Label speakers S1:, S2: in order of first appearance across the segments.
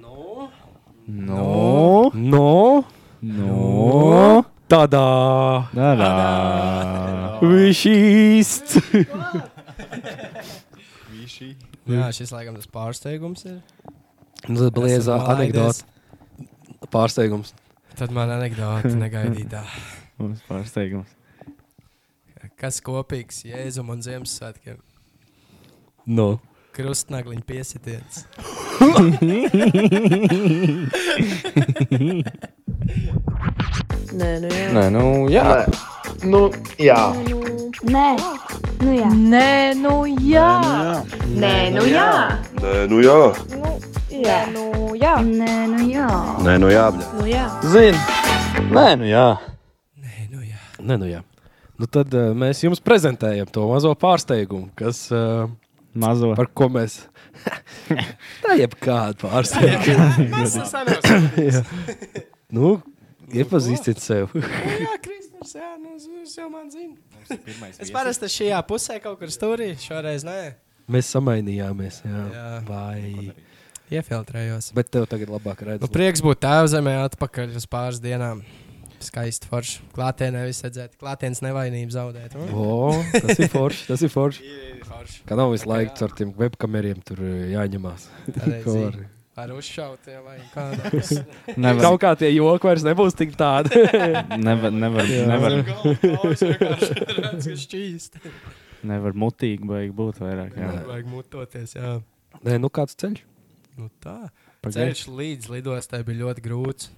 S1: Nu,
S2: Nu?
S3: No,
S2: No,
S3: no,
S2: tādā
S3: tādā.
S2: viņš īsts.
S1: jā, šis laikam tas pārsteigums ir.
S2: Nu, Tad bliezā
S1: Esmu palaidies.
S2: anekdote. Pārsteigums.
S1: Tad man anekdote negaidītā.
S3: Mums pārsteigums.
S1: Kas kopīgs Jēzum un Ziemassvētkiem?
S2: No.
S1: Krustnagliņa piesitiens.
S4: Nē, nu jā.
S3: Nē, nu jā.
S5: Nu, jā.
S6: Nē, nu jā.
S4: Nē, nu jā. Nē, nu jā.
S7: Nē, nu jā,
S4: Nē, nu jā.
S6: Nē,
S7: nē,
S6: nu jā.
S7: nu jā,
S4: Nu jā.
S3: Zini. Nē, nu jā.
S1: Nē, nu jā.
S2: Nē, nu jā. Nu tad uh, mēs jums prezentējam to mazo pārsteigumu, kas, uh,
S3: Mazo.
S2: par ko mēs. Tā ir kāda pārsteiguma.
S1: Tas tas anekdote.
S2: nu, iepazīstiet sevi.
S1: Jā, Kristers, jā, nu, jūs jau man zini. Es parasti šajā pusē kaut kur stūrī, šoreiz nē.
S2: Mēs samainījāmies. Jā. Jā.
S1: Jā.
S2: Vai...
S1: Iefiltrējos.
S2: Bet tev tagad ir labāk
S1: Nu,
S2: redzēt.
S1: prieks būt tēvzemē atpakaļ uz pāris dienām. Skaisti forši. Klātienē viss redzēt. Klātienes nevainību zaudēt. Mm.
S2: O, tas ir forši. Tas ir forši.
S1: Forši.
S2: Kā nav visu laiku ar tiem webkameriem tur eh, jāņemās.
S1: Pareizi.
S2: Ko var?
S1: Ar uzšaut, ja vai kādā.
S3: Nevar,
S2: Kaut kā tie joki vairs nebūs tik tādi.
S3: nevar, nevar, nevar,
S1: Tas ir šķīsti.
S3: nevar mutīgi baigi būt vairāk. Jā.
S1: Vajag mutoties. Jā.
S2: Nē, nu kāds ceļš?
S1: Nu, tā.
S2: Pagaid.
S1: Ceļš līdz lidostai bija ļoti grūts.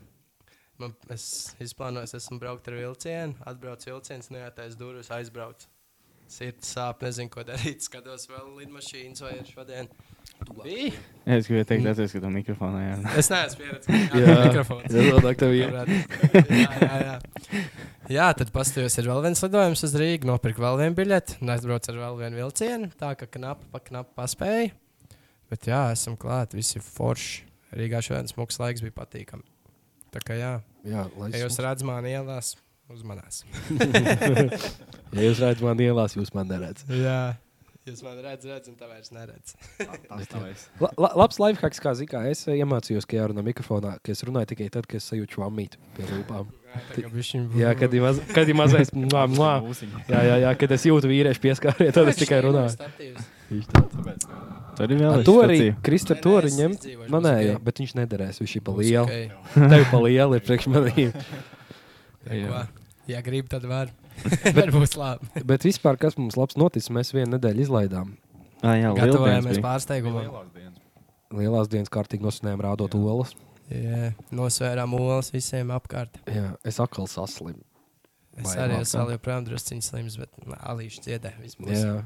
S1: Man, es izplānoju, esmu braukt ar vilcienu, atbraucu vilciens, neatais durvis, aizbraucu. Sirds sāp, nezinu, ko darīt. Skatos vēl lidmašīnas vai ir šodien. Bija.
S3: Es gribēju teikt, atcerieties, ka tam mikrofonā jā.
S1: Es neesmu pieredzējis.
S2: Jā.
S1: Jā, mikrofons.
S2: Jā, labāk tev ir.
S1: Varētu. Jā, jā, jā. jā, tad pastāvjos ir vēl viens lidojums uz Rīgā, nopirku vēl vienu biļeti, un aizbraucu ar vēl vienu vilcienu. Tā kā knapi pa knapi paspēja. Bet jā, esam klāt, visi forši. Rīgā šodienas mūks laiks bija patīkami. Tā kā jā,
S2: Jā, lai
S1: ja
S2: jūs
S1: jūs redzat mani ielās, uzmanās.
S2: redzat. Ja jūs redzat man ielās, jūs man neredzat.
S1: jā. Jūs man redzat, redzat, un tā vairs neredzat.
S2: La, la, labs lifehacks, kā zina, es eh, iemācījos, ka jārunā mikrofonā, ka es runāju tikai tad, kad es sajūtu vamīti pie lūpām. Jā, kad ir, maz, kad ir mazais mā, mā. Jā, jā, jā, kad es jūtu vīriešu pieskārienu, tad es tikai runāju.
S3: Tur ir vēl
S2: Ar
S3: viens
S2: to arī,
S3: statīvs.
S2: Krista,
S1: Nē,
S2: to
S1: nē,
S2: arī
S1: es
S2: ņem.
S1: izdzīvošu,
S2: Manējā,
S1: būs ok.
S2: bet viņš nederēs, viņš ir pa
S1: Jā,
S2: lielu. Tev pa lielu ir priekš manīm.
S1: jā. Ja gribi, tad var. Bet būs labi.
S2: Bet vispār, kas mums labs noticis, mēs vienu nedēļu izlaidām.
S3: Ā, Jā,
S1: Gatavojamies
S3: Lieldienas bija.
S1: pārsteigumam.
S2: Lielās dienas kārtīgi nosinājām, rādot olas.
S1: Jā, Nosvērām olas visiem apkārt.
S2: Jā, es atkal saslimu.
S1: Es
S2: Vai
S1: arī
S2: labi?
S1: esmu vēl joprojām drusciņš slims, bet nu, alīšu dziedē. viss būs.
S2: Jā.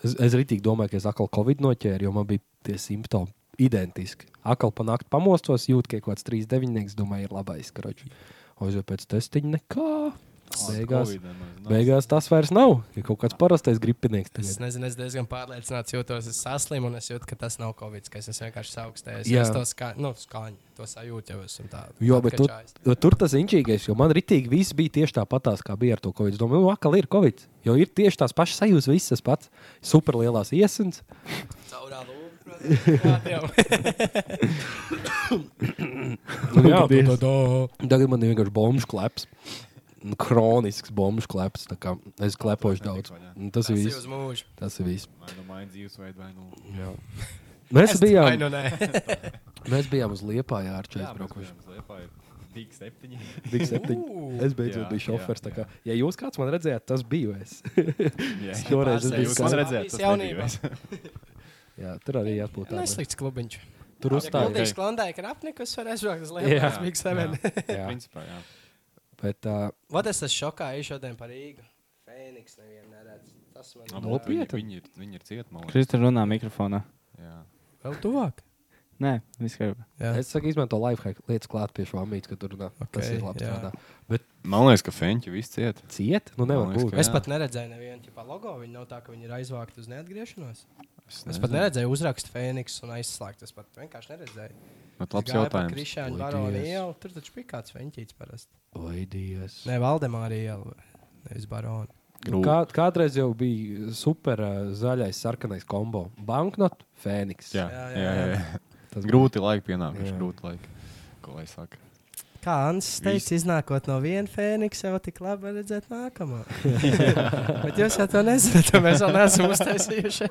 S2: Es, es rītīgi domāju, ka es atkal covid noķēru, jo man bija tie simptomi identiski. Akal panākt pamostos, jūt, ka ir kaut kāds 3,9. Domāju, ir labais karoči. Oizē pēc testiņa nekā. Beigās, beigās tas vairs nav. Ir kaut kāds parastais gripinieks.
S1: Es
S2: tagad.
S1: nezinu, es diezgan pārliecināts jūtos, es saslimu, un es jūtu, ka tas nav covid, ka es esmu vienkārši saukstējis.
S2: Jā.
S1: Es to skaņu, nu, skaņu, to sajūtu jau esmu tā.
S2: Jo, bet tu,
S1: atkačājis.
S2: jo tur tas inčīgais, jo man rītīgi viss bija tieši tāpatās, kā bija ar to covid. Es domāju, nu, akal ir covid. Jo ir tieši tās pašas sajūtas, viss tas pats. Superlielās iesins.
S1: Caurā lūpa, protams, klāt jau.
S2: Nu, jā, tu-
S1: Do, do, do.
S2: Tagad man ir vienkārši bombuļs klips. Kronisks bombuļs klips. tā kā Es klepošu daudz. Un Tas ir
S1: Tas ir
S2: viss.
S1: uz mūžu.
S2: Tas ir viss.
S8: Vai nu maini dzīvesveidu, vai nu
S2: Mēs
S1: Vai
S2: bijām,
S1: nu nē?
S2: mēs bijām uz Liepā ar
S8: Jā, mēs
S2: 47.
S8: bijām uz Liepāju. Dīgi septiņi.
S2: Es beidzot
S8: Jā,
S2: biju
S8: jā,
S2: šofers. tā
S8: jā.
S2: kā. Ja jūs kāds man redzējāt, tas bija es.
S8: Jā,
S2: Toreiz es
S1: Pārsteigums.
S2: biju
S8: jūs man
S2: kā-
S8: redzējāt, tas
S1: Jaunībā.
S8: nebija es.
S2: Jā, tur arī atpūtās.
S1: Nu, Neslikts klubiņš.
S2: Tur uzstājās.
S1: Gudīgi sklandēja, ka apnikus var aizbraukt uz
S2: Jā.
S1: Lietuvas Big Seven.
S2: Jā.
S8: Principā, jā.
S2: Bet, ā,
S1: Vat es esmu šokā, eju šodien par Rīgu. Fēniks nevienu neredz. Tas man
S8: Nu,
S2: Nopietni?
S8: viņi- Viņi ir- viņi ir ciet, man liekas.
S3: Krista runā mikrofonā.
S8: Jā.
S1: vēl tuvāk.
S3: Nē, viss kārtībā.
S1: Jā.
S2: Es saku, izmanto lifehack, lietas klāt pie šām mītām, ka tur runā. Tas
S1: Ok,
S2: ir labi.
S1: jā.
S2: strādā.
S8: Man liekas, ka Fenķi viss ciet.
S2: Ciet, nu nevar
S8: Man liekas,
S2: būt.
S8: ka-
S1: Es
S8: Jā.
S1: pat neredzēju nevienu tipā logo. Viņi nav tā, ka viņi ir aizvākti uz neatgriešanos. Es pat
S8: nezinu.
S1: neredzēju uzrakstu Fēniks un aizslēgt. Es pat vienkārši neredzēju.
S8: Bet labs jautājums.
S1: Krišāņu
S2: Oi,
S1: baroni
S2: Dievs.
S1: ielu. Tur taču bija kāds Fēniķis parasti.
S2: Oi, Dievs.
S1: Ne, Valdemāra ielu. Nevis baroni.
S2: Nu, Kā, kādreiz jau bija super uh, zaļais, sarkanais kombo. Banknot, Fēniks.
S8: Jā,
S1: Jā,
S8: jā,
S1: jā,
S8: jā. jā.
S2: Tas bija-
S8: Grūti laiki pienākuši,
S2: Jā.
S8: grūti laiki. Ko lai saka?
S1: Kā Anna teica, iznākot no viena fēniksa, jau tik labi redzēt nākamo. Bet jūs jau to nezināt, jo mēs vēl neesam uztaisījuši.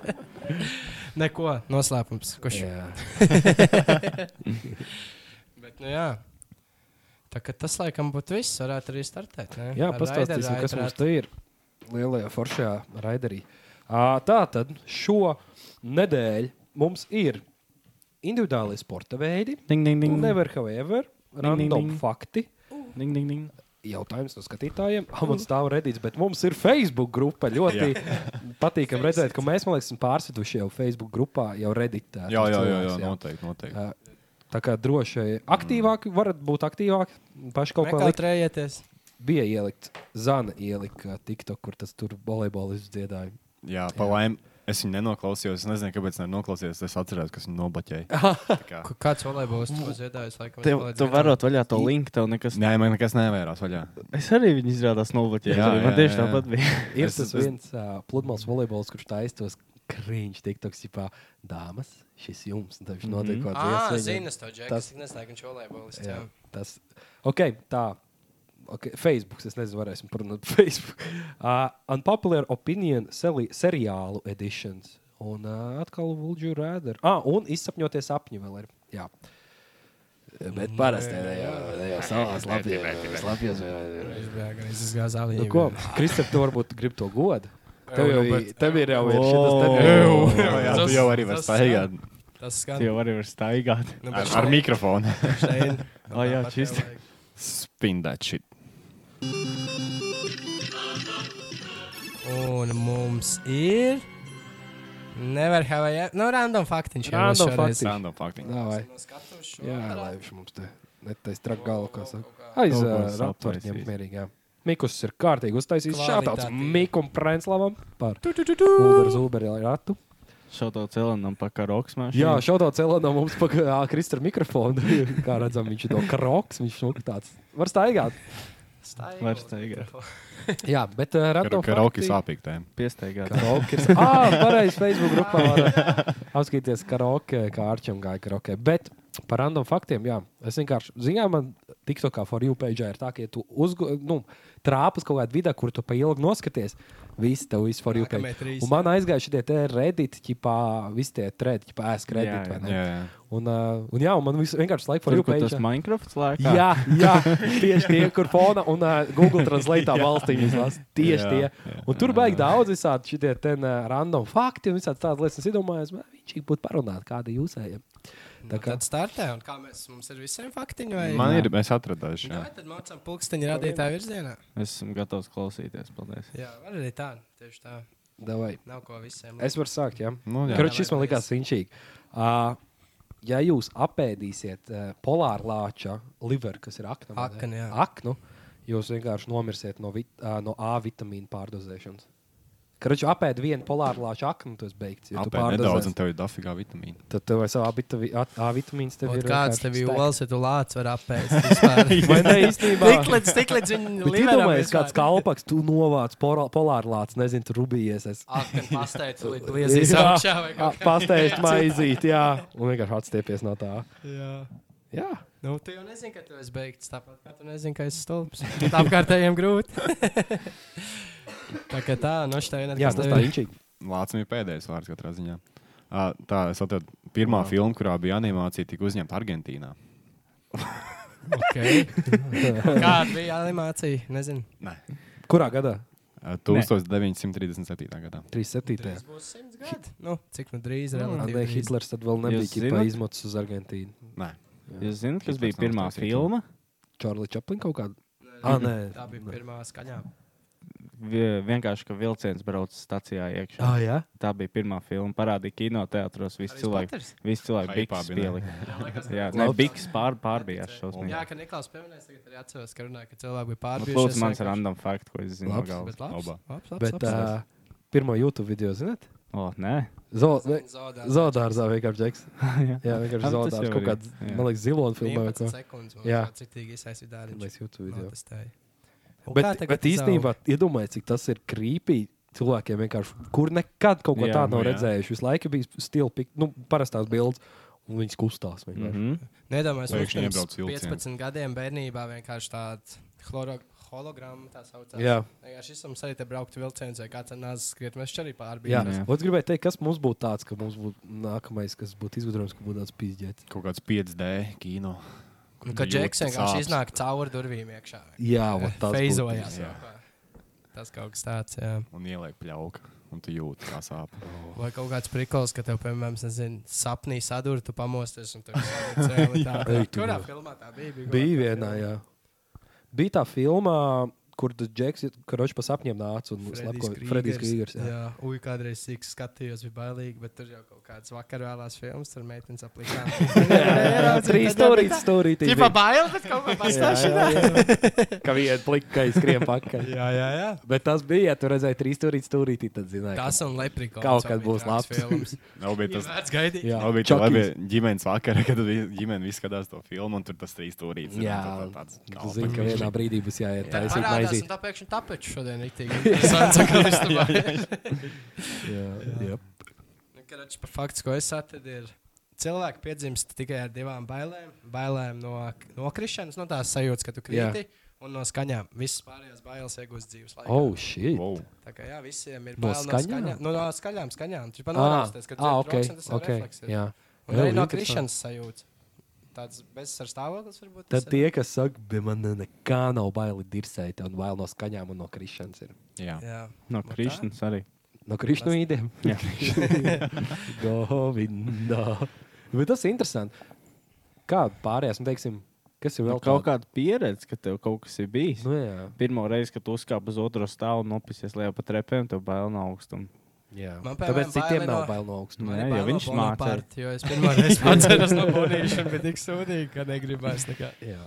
S1: Neko noslēpums. Kurš?
S2: Jā.
S1: Bet, nu, jā. Tā, ka tas laikam būtu viss. Varētu arī startēt. Ne?
S2: Jā,
S1: Ar
S2: pastāstīsim,
S1: Raideru
S2: kas mums
S1: aizrāt.
S2: te ir lielajā foršajā raiderī. Ā, Tā tad šo nedēļu mums ir individuāli sporta veidi,
S3: Ding, ding, ding.
S2: never have ever,
S3: ding,
S2: random
S3: ding.
S2: fakti.
S3: Ding, ding, ding.
S2: Jautājums no skatītājiem,
S8: Mhm.
S2: ah, man stāv redīts, bet mums ir Facebook grupa. Ļoti patīkami redzēt, ka mēs, man liekas, esam pārsvituši jau Facebook grupā, jau redītā.
S8: Jā, jā, jā, jā, noteikti, noteikti.
S2: Tā kā droši aktīvāki, varat būt aktīvāki. Paši kaut ko likt.
S1: Nekautrējieties.
S2: bija ielikt, Zana ielika TikTok, kur tas tur volejbolists dziedāja.
S8: Jā, pa laimi. Es viņu nenoklausījos. Es nezinu, kāpēc viņa noklausījās. Es atceros, kas viņu nobloķēja. Tā kā-
S1: K- Kāds volejbols to ziedājis? Laikam, es
S3: Tev,
S1: palaidu
S3: tu
S1: garām.
S3: varot vaļā to linku, tev nekas.
S8: Nē, man nekas nevērās vaļā.
S3: Es arī viņu izrādās nobloķēju.
S8: Jā,
S3: arī. Man
S8: jā,
S3: tieši
S8: jā, jā.
S3: tāpat bija.
S2: Ir
S8: Es-
S2: tas
S8: es-
S2: viens uh, pludmales volejbols, kurš taistos krīņš, TikToks, tipā dāmas, šis jums, un tad
S8: Mhm.
S2: viņš notiek kaut
S1: Ā,
S2: kāds
S1: zinu, es to džeku.
S2: Tas-
S1: Tas nezināju, ka viņš volejbolists.
S2: Jā,
S1: jā.
S2: tas. Ok, tā. Okay, Facebook, es nezinu, varēsim parunāt par Facebook. Uh, unpopular opinion seli, seriālu editions. Un uh, atkal Vulģu rēder. Ah, un izsapņoties apņi vēl ir. Jā. Bet parasti ne jau, ne jau savās lapjās. lapjās vai-
S1: Viņš bija gan izgājis zālē.
S2: Nu, ko, Kristap, tu varbūt grib to godu? Tev jau
S1: bet-
S2: bija, tev ir jau ir
S3: Wow.
S2: šitas, tev ir.
S8: Ew.
S1: jā,
S8: Jā,
S1: tas-
S8: tu jau arī vari
S1: tas-
S8: staigāt
S1: Tas
S3: Tu
S1: skan
S3: jau arī var staigāt.
S1: Nu,
S8: ar,
S1: bet
S8: ar
S1: šeit-
S8: mikrofonu.
S1: šeit-
S3: O, jā,
S1: tāpat
S3: čist.
S1: jau vajag.
S8: Spindēt šit.
S1: Un mums ir. Nevar have a. yeah. Nu, random faktiņš. jau
S2: Random
S1: būs šoreiz.
S2: faktiņš.
S8: Random faktiņ.
S2: Nā, vai?
S1: No skatuves šo
S2: Jā,
S1: vakarā.
S2: lai viņš mums te netais trak galu, kā saka.
S3: Kaut
S2: Aiz
S3: ko
S2: ā, raptoru
S3: saplaisīs.
S2: ņemt mierīgi, jā. Mikus ir kārtīgi uztaisījis šādāds
S1: Kvalitatīvi.
S2: Mikum Prenslavam par Uber Zuber ratu.
S3: Šādu celenam pa karoksmēšanu.
S2: Jā, šādā celānā mums pa Krista mikrofonu. Kā redzam, viņš ir no karoks, viņš nu tāds. Var staigāt.
S1: Staigā.
S3: Var staigāt.
S2: Jā, bet ā, random
S8: Karaoke
S2: fakti-
S8: sāpīgi tēma.
S3: piestaigāt.
S2: Karaoke. Ah, pareizi. Facebook grupā var apskatīties karaoke, kā Arčiem gāja karaoke. Bet par random faktiem, jā. Es vienkārši, zinām, man TikTokā for you page ir tā, ka, ja tu uzgu, nu, trāpas kaut kādā vidē, kur tu pa ilgi noskaties, viss tev viss for you
S1: Nākamie
S2: page.
S1: trīs,
S2: Un man aizgāja šie te redīti, ķipā, visi tie tredi, ķipā, es
S3: Jā,
S2: kredīti,
S3: jā.
S2: vai ne?
S8: Jā, jā.
S2: Un, uh, un jā, un man viss vienkārši laika for
S3: Tur,
S2: you
S3: kur tas
S2: page.
S3: Minecraft laikā.
S2: Jā, jā, tieši tie, kur fona un uh, Google translate valstīm izlasa. Tieši
S8: Jā,
S2: tie. Un tur beigas daudz visādi šie ten uh, random fakti un visādi tādas lietas. Es domāju, viņš īk būtu parunāt, kāda jūsējiem.
S8: Nu,
S2: Tā kā
S1: Tad startē. Un kā mēs, mums ir visiem faktiņi? Vai...
S8: Man ir, mēs atradāmies.
S1: Jā, tad mācām pulksteņa radītāju virzienā.
S3: Esmu gatavs klausīties. Paldies.
S1: Jā, var arī tā. Tieši tā.
S2: davai.
S1: Nav ko visiem.
S2: es varu sākt. Ja?
S8: Nu, jā.
S2: Kroč, šis man likās viņš. Uh, ja jūs apēdīsiet uh, polāra lāča liveru, kas ir akna, vai ne?
S1: Akna, jā.
S2: aknu, jūs vienkārši nomirsiet no, vit, uh, no A vitamīna pārdozēšanas. Kroč, apēd vienu polāra lāča aknu, tas beigts. Ja tu
S8: Apēd nedaudz,
S2: pārdozēsi.
S8: un tev ir dafīgā vitamīna.
S2: Tad tev jau savā A vitamīnā tev
S1: Un
S2: ir
S1: kāds
S2: vienkārši
S1: tev
S2: stek.
S1: bija olas, ja tu lācis var apēst? vispār?
S2: Vai ne īstenībā?
S1: Tik līdz, tik līdz viņa
S2: Bet iedomājies, kāds kalpaks, tu novāc porā- polārlāts, nezinu, tur rubījies. Es...
S1: Akmeņi pasteicu, līdz liezīs augšā vai kaut kā.
S2: Pastēst maizīt, jā. Un vienkārši atstiepies no tā.
S1: Jā.
S2: Jā.
S1: Nu, tu jau nezini, ka tu esi beigts. Tāpat kā tu nezini, ka esi stulbs. Tāpkārtējiem grūti. tā kā tā, no šitā vienā.
S2: Jā, tas tā inčīgi.
S8: Lācis bija pēdējais vārds katrā ziņā. Uh, tā es atradu pirmā Jā. filmu, kurā bija animācija, tika uzņemta Argentīnā.
S1: Okay. Kāda bija animācija? Nezinu.
S2: Kurā gadā?
S8: Uh, 1937. gadā.
S2: 37.
S1: Drīz būs simts gadi. Nu, cik nu drīz
S2: Nē,
S1: relatīvi drīz.
S2: Hitlers tad vēl nebija
S3: Jūs
S2: ķipa
S3: zināt?
S2: izmocis uz Argentīnu.
S8: Nē,
S3: Jūs zināt, kas
S8: Hitlers
S3: bija
S8: nav
S3: pirmā
S8: uztaisījis.
S3: filma?
S2: Čārli Čaplin kaut kādu. Ah, nē.
S1: Tā bija pirmā skaņā.
S3: Vi- Vienkārši, ka vilciens brauc stacijā iekšā.
S2: Ah, jā.
S3: Tā bija pirmā filma. Parādīja kinoteātros. Visi cilvēki,
S1: Poters?
S3: visi cilvēki bija
S8: Hypā bija, ne?
S3: pārspīlēti. Jā, nē, Biks pār, pārbījās
S1: Jā,
S3: šausmīgi.
S1: ka Niklaus pieminēs, tagad arī atceros, ka runāja, ka cilvēki bija
S3: Nu,
S1: pārbijušies.
S3: Lūdzu, mans
S1: vienkārši.
S3: random fakts, ko es zinu no
S2: Labs,
S3: galvas.
S1: Bet labs,
S8: Oba.
S1: labs, labs,
S2: Bet
S1: labs, labs.
S2: ā, pirmo YouTube video, zināt?
S3: O, nē.
S2: Zo- ne-
S1: Zaudējums.
S2: Zodārzā vienkārši džeks. Jā, vienkārši
S3: Ah, tas
S2: zaudārs
S3: jau
S2: kaut
S3: ir,
S2: kāds,
S3: jā.
S2: man liekas, ziloņu filmā. vai ko.
S1: 15 sekundes.
S2: Jā.
S1: Jā, citīgi izsaisīt dārgi.
S2: Mēs YouTube video.
S1: kā
S2: Bet,
S1: tagad
S2: bet īstenībā iedomājieties, cik tas ir krīpīgi. Cilvēkiem vienkārši, kur nekad kaut ko
S3: Jā,
S2: tādu nav
S8: nu jā.
S2: redzējuši, visu laiku bija stila, pik- nu, parastās bildes. Un Viņas kustās.
S3: Mm
S2: vienkārši.
S3: -hmm.
S1: Nedomāju, ka
S8: Pēkšņi
S1: pirms
S8: iebrauc vilciens.
S1: 15 gadiem bērnībā vienkārši tāds hologrāfs, tā saucamā.
S2: Jā.
S1: Šis mums arī te brauktu vilcienā, ja kāds nāca skriet, mēs arī
S2: Jā,
S1: pārbīdām.
S3: Jā.
S2: es gribēju teikt, kas mums būtu tāds, ka mums būtu nākamais, kas būtu izgudrojums, ka būtu tāds pīzdēts.
S8: Kaut kāds 5D kino. kur
S1: Kad
S8: jūt
S1: džeks vienkārši
S8: sāpes.
S1: iznāk cauri durvīm iekšā.
S2: Jā, vot tāds būtu.
S1: Feizojās.
S8: jā.
S1: kaut kā. Tas kaut kas tāds, jā.
S8: Un ieliek pļauka, un tu jūti, kā sāp.
S1: Vai kaut kāds priklis, ka tev, piemēram, es nezinu, sapnī sadūrta, tu pamosties un tev sadūr realitāte.
S2: Ei, tu
S1: Kurā
S2: jau.
S1: filmā tā bija?
S2: Bija
S1: kaut kāda
S2: vienā,
S1: filma?
S2: jā. Bija tā filma, kur tas Džeks Kročs pa sapņiem nāca un slepoja Fredijs Krīgers. jā.
S1: Jā, Ui, kādreiz sīkā skatījos, bija bailīgi, bet tur jau kaut kādas vakarvēlās filmas, tur meitenes aplikācijā.
S2: Trīs stūrītes, stūrītes.
S1: Tipa bail, bet kaut kā pastāstīja.
S2: Kā viena plika skrien pakaļ.
S1: Jā, jā, jā.
S2: Bet tas bija, ja tu redzēji trīs stūrītes, stūrītes, tad zināji.
S1: Tas un leprikons.
S2: Kaut
S1: jau
S2: kad
S1: bija
S2: būs
S1: tāds
S2: labs.
S1: films.
S8: Nav
S1: Jā,
S8: bijis tas
S1: Vērts gaidīt.
S2: Jā.
S8: Nav bija tā
S2: Čakis.
S8: labi ģimenes vakarā, kad vi- ģimene viss skatās to filmu, un tur tas trīs stūrītes. ir,
S2: Jā,
S8: un tā- tā- tāds
S2: Tu zini, ka vienā brīdī būs jāiet
S1: Tā ir
S2: taisīt
S1: tā
S2: maizīt.
S1: līnija. Tā pēkšņi tāpēc šodien ir tik interesanti. ka es to baidīju.
S2: Jā, jā.
S1: Nu, Karoči, par Fakts, ko es atradu, ir cilvēki piedzimst tikai ar divām bailēm. Bailēm no k- nokrišanas, no tās sajūtas, ka tu
S2: Jā.
S1: krīti, un no skaņām. Visas pārējās bailes iegūst dzīves laikā.
S2: Oh, shit.
S8: Wow.
S1: Tā kā jā, visiem ir
S2: No
S1: bail no
S2: skaņām?
S1: skaņām. No, no skaļām skaņām. Tur pat
S2: Ah,
S1: norāsties, ka
S2: ah, ok,
S1: tas ir
S2: ok.
S1: refleks. ir.
S2: Jā.
S1: Un arī
S2: Jā,
S1: no
S2: interesanti.
S1: krišanas sajūta. Tāds bezsvars stāvoklis varbūt. tas
S2: Tad
S1: ir.
S2: tie, kas saka, ka man nekā nav baili dirsēt, un bail no skaņām un no krišanas. Ir.
S8: Jā.
S1: Jā.
S3: No
S1: Vot Nu tā?
S3: Krišņas arī.
S2: No krišņiem.
S3: Jā.
S2: Govinda. Bet tas ir interesanti. Kāda pārējās, nu, teiksim, kas ir
S3: Nu,
S2: vēl
S3: kaut kāda pieredze, ka tev kaut kas ir bijis.
S2: Nu, jā,
S3: Pirmā reize, kad tu uzkāp uz otro stāvu un nopisies lejā pa trepēm, tev bail no augstuma.
S2: jā.
S1: Man, piemēram,
S2: Tāpēc citiem
S1: bail
S2: nav
S1: no-
S2: bail no augstuma.
S1: Man
S3: Nē,
S1: ir
S3: jo
S1: bail no
S3: viņš mācīja.
S1: Nu, Bonaparte, Jo es pirmo reizi atceros no bonīšanas, bet tik sūdīgi, ka negribēs nekā.
S2: Jā.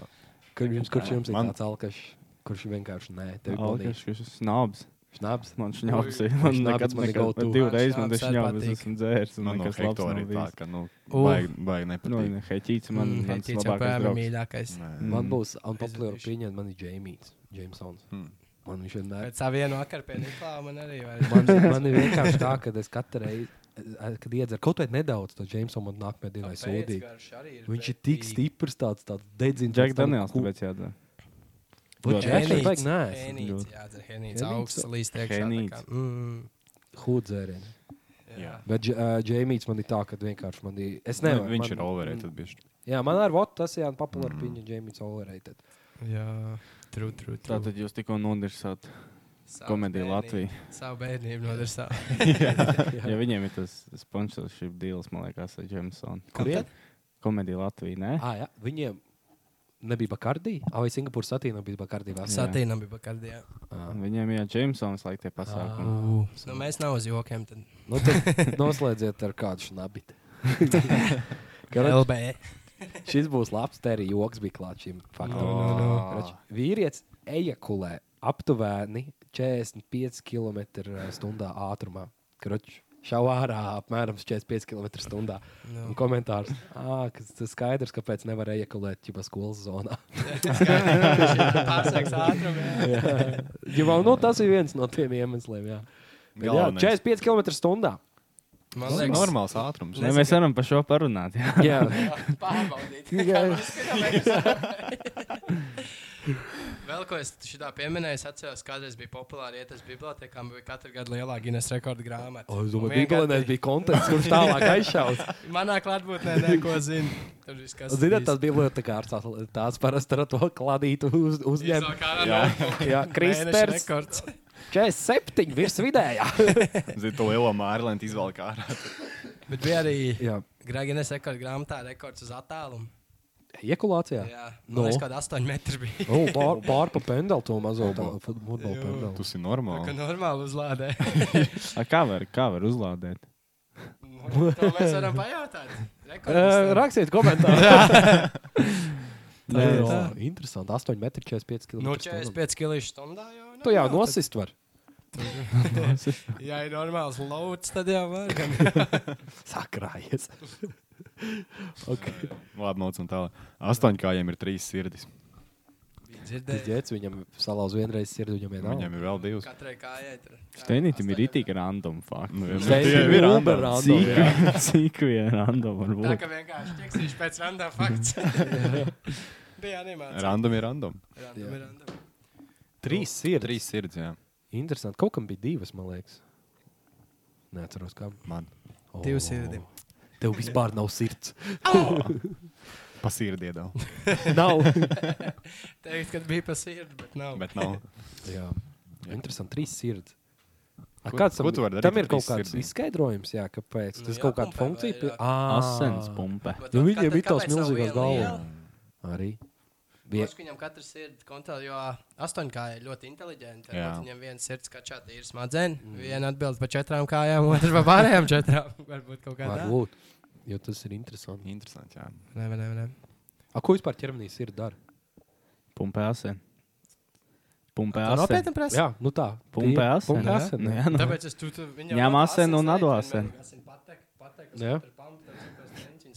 S2: Kur jums, kurš jums ir
S8: Man-
S2: tāds alkašs, kurš vienkārši nē, tev ir
S3: Alkaš,
S2: bonīšs?
S3: kas ir snobs.
S2: Šnabs.
S3: Man šņauks. ir-
S2: Ui,
S3: Man
S2: šnabs
S3: nekad
S2: man ir go
S3: nekad
S2: to.
S3: divreiz man
S1: Šnabs
S3: tas
S1: arī
S3: šņauks.
S1: patīk.
S3: Es esmu dzērs. Man
S8: Man
S3: nekas
S8: no
S3: labs
S8: Hektora
S3: nav
S8: Nu, ir tā,
S3: bijis.
S8: ka, nu,
S1: Uh.
S8: baigi baigi
S3: Nu,
S8: nepatīk.
S3: Heķīts man
S1: Mm,
S3: ir mans
S1: Heķis jau
S3: labākais
S1: pēram
S3: draugs.
S1: mīļākais.
S8: Nē.
S3: Mm.
S2: Man būs unpopular
S1: Aizvedīšu.
S2: opinion, man ir Jamijs. Jamesons.
S1: Hmm.
S8: Mm.
S2: Man viņš vienmēr.
S1: Pēc tā viena vakara pie Niklausa man arī vajag.
S2: Man, man ir vienkārši tā, ka es katru reizi, kad iedzeru kaut vai nedaudz, to Jamesonu man nākamajā dienā ir sūdīgi. Viņš ir tik stiprs, tāds, tāds dedzins.
S3: Džek Daniels, tāpēc jādara.
S2: Viņš
S3: ļoti
S2: ir
S1: Henīts,
S2: tāds - nē,
S1: Henīts,
S3: ļoti.
S1: jā, dzer Henīts,
S2: Henīts?
S1: augsts līst iekšā. tā kā,
S3: Henīts.
S1: mm,
S2: hūdzēriens.
S1: Jā.
S2: Bet uh, Džeimijs man ir tā, ka vienkārši man ir. Es
S8: Nu,
S2: nevaru.
S8: Viņš ir
S2: man, Mm.
S8: overrated. Mm. bišķi.
S2: Jā, man ar Votu tas ir unpopular opinion, Džeimijs overrated.
S1: Jā, true, true, true.
S3: Tātad jūs tikko nodirsāt
S1: Savu
S3: komēdiju
S1: bērnību-
S3: Latviju.
S1: Savu bērnību nodarsā.
S3: Ja viņiem ir tas sponsorship deals, man liekas, ar Jamesonu.
S2: Kuriem?
S3: Komēdija Latvija, nē?
S2: Ah, jā, viņiem nebija Bakardī. Ah, vai Singapūras satīna bija Bakardī? vasarā?
S1: Satīnam bija pakardījā.
S3: Viņiem ir Jamesons laik tie pasākumi.
S1: Nu, mēs nav uz jokiem, tad
S2: Nu, tad noslēdziet ar kādu šnabitu. Karoč,
S1: LB.
S2: šis būs labs, te arī joks bija klāts šim faktam.
S1: No, no, no.
S2: Karoč, Vīrietis ejakulē aptuveni 45 km/h ātrumā. Karoč, Šāvā ārā apmēram 45 km/h. Un komentārs. "Ā, kas- Tas skaidrs, kāpēc nevar ejakulēt jau skolas zonā.
S1: Pārsēks ātrumā.
S2: Jau, nu, tas ir viens no tiem iemesliem. Jā. Bet, jā,
S8: Galvenais.
S2: 45 km/h.
S1: Man
S8: Tas ir
S1: liekas,
S8: normāls ātrums.
S3: Ne, mēs varam par šo parunāt. Jā.
S2: Jā,
S1: pārbaudīt.
S2: tikai.
S1: Vēl ko es šitā pieminēju, es atceros, kādreiz bija populāri iet uz bibliotekām, bija katru gadu lielāka Guinness rekorda grāmata.
S2: O, es
S1: Un
S2: domāju, ka
S1: vienkārši-
S2: Bībelēnēs bija konteksts, kurš tālāk aizšaus.
S1: Manā klātbūtnē neko zinu. Tur viss kas.
S2: Nu, Ziniet, tas bija ļoti kārtas. Tās parasti ar to kladītu uz,
S1: bija
S2: uzņemt.
S1: kā no
S2: Jā, Kristers
S1: rekords.
S2: 47 virs vidējā.
S8: Zinu, to lielo Mārlēnu izvēlēt kā ārā.
S1: Bet bija arī
S2: Jā,
S1: Guinness rekorda grāmatā rekords uz attālumu.
S2: iekulācijā.
S1: Jā,
S2: Nu.
S1: no. es kādu 8 metru biju.
S2: O, pār, pār pa pendelu to mazo tā- futbola pendelu.
S8: Tas ir
S1: Ka
S8: normāli.
S1: normāli uzlādē.
S3: A, Kā var, kā var uzlādēt?
S1: Nu, to mēs varam pajautāt.
S2: Eh,
S1: Rekords.
S2: Rakstiet komentāru.
S1: Tā ir
S2: Jā, interesanti. 8 metri 45 km.
S1: Nu, 45 km/h jau. nav
S2: Tu jau
S1: tad-
S2: nosist var.
S1: Ja ir normāls lauds, tad jau var. gan.
S2: Sakrājies. okay.
S8: Labi, nocim tālāk. Astoņkājiem ir trīs sirdis.
S1: Dzirdēju,
S2: Ģēts viņam salauz vienreiz sirdi, viņam vienalga.
S8: Viņam ir vēl divas.
S1: katrai kājai tur.
S3: Steinītam
S1: e
S3: ir itī random fakts.
S8: Nu, jā,
S2: Steini
S8: tie
S2: ir
S8: ir
S2: uber e
S8: random.
S2: random,
S8: Cik-
S2: jā.
S3: Cīku vien random var
S1: Tā
S3: būt.
S1: kā vienkārši ķeksīšu pēc random fakts. Bija animācija.
S8: Random ir random.
S1: Random, ir random.
S2: Trīs sirds.
S8: Trīs sirds, jā.
S2: Interesanti. Kaut kam bija divas, man liekas. Neatceros, kā.
S8: Man.
S2: Oh.
S1: Divi sirdi.
S2: Tev vispār nav sirds.
S8: Pasīrdi iedod.
S2: nav.
S1: Teikt, ka bija pa sirdi, bet nav.
S8: Bet nav.
S2: jā. Interesanti. Trīs sirds. A,
S8: Ko-
S2: kāds tam,
S8: ko tu vari darīt
S2: tam
S8: ar
S2: ir kaut
S8: trīs
S2: kāds
S8: sirdīm?
S2: izskaidrojums, jā, kāpēc?
S1: Nu
S2: Tas
S1: jā,
S2: kaut kāda
S1: pumpē
S2: funkcija.
S1: vairāk.
S2: Ā.
S8: Ah,
S3: Asins pumpe.
S1: Bet
S2: Nu,
S1: vat
S2: viņiem
S1: kāpēc-
S2: ir tās
S1: kāpēc nav
S2: milzīgās
S1: viena
S2: galvas.
S1: liela?
S2: Arī. Vie-
S1: Protams, viņam katra sirds kontrolē, jo astoņkāja ir ļoti inteliģenta.
S8: Jā.
S1: Varbūt Viņam viena sirds kačā ir smadzenes, mm. viena atbild par četrām kājām, otra par pārējām četrām. Varbūt kaut kā tāda.
S2: Varbūt. Jo tas ir interesanti.
S8: Interesanti, jā.
S1: Nē, nē, nē.
S2: A, ko vispār ķermenī sirds dara?
S3: Pumpē asins. Pumpē
S1: Tā
S3: asins.
S1: nopietna prasa.
S2: Jā, nu tā.
S3: Pumpē
S2: Tie-
S3: asins.
S2: Pumpē asins.
S3: Nu,
S2: jā.
S3: jā, nu.
S1: Tāpēc es tur viņam
S3: Ņem
S1: nav
S3: asinu
S1: asins,
S3: un
S1: nē,
S3: dod
S1: vienmēr
S3: asinu.
S1: asinu patek, patek uz
S2: Jā.
S1: otru pamatu, tad ir tas trenciņš.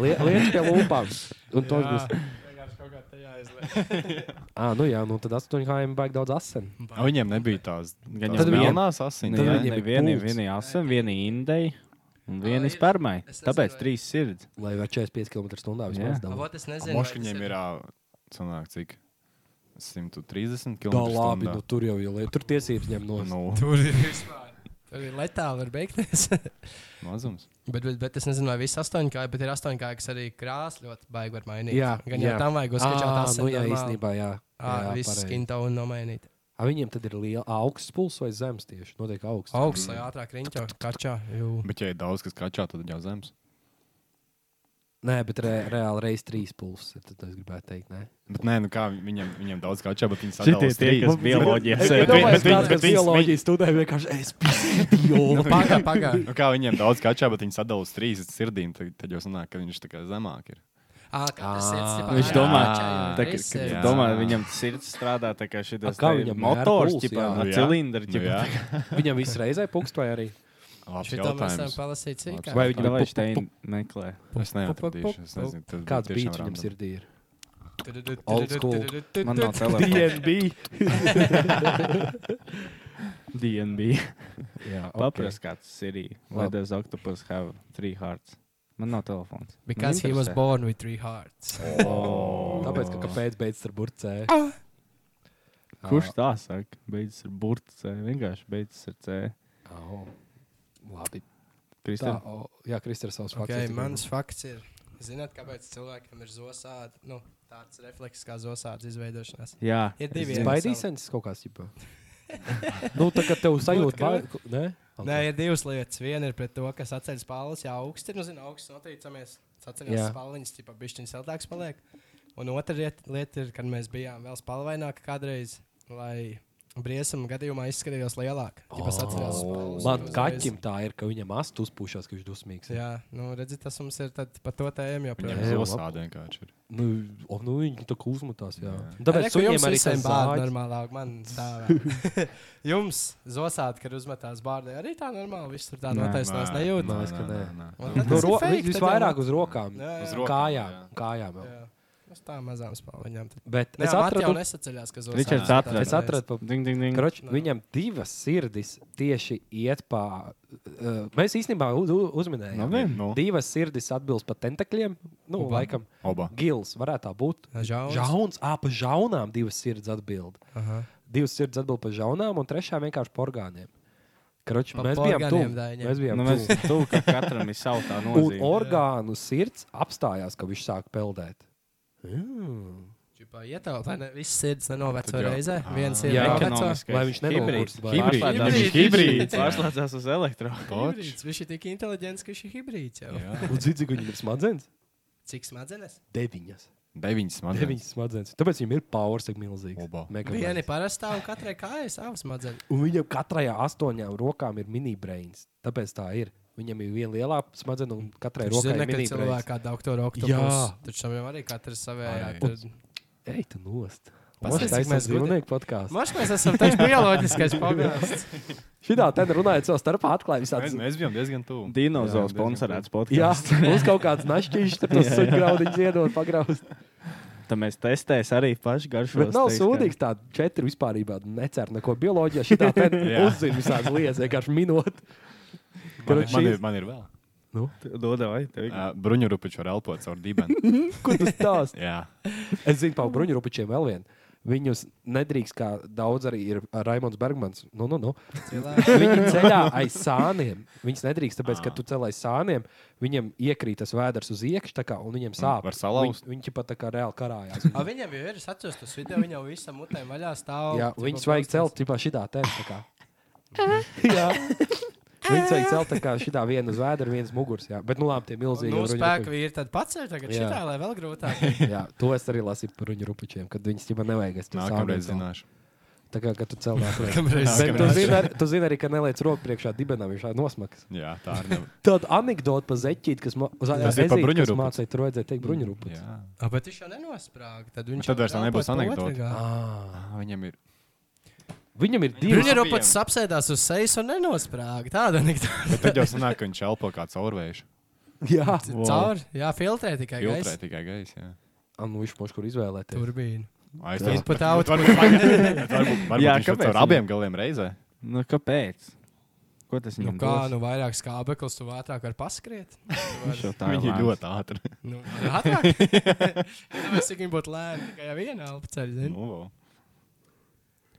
S2: Lie- Liec pie lūpām. Un tos būs.
S1: Vienkārši kaut kā tajā aizliek.
S2: Ah, nu jā, nu tad astoņkājiem baig daudz asins.
S8: A, Viņiem nebija tās
S3: Viņam
S2: Tad viņiem-
S8: melnās asins.
S2: tad
S3: Nē,
S8: jā?
S2: viņiem ir
S3: nē, Nu, vieni,
S2: pulks.
S3: vieni asins, vieni indei un vieni
S1: ir.
S3: spermai.
S1: Es nezinu,
S3: Tāpēc
S1: vai-
S3: trīs sirds.
S2: Lai vēl 45 km/h
S3: Jā.
S2: vismaz dabūtu.
S1: Avot es nezinu. vai tas
S8: Moškiņiem ir, ā, sanāk, cik? 130 km.
S2: Tā labi, nu tur jau ir lieta. Tur tiesības ņem no
S8: Nu,
S1: Tur ir vispār. Tur ir letāli var beigties.
S8: mazums.
S1: Bet, bet, bet es nezinu, vai viss astoņkāja, bet ir astoņkāja, kas arī krāsli ļoti baigi var mainīt.
S2: Jā,
S1: gan
S2: jā.
S1: jau tam vajag uzskaitīt tās
S2: nu, jā, īstenībā, jā.
S1: Ah,
S2: jā,
S1: viss
S2: pareizi.
S1: skinta un nomainīt.
S2: A, viņiem tad ir liela augsts pulss vai zemes tieši? Noteikti augsts.
S1: Augsts, lai ātrāk riņķo, kačā. jū.
S8: Bet, ja ir daudz, kas kačā, tad jau zemes.
S2: Nē, bet re, reāli reizes trīs pulss. ir, Tad es gribētu teikt, nē.
S8: Bet, nē, nu kā viņiem, viņiem daudz kačā, bet viņi
S3: Šitie
S8: sadalās
S3: tie,
S8: trīs.
S3: kas bioloģijā
S8: Es
S3: sēž.
S8: domāju, bet
S2: kāds,
S8: viņi-
S2: kas
S8: bet viņi-
S2: bioloģiju studē, vienkārši es pīdīju.
S1: Pagā, pagā.
S8: Nu, kā viņiem daudz kačā, bet viņi sadalās trīs sirdīm, tad, tad jau sanāk, ka viņš tā kā zemāk ir.
S1: Ā, kā tas sirds,
S2: Ā,
S1: tipā,
S3: Viņš
S1: ārā
S3: domā,
S1: kačā, jū,
S3: tā, ka,
S1: viss
S3: ka,
S1: ir.
S8: jā.
S3: domā, viņam sirds strādā tā kā šis
S2: kā viņam mēra
S3: motors,
S2: pulsu,
S3: tipā,
S2: jā.
S3: no
S8: Nu jā.
S3: cilindra.
S8: Nu, jā,
S3: ķipā.
S2: Viņam viss reizē pukst vai arī?
S8: labs
S1: Šito mēs varam
S8: jautājums.
S1: palasīt sīkāk.
S3: Vai viņam
S2: Pu-
S3: vēl
S2: pu-
S3: steini meklē?
S8: Es neatradīšu, es
S2: Pu- pu-
S8: nezinu. tad
S2: Kāds
S8: tiešām
S2: bīts viņam
S8: random.
S2: sirdī ir? Old school.
S1: Man
S3: Man nav telefona.
S2: DNB.
S3: DNB.
S2: Jā,
S3: Paprast, kāds Siri. Why
S2: Labi.
S3: does octopus have three hearts? Man nav telefons. Man
S1: Because he was
S3: interesē.
S1: born with three hearts.
S2: Tāpēc, ka kāpēc beidzas ar burcē?
S3: Kurš
S2: Ah.
S3: tā saka? Beidzas ar burtu C. Vienkārši beidzas ar C.
S2: Oh, labi.
S3: Kristēn.
S2: Tā, o, jā, Kristers, savs
S1: Okay,
S2: fakts.
S1: mans fakts ir, zināt, kāpēc cilvēkam ir zosāde, nu, tāds refleks kā zosādes izveidošanās.
S3: Jā.
S1: Ir divi.
S2: Spaidīsens kaut kāds tipā. nu, tā kā tev sajūta, ka...
S1: grūti.
S2: Nē?
S1: Nē, ir divas lietas. Viena ir pret to, kas atceļ spāles, ja augsts ir, nu, zina, augsts notīcamies, atceļas
S2: Jā.
S1: spāliņas, tipa, bišķiņ siltāks paliek. Un otra riet- lieta ir, kad mēs bijām vēl spalvaināki kādreiz, lai briesam gadījumā izskatījos lielāk. Ja
S2: Oh.
S1: pats atceļas spāles.
S2: Man
S1: uzreiz-
S2: kaķim tā ir, ka viņam astu uzpūšās, ka viņš dusmīgs. ir.
S1: Jā, nu, redziet, tas mums ir tad par to tēmu joprojām.
S8: Viņam
S2: Jā, labi.
S8: zosādi vienkārši ir.
S2: Nu, o, nu viņi tā kā uzmutās, jā. Nu,
S8: Jā.
S2: Tāpēc
S1: Re, ka jums
S2: suņiem arī
S1: visiem
S2: tas
S1: bārda
S2: zāģis.
S1: normālāk, man tā vēl. Jums zosāt, kad uzmetās bārdē, arī tā normāli, viss tur tā
S3: Nē,
S1: notaisnās
S8: nē,
S1: nejūt.
S2: Man liekas, ka nē.
S8: nē.
S1: Un tad
S2: Nu,
S1: tas ir
S2: ro,
S1: fake, tad jau
S2: visvairāk
S1: nav.
S2: uz rokām.
S1: Jā, jā.
S8: Uz rokām,
S2: Kājām.
S8: jā.
S2: Kājām jau.
S1: Jā. Uz tām mazām spāliņām. tad-
S2: Bet
S1: Nē,
S2: es
S1: Mati jau
S2: atradu,
S1: nesaceļās, ka zosāt.
S3: Ričards
S1: Tā
S3: atrada.
S1: tā
S2: es atradu pa
S3: Ding, ding, ding.
S2: Kroč,
S1: Nē.
S2: viņam divas sirdis tieši iet pa. Uh, mēs īstenībā uz, u- uzminējām,
S8: Labi, nu.
S2: divas sirdis atbilst pat tentakļiem. Nu,
S1: Oba.
S2: laikam,
S8: Oba.
S2: gils varētu tā būt.
S1: Žauns.
S2: Žauns, ah, pa žaunām divas sirdis atbild.
S1: Aha.
S2: Divas sirdis atbild pa žaunām, un trešā vienkārši par orgāniem. Kroč,
S1: Pa
S2: mēs bijām
S1: porgāniem,
S2: tuvu.
S1: Daiņa.
S2: Mēs bijām
S3: Nu, mēs
S2: tuvu.
S3: tu, ka katram ir savu tā
S2: Un
S3: nozīme.
S2: orgānu sirds apstājās, ka viņš sāk peldēt. Mm.
S1: Čipā ietaupa, vai ne? Viss sirds nenoveco
S8: Tad jau-
S1: reizē. Viens
S2: Ah,
S1: ir
S2: Jā.
S1: noveco.
S2: Lai viņš nenogurst, vai-
S8: Hibrīds. Hibrīds.
S3: Hibrīds. Pārslēdzās uz elektro.
S8: Toč.
S1: Hibrīds. Viņš ir tik inteliģents, ka viņš ir hibrīds jau.
S2: Un dzidzi, ka viņam ir smadzenes?
S1: Cik smadzenes?
S2: Deviņas.
S8: Deviņas smadzenes.
S2: Deviņas smadzenes. Tāpēc viņam ir powers, ir milzīgs.
S8: Oba.
S1: Viena ir
S2: Megabrains.
S1: parastā un katrai kājai savas smadzenes.
S2: Un viņam katrai astoņām rokām ir mini-brains. Tāpēc tā ir. Viņam ir viena lielā smadzenes, un katrai
S1: Viņš
S2: rokai
S1: zina,
S2: ir
S1: ka
S2: mini-brains.
S1: cilvēkā doktora oktopus.
S2: Jā.
S1: Taču tam jau arī katrs savējā.
S8: Arī.
S1: Tad...
S2: Ej, tu nost! Mums
S1: Pastāsti,
S2: tā
S1: cik
S2: ir
S1: mēs
S2: mēs dzīvnieku podkāsts.
S1: Mažs mēs esam tāds bioloģiskais pabeigas.
S2: Šitā te runājot savā starpā atklāja
S8: Mēs,
S2: visādas.
S8: mēs bijām diezgan tuvu.
S3: Dinozauru
S8: Jā, diezgan
S3: sponsorēts
S2: Jā,
S3: podkāsts.
S2: mums kaut kāds našķīšs, tad tos sudraudiņus iedod pagraust.
S3: tad mēs testēsim arī pašu garšu.
S2: Bet nav sūdīgs tāds četri vispār necer neko bioloģijā. Šitā
S8: Jā.
S2: uzzina visādas lietas, vienkārši minūte.
S8: Man,
S2: Karoči,
S8: man,
S2: šīs-
S8: ir, man ir vēl.
S3: Dodavai, tev ir.
S8: Uh, Bruņurupiču var elpot caur dibenu.
S2: Ko tu stāsti?
S8: Jā,
S2: Es zinu, par bruņurupučiem vēl vienu. Viņus nedrīkst, kā daudz arī ir Raimons Bergmans. Nu, nu, nu. Viņi ceļā aiz sāniem. Viņus nedrīkst, tāpēc, ka tu ceļā aiz sāniem, viņiem iekrīt tas vēders uz iekšā, un viņiem sāp.
S8: var salauzt.
S2: Viņi, viņi pat tā kā reāli karājās.
S1: A, viņam jau ir, es atceros, tas video, viņa jau visam mutēm vaļā stāv.
S2: Jā,
S1: tipo,
S2: viņus vajag
S1: posters.
S2: celt tipā šitā te. tā kā. Jā. Viņus vajag celt tā kā šitā viena uz vēdera, viens mugurs. Jā. Bet, nu, labi, tie milzīgi.
S1: Nu, spēka vīri tad paceļ tagad
S2: Jā.
S1: šitā, lai vēl grūtāk.
S2: Jā, to es arī lasīju par bruņurupučiem, kad viņus tikai nevajag. es to sāniem
S8: nākamreiz
S2: celt.
S8: zināšu.
S2: Tā kā kad tu celnās
S1: Nākamreiz
S2: Bet tu
S8: skanēšu.
S2: zini, ar, tu zini arī, ka neliec roku priekšā dibenam, viņš šādi nosmakas.
S8: Jā, tā ir. nev-
S2: Tāda anekdote par zeķīti, kas manā
S8: Tas ir par
S2: skatījumā
S8: bruņurupuci.
S2: mācīja, tur vajadzēja teikt bruņurupuci.
S8: Jā,
S1: A, bet viņš jau nenosprāga. Tad viņš
S8: Tad
S1: jau
S8: vairs tā
S1: vēl
S8: nebūs
S1: pat pa
S8: anekdote.
S1: otrā gāja.
S8: Ah, viņam ir.
S2: Viņam ir divi.
S1: Viņš jau pats sapsēdās uz sejas un nenosprāga. Tāda anekdote.
S8: Bet tad jau sanāk, ka viņš elpo kā caurvējuši.
S2: Jā,
S8: Wow.
S1: Caur, jā, filtrē tikai
S8: Filtrē
S1: gaisa
S8: tikai gaisu. jā.
S2: Ah, nu, viņš mums kur izvēlēties.
S1: turbīnu.
S8: Ai,
S1: Tas
S8: tas-
S1: pat auto.
S8: Varbūt varbūt- varbūt
S3: Jā, kāpēc
S8: viņš ir caur
S3: viņam?
S8: abiem galiem reizē.
S3: Nu, kāpēc? Ko tas
S1: Nu,
S3: viņam
S1: kā,
S3: dos?
S1: nu vairāk skābeklis, tu ātrāk var paskriet.
S3: Viņš jau tā
S8: Viņi
S3: ir
S8: ir ļoti ātri.
S1: Nu, ātrāk. Tāpēc, cik viņi būtu lēni, tikai jau viena elpa ceļ, zini.
S8: Nu, vēl.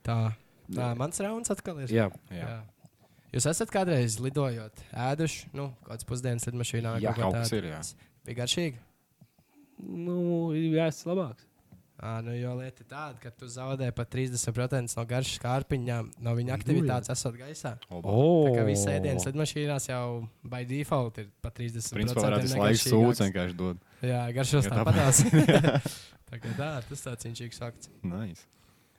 S1: Tā. Tā, mans rauns atkal ir.
S2: Jā,
S8: Jā,
S1: Jā. Jūs esat kādreiz lidojot, ēduši, nu, kādas pusdienas lidmašīnā.
S2: Jā,
S8: kaut kas ir, jā.
S1: Bija garšīgi.
S2: nu, jā, es esmu labāks.
S1: À, nu, jo lieta ir tāda, ka tu zaudē pat 30% no garšas kārpiņām, no viņa aktivitātes esot gaisā. Tā kā visas ēdienas lidmašīnās jau by default ir pat 30%.
S8: Principā varētu tas laiks
S1: negaršīgāks.
S8: sūds vienkārši dot.
S1: Jā, garšos
S8: Jo
S1: tā padās. tā kā tā, tas tāds inčīgs fakts.
S8: Nice.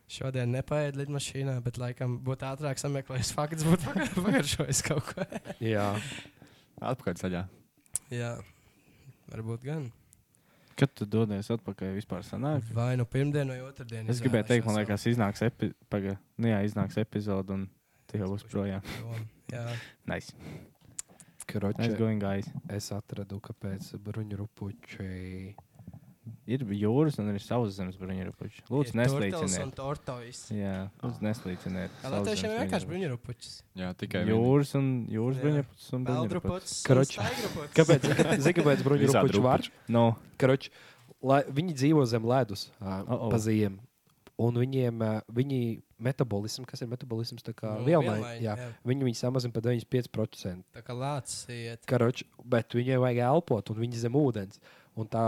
S1: Šodien nepaēdu lidmašīnā, bet laikam būtu ātrāk sameklējis fakts, būtu pagar- pagaršojis kaut ko.
S2: Jā,
S8: Atpakaļ ceļā.
S1: Jā, varbūt gan.
S3: Kad tu dodies atpakaļ, vispār sanāk?
S1: Vai nu pirmdien vai otrdien.
S3: Es gribēju teikt, man
S1: izvēlēšos
S3: liekas, iznāks, epi... Paga... nu, jā, iznāks epizode, un tu jau būsi projām.
S1: savu domu. Jā,
S3: Nice.
S2: kroķis.
S3: Nice going, guys.
S2: Es atradu, kāpēc bruņurupuči.
S3: Ir jūras un ir savas zemes bruņurupuči. Lūdzu,
S1: Ir turtles un
S3: neslīciniet.
S1: tortoise.
S3: Jā, lūdzu, neslīciniet.
S1: Kā Latviešiem ir vienkārši bruņurupuķis.
S8: Jā, tikai vienu.
S3: Jūras un jūras
S1: Jā.
S3: bruņurupuči un bruņurupuči.
S1: Peldrupuķis.
S2: Karoči. Kāpēc? Zini, kāpēc bruņurupuči var?
S3: No.
S2: Karoč, lai, viņi dzīvo zem ledus, uh, oh,
S3: Uh-oh.
S2: oh. zem. Un viņiem uh, viņi metabolisms, kas ir metabolisms, tā kā
S1: Nu,
S2: vielmaiņa,
S1: vielmaiņa,
S2: jā,
S1: jā.
S2: viņi viņu samazina par 95%.
S1: Tā kā lācis iet.
S2: Karoč, bet viņiem vajag elpot, un viņi zem ūdens. Un tā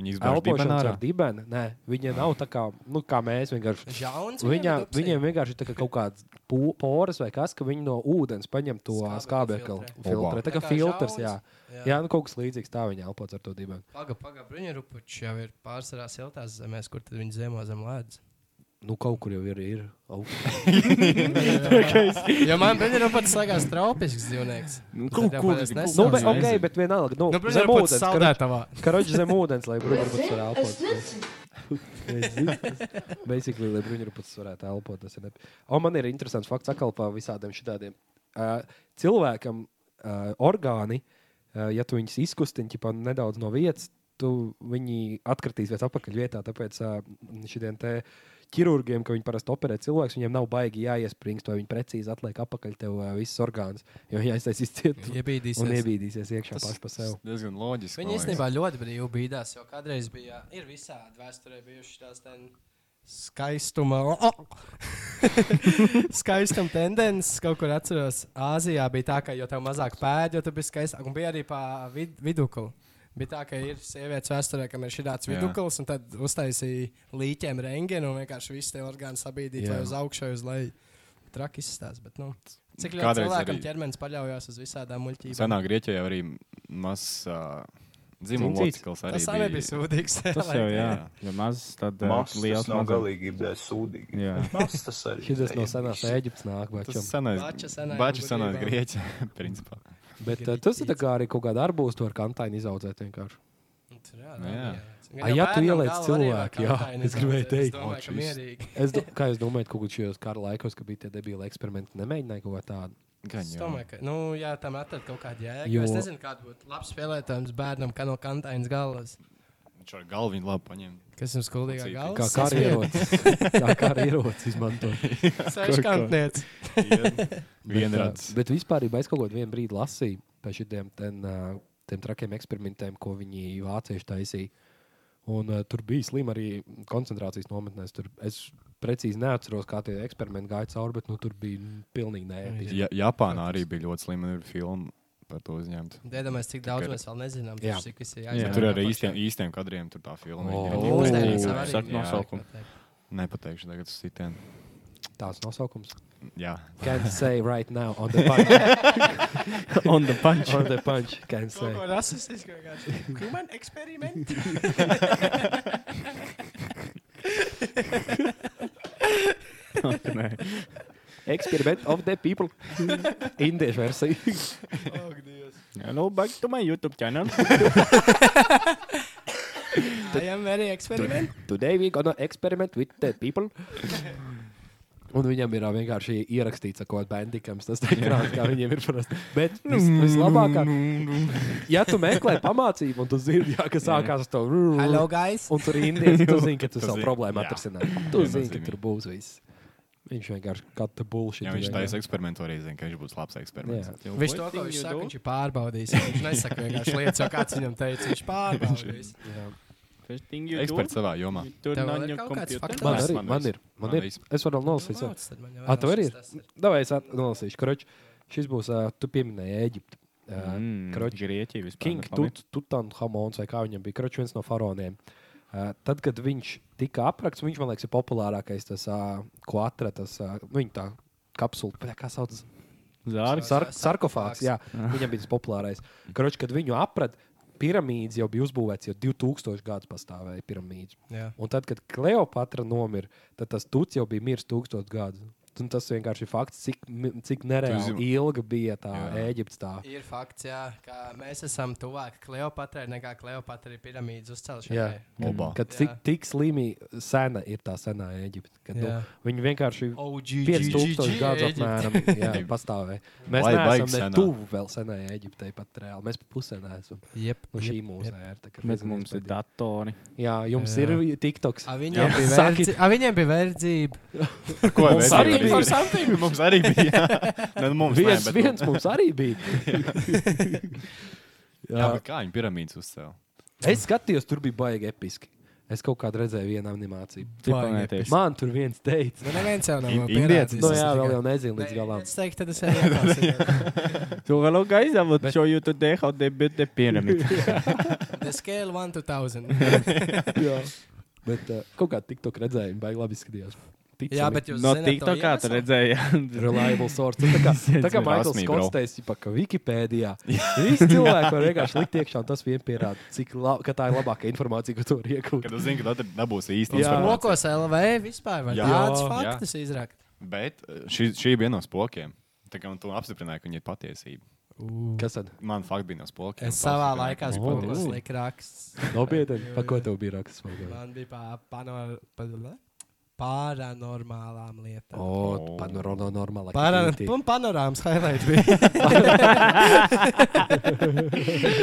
S8: Viņi
S2: elpošana
S8: izbēga
S2: ar dibeni, nē, viņiem nav tā kā, nu, kā mēs vienkārši.
S1: Žauns.
S2: Viņā,
S1: viņam ir
S2: viņiem vienkārši ir tā kā kaut kāds pū- poras vai kas, ka viņi no ūdens paņem to
S1: Skābekli
S2: skābekli.
S1: filtrē.
S2: Filtrē. Tā kā
S1: Tā kā
S2: filtrs,
S1: žauns,
S2: jā.
S1: jā.
S2: Jā, nu, kaut kas līdzīgs tā viņa elpots ar to dibeni.
S1: Paga, paga, bruņurupuķis jau ir pārsvarā siltās zemēs, kur tad viņi zemo zem ledus.
S2: Nu, kaut kur jau ir, ir augsts.
S1: Jo man bruņurupuķis liekas tropisks dzīvnieks.
S3: Nu, kaut
S1: Tad jau
S3: kur
S1: pat es
S3: ir
S1: nesaku.
S2: Nu, bet,
S3: nezinu.
S2: okay, bet vienalga, nu,
S1: Nu,
S2: zem
S1: bruņurupuķis
S2: ūdens,
S1: saldē
S2: karoč,
S1: tavā.
S2: karoč zem ūdens, lai bruņuruputs varētu elpot. Es zinu. Basically, lai bruņuruputs varētu elpot. tas ir nep- O, man ir interesants fakts atkal par visādiem šitādiem. Uh, cilvēkam uh, orgāni, uh, ja tu viņus izkustini ķipa nedaudz no vietas, tu viņi atkritīsies atpakaļ vietā, tāpēc uh, šitiem te ķirurgiem, ka viņi parasti operē cilvēks, viņiem nav baigi jāiespringst, vai viņi precīzi atliek apakaļ tev uh, visus orgānus, jo viņi aiztaisīs cietu. Un
S1: Iebīdīsies.
S2: iebīdīsies iekšā pašā par sevi.
S8: Diezgan loģiski.
S1: Viņi īstenībā ļoti brīvi bīdās, jo kādreiz bija, ir visādi vēsturē bijušas tās ten skaistuma, oh! skaistuma tendences. Kaut kur atceros, Āzijā bija tā, ka jo tev mazāk pēdi, jo tu biji skaistāk. Un bija arī pa vid vidukli. Bija tā, ka ir sievietes vēsturē, kam ir šāds
S8: Jā.
S1: viduklis, un tad uztaisīja līķiem rengēnu un vienkārši visu te orgānu sabīdīja
S2: Jā.
S1: lai uz augšu, vai uz leju. Traki izstāsta, bet nu, cik ļoti
S8: Kādreiz
S1: cilvēkam
S8: arī-
S1: ķermenis paļaujas uz visādām muļķībām.
S8: Senā Grieķijā arī mazs uh, dzimumu
S3: Cincīts.
S8: loceklis arī
S1: Tas arī bija sūdīgs.
S3: Tas jau, jā. Jo maz, tad eh, liels
S9: nav
S3: mazāk.
S9: galīgi ideja sūdīgi.
S3: Jā.
S9: Mas tas arī.
S2: Šis no senās Eģiptes nāk, vai
S8: Tas
S2: čem.
S8: senais
S1: Bača senajā
S8: Bača senais
S1: gudrībā.
S8: Grieķijā, principā.
S2: Bet uh, tas ir tā kā arī kaut kāda arbūsta ar kantaini izaudzēt vienkārši.
S8: jā.
S2: Ai, ja tu ieliec cilvēku, jā, es gribēju teikt.
S1: Es domāju, ka mierīgi.
S2: Es, do- kā jūs domājat, kaut kur šajos kara laikos, kad bija tie debīli eksperimenti, nemēģināja kaut ko tādu?
S8: Gan
S1: Es
S8: jau.
S1: domāju, ka, nu, jā, tam atrast kaut kādu jēgu.
S2: Jo-
S1: Es nezinu, kāda būtu laba spēlētājums bērnam, kā no kantaņas galvas.
S8: Viņš ar galvu viņu labi paņēma.
S1: Kas jums kuldīgā
S8: Citi.
S1: galvā?
S2: Kā karjerots. Kā karjerots izmantot.
S1: Seškantniec.
S8: Vienreiz.
S2: Bet, bet vispār es kaut kādā brīdī lasīju par šiem eh, tiem trakiem eksperimentiem, ko viņi vācieši taisīja. Un, uh, tur bija slim arī koncentrācijas nometnēs. Tur es precīzi neatceros, kā tie eksperimenti gāja cauri, bet nu, tur bija mm, pilnīgi neētiski.
S8: Ja, Japānā arī bija ļoti slima filma par to uzņemt.
S1: Dēdamies, cik daudz mēs vēl nezinām.
S2: Jā.
S1: taču cik visi
S8: Jā,
S1: jāizdomā
S8: tur arī
S1: pašiem.
S8: īstiem, īstiem kadriem tur tā filma.
S2: O.
S8: ir.
S1: Mums tā ir
S3: Ū,
S1: svarīga.
S3: saka
S1: Jā,
S3: nosaukumu.
S1: jā.
S8: Nepateikšu tagad uz citiem.
S2: Tās nosaukums.
S8: Jā,
S2: Can say right now on the punch.
S3: On the punch.
S2: on the punch. Can
S1: Kaut
S2: say.
S1: ko rasistisku vienkārši. Human experiment?
S3: Nē.
S2: Experiment of the people. Indiešu versija.
S3: Hello, back to my YouTube channel.
S1: I am very experiment.
S2: Today we gonna experiment with the people. Un viņam ir ā, vienkārši ierakstīts, ko bandikams tas tā krājas, kā viņiem ir parasti. Bet vis, vislabākā, ja tu meklē pamācību un tu zini, jā, ka sākās uz to
S1: Hello, guys.
S2: un tur ir indieši, tu zini, ka tu
S8: Tu
S2: savu
S8: zini,
S2: problēmu
S8: jā.
S2: atrisināt. Tu zini, ka
S8: Viennozīmīgi.
S2: tur būs viss. Viņš vienkārši katru bulšu.
S8: ja viņš taisa eksperimentu, arī zina, ka viņš būs labs eksperiments.
S2: Jā.
S1: Viņš to, ko viņš saka, viņš ir pārbaudījis. Viņš nesaka vienkārši lietas, jo kāds viņam teica, viņš pārbaudījis.
S3: First thing you
S8: Eksperts
S3: do,
S8: savā jomā.
S3: you turn
S1: Tev vēl
S3: on
S1: ir
S3: your
S1: kaut kāds
S3: computer.
S1: fakts?
S2: Man
S1: Tas
S2: arī,
S8: man
S2: man
S8: viss.
S2: ir, man
S8: Man
S2: ir.
S8: viss.
S2: Es varu nolasīt. savu. Ah, tev arī ir? Davai, es at- nolasīšu. Kroč, šis būs, ā, tu pieminēji Ēģipti. Ā,
S3: Mm,
S2: kroč,
S3: Grieķija vispār.
S2: King
S3: nav labi.
S2: Tutanhamons, vai kā viņam bija, kroč, viens no faraoniem. Uh, tad, kad viņš tika aprakstīts, viņš man liekas, ir populārākais, tas, uh, ko atradas uh, nu, viņa tā kapsula, Pļa, kā sauc.
S3: Zārks.
S2: Sar
S1: sarkofāgs.
S2: sarkofāgs, jā, viņam bija tas populārais. Kroč, kad viņu apradīja, piramīdas jau bija uzbūvēts, jau 2000 gadus pastāvēja piramīdas.
S1: Jā.
S2: Un tad, kad Kleopatra nomira, tad tas tuts jau bija miris 1000 gadus. Un tas vienkārši ir fakts, cik, mi- cik nereāli
S8: zini-
S2: ilga bija tā
S8: Jā.
S2: Eģiptes tā
S1: Ir fakts, jā, ka mēs esam tuvāk Kleopatrai nekā Kleopatra ir piramīdas
S2: Jā.
S1: uzcelšanai.
S8: Obā.
S2: Kad
S1: Jā.
S2: tik, tik slimi sena ir tā senā Eģipte. Kad, nu,
S1: Jā.
S2: viņi vienkārši
S1: OG,
S2: 5000 gadu apmēram jā, pastāvēja. Mēs Vai,
S8: Vai baigi
S2: neesam ne
S8: senā?
S2: tuvu vēl senajai Eģiptei pat reāli. Mēs pat pusē neesam.
S1: Jep,
S2: Nu, šī
S1: jep,
S2: mūzika
S1: jep.
S2: ir. tā kā
S3: Bet
S2: diezgan
S3: mums ir
S2: iespaidīga.
S3: datori.
S2: Jā, jums
S1: Jā.
S2: jā. ir TikToks.
S1: A viņiem,
S2: Jā.
S1: bija
S2: Saki.
S1: verdzi- a viņiem bija verdzība.
S8: Ko
S2: Mums
S8: mēs arī
S2: arī bija.
S8: bijām? Mums arī bija. Nē, nu, mums
S2: Viens,
S8: nē, bet-
S2: viens mums arī bija.
S8: Jā, bet kā viņi piramīdas uzcēla?
S2: Es skatījos, tur bija baigi episki. Es kaut kādā redzēju vienu animāciju.
S3: Cipanēties.
S2: Man tur viens teica,
S1: Nu, neviens jau nav
S8: In-
S1: vēl
S8: Indietis?
S1: pierādījis.
S2: no
S1: tas
S2: Nu jā,
S1: tikai-
S2: vēl jau nezinu līdz
S1: Nē,
S2: galam.
S1: Es teiktu, tad es arī atklāšu.
S3: So hello guys, I will show you today how they built the pyramid.
S1: The scale 1 to 1000.
S2: Jā. Bet uh, kaut kādā TikTok redzējumā baigi labi izskatījās.
S1: Jā, bet jūs
S3: no
S1: zināt to
S3: TikTokā tu
S1: iemeslu?
S3: redzēji.
S2: Reliable source. Nu, Tā kā, tā kā
S8: Rāsmī,
S2: Maikls
S8: bro.
S2: Skots teica, ka Wikipēdijā visi cilvēki var vienkārši likt iekšā, un tas vien pierāda, cik lab, ka tā ir labākā informācija, ko tu vari iegūt.
S8: Kad tu zini, ka tā nebūs īsta
S2: Jā.
S8: informācija.
S1: Lokos LV vispār var
S8: Jā.
S1: tādas
S8: Jā.
S1: faktus izrakt.
S8: Bet eh, šī, šī bija viena no spokiem. Tā kā man to apstiprināja, ka viņa ir patiesība.
S2: Kas tad?
S8: Man fakti bija no spokiem.
S1: Es savā laikā
S2: O,
S1: spēlēju
S2: ū.
S1: slikti raksts.
S2: Nopietni, pa ko tev bija raksts? Maikl?
S1: Man bija pā, panor, pa, le? paranormālām lietām.
S2: O, panorāmā normāla.
S1: Pāra,
S2: Panorāmā.
S1: un panorāmas highlight bija.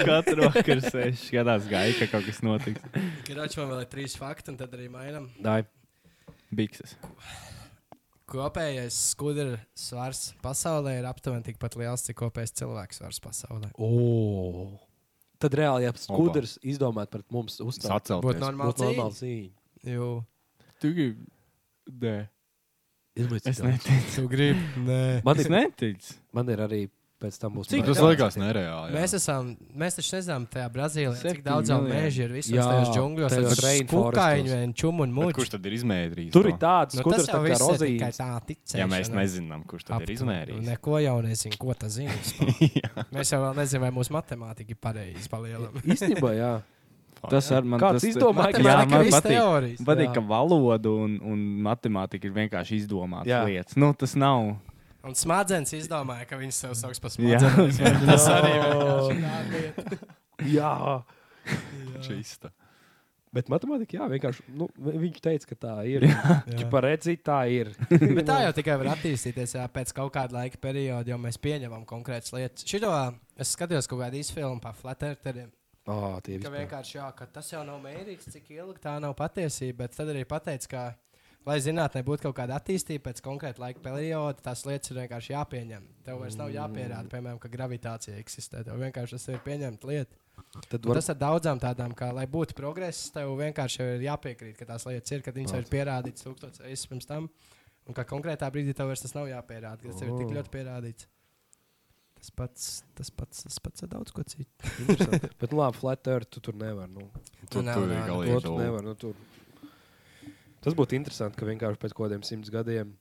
S3: Katru vakaru sēž skatās gaita, ka kaut kas notiks.
S1: Grāč man vēl ir trīs fakti, un tad arī mainām.
S2: Dai,
S3: Bikses.
S1: Kopējais skudra svars pasaulē ir aptuveni tikpat liels, cik kopējais cilvēks svars pasaulē.
S2: o. Tad reāli, ja skudrs izdomāt par mums uzstāt.
S1: Būtu
S8: Sacēlties.
S1: normāli.
S2: Būtu
S1: cīņa.
S2: normāli cīņa.
S1: Jū,
S3: Tu gribi? Nē.
S2: Izmēģināt.
S3: Es neticu.
S1: Tu gribi? Nē.
S2: Man
S3: Es
S2: ir,
S3: neticu.
S2: man ir arī pēc tam būs.
S3: Cik
S2: Maikls.
S8: Tas likās nereāli.
S1: Mēs
S8: jā.
S1: esam, mēs taču nezinām, tajā Brazīlijā, cik
S3: Septiņi
S1: daudz jau
S3: miljoni.
S1: meža ir visos
S2: Jā,
S1: tajos džungļos.
S2: tajos
S1: Tur
S2: rainforestos.
S1: kukaiņu vien čum un
S8: Bet Kurš
S1: mūķi.
S8: tad ir izmērījis?
S2: Tur
S8: to?
S2: ir tāds
S1: Nu,
S2: skudrs,
S1: tas
S2: tā
S1: jau
S2: kā
S1: viss ir tikai
S2: rozīns.
S1: tā ticēšana.
S8: Ja mēs nezinām, kurš tad ir
S1: Aptuveni.
S8: izmērījis.
S1: Neko jau nezinu, ko tas zina. mēs jau vēl nezinām, vai mūsu matemātika ir pareizi palielināta.
S2: Īstenībā, jā.
S3: Tas ar man
S2: Kāds
S3: tas-
S2: izdomāja, ka
S3: Oh jā,
S2: tā ir
S3: man
S1: viss
S3: patīk.
S1: teorijas.
S3: Patīk,
S2: Jā.
S3: ka valoda un, un matemātika ir vienkārši izdomāta
S2: Jā.
S3: lietas. Nu, tas nav.
S1: Un smadzenes izdomāja, ka viņas sev sauc par
S3: Jā,
S1: smadzenēm.
S3: tas
S1: arī vienkārši tā lieta.
S2: jā.
S8: Čista.
S2: Bet matemātikā, jā, vienkārši nu, vi- viņš teica, ka tā ir. Viņa paredzi, tā ir.
S1: Bet tā jau tikai var attīstīties jā, pēc kaut kāda laika perioda, jo mēs pieņemam konkrētas lietas. Šito es skatījos kaut kādā izfilmā par flateriem.
S2: Oh, tie
S1: Ka
S2: vispār.
S1: vienkārši, jā, ka tas jau nav mērīgs, cik ilgi tā nav patiesība. Bet tad arī pateica, ka, lai zinātnē būtu kaut kāda attīstība pēc konkrēta laika perioda, tās lietas ir vienkārši jāpieņem. Tev vairs nav jāpierāda, piemēram, ka gravitācija eksistē. Tev vienkārši tas ir pieņemta lieta.
S2: Tad
S1: Var...
S2: var,
S1: Nu, Tas ar daudzām tādām, kā lai būtu progress, tev vienkārši jau ir jāpiekrīt, ka tās lietas ir, kad viņas jau ir pierādītas tūkstoš reizes pirms tam. Un kā konkrētā brīdī tev vairs tas nav jāpierāda, ka tas jau ir tik ļoti pierādīts. Tas pats, tas pats, tas pats ir daudz ko citu.
S2: Interesanti. Bet, nu, labi, flat earth tu tur nevar. Nu,
S8: Tur
S1: nav,
S8: tur ir
S1: nav,
S2: to
S8: galīgi
S2: tu nevar. Nu, tur. Tas būtu interesanti, ka vienkārši pēc kaut kādiem simts gadiem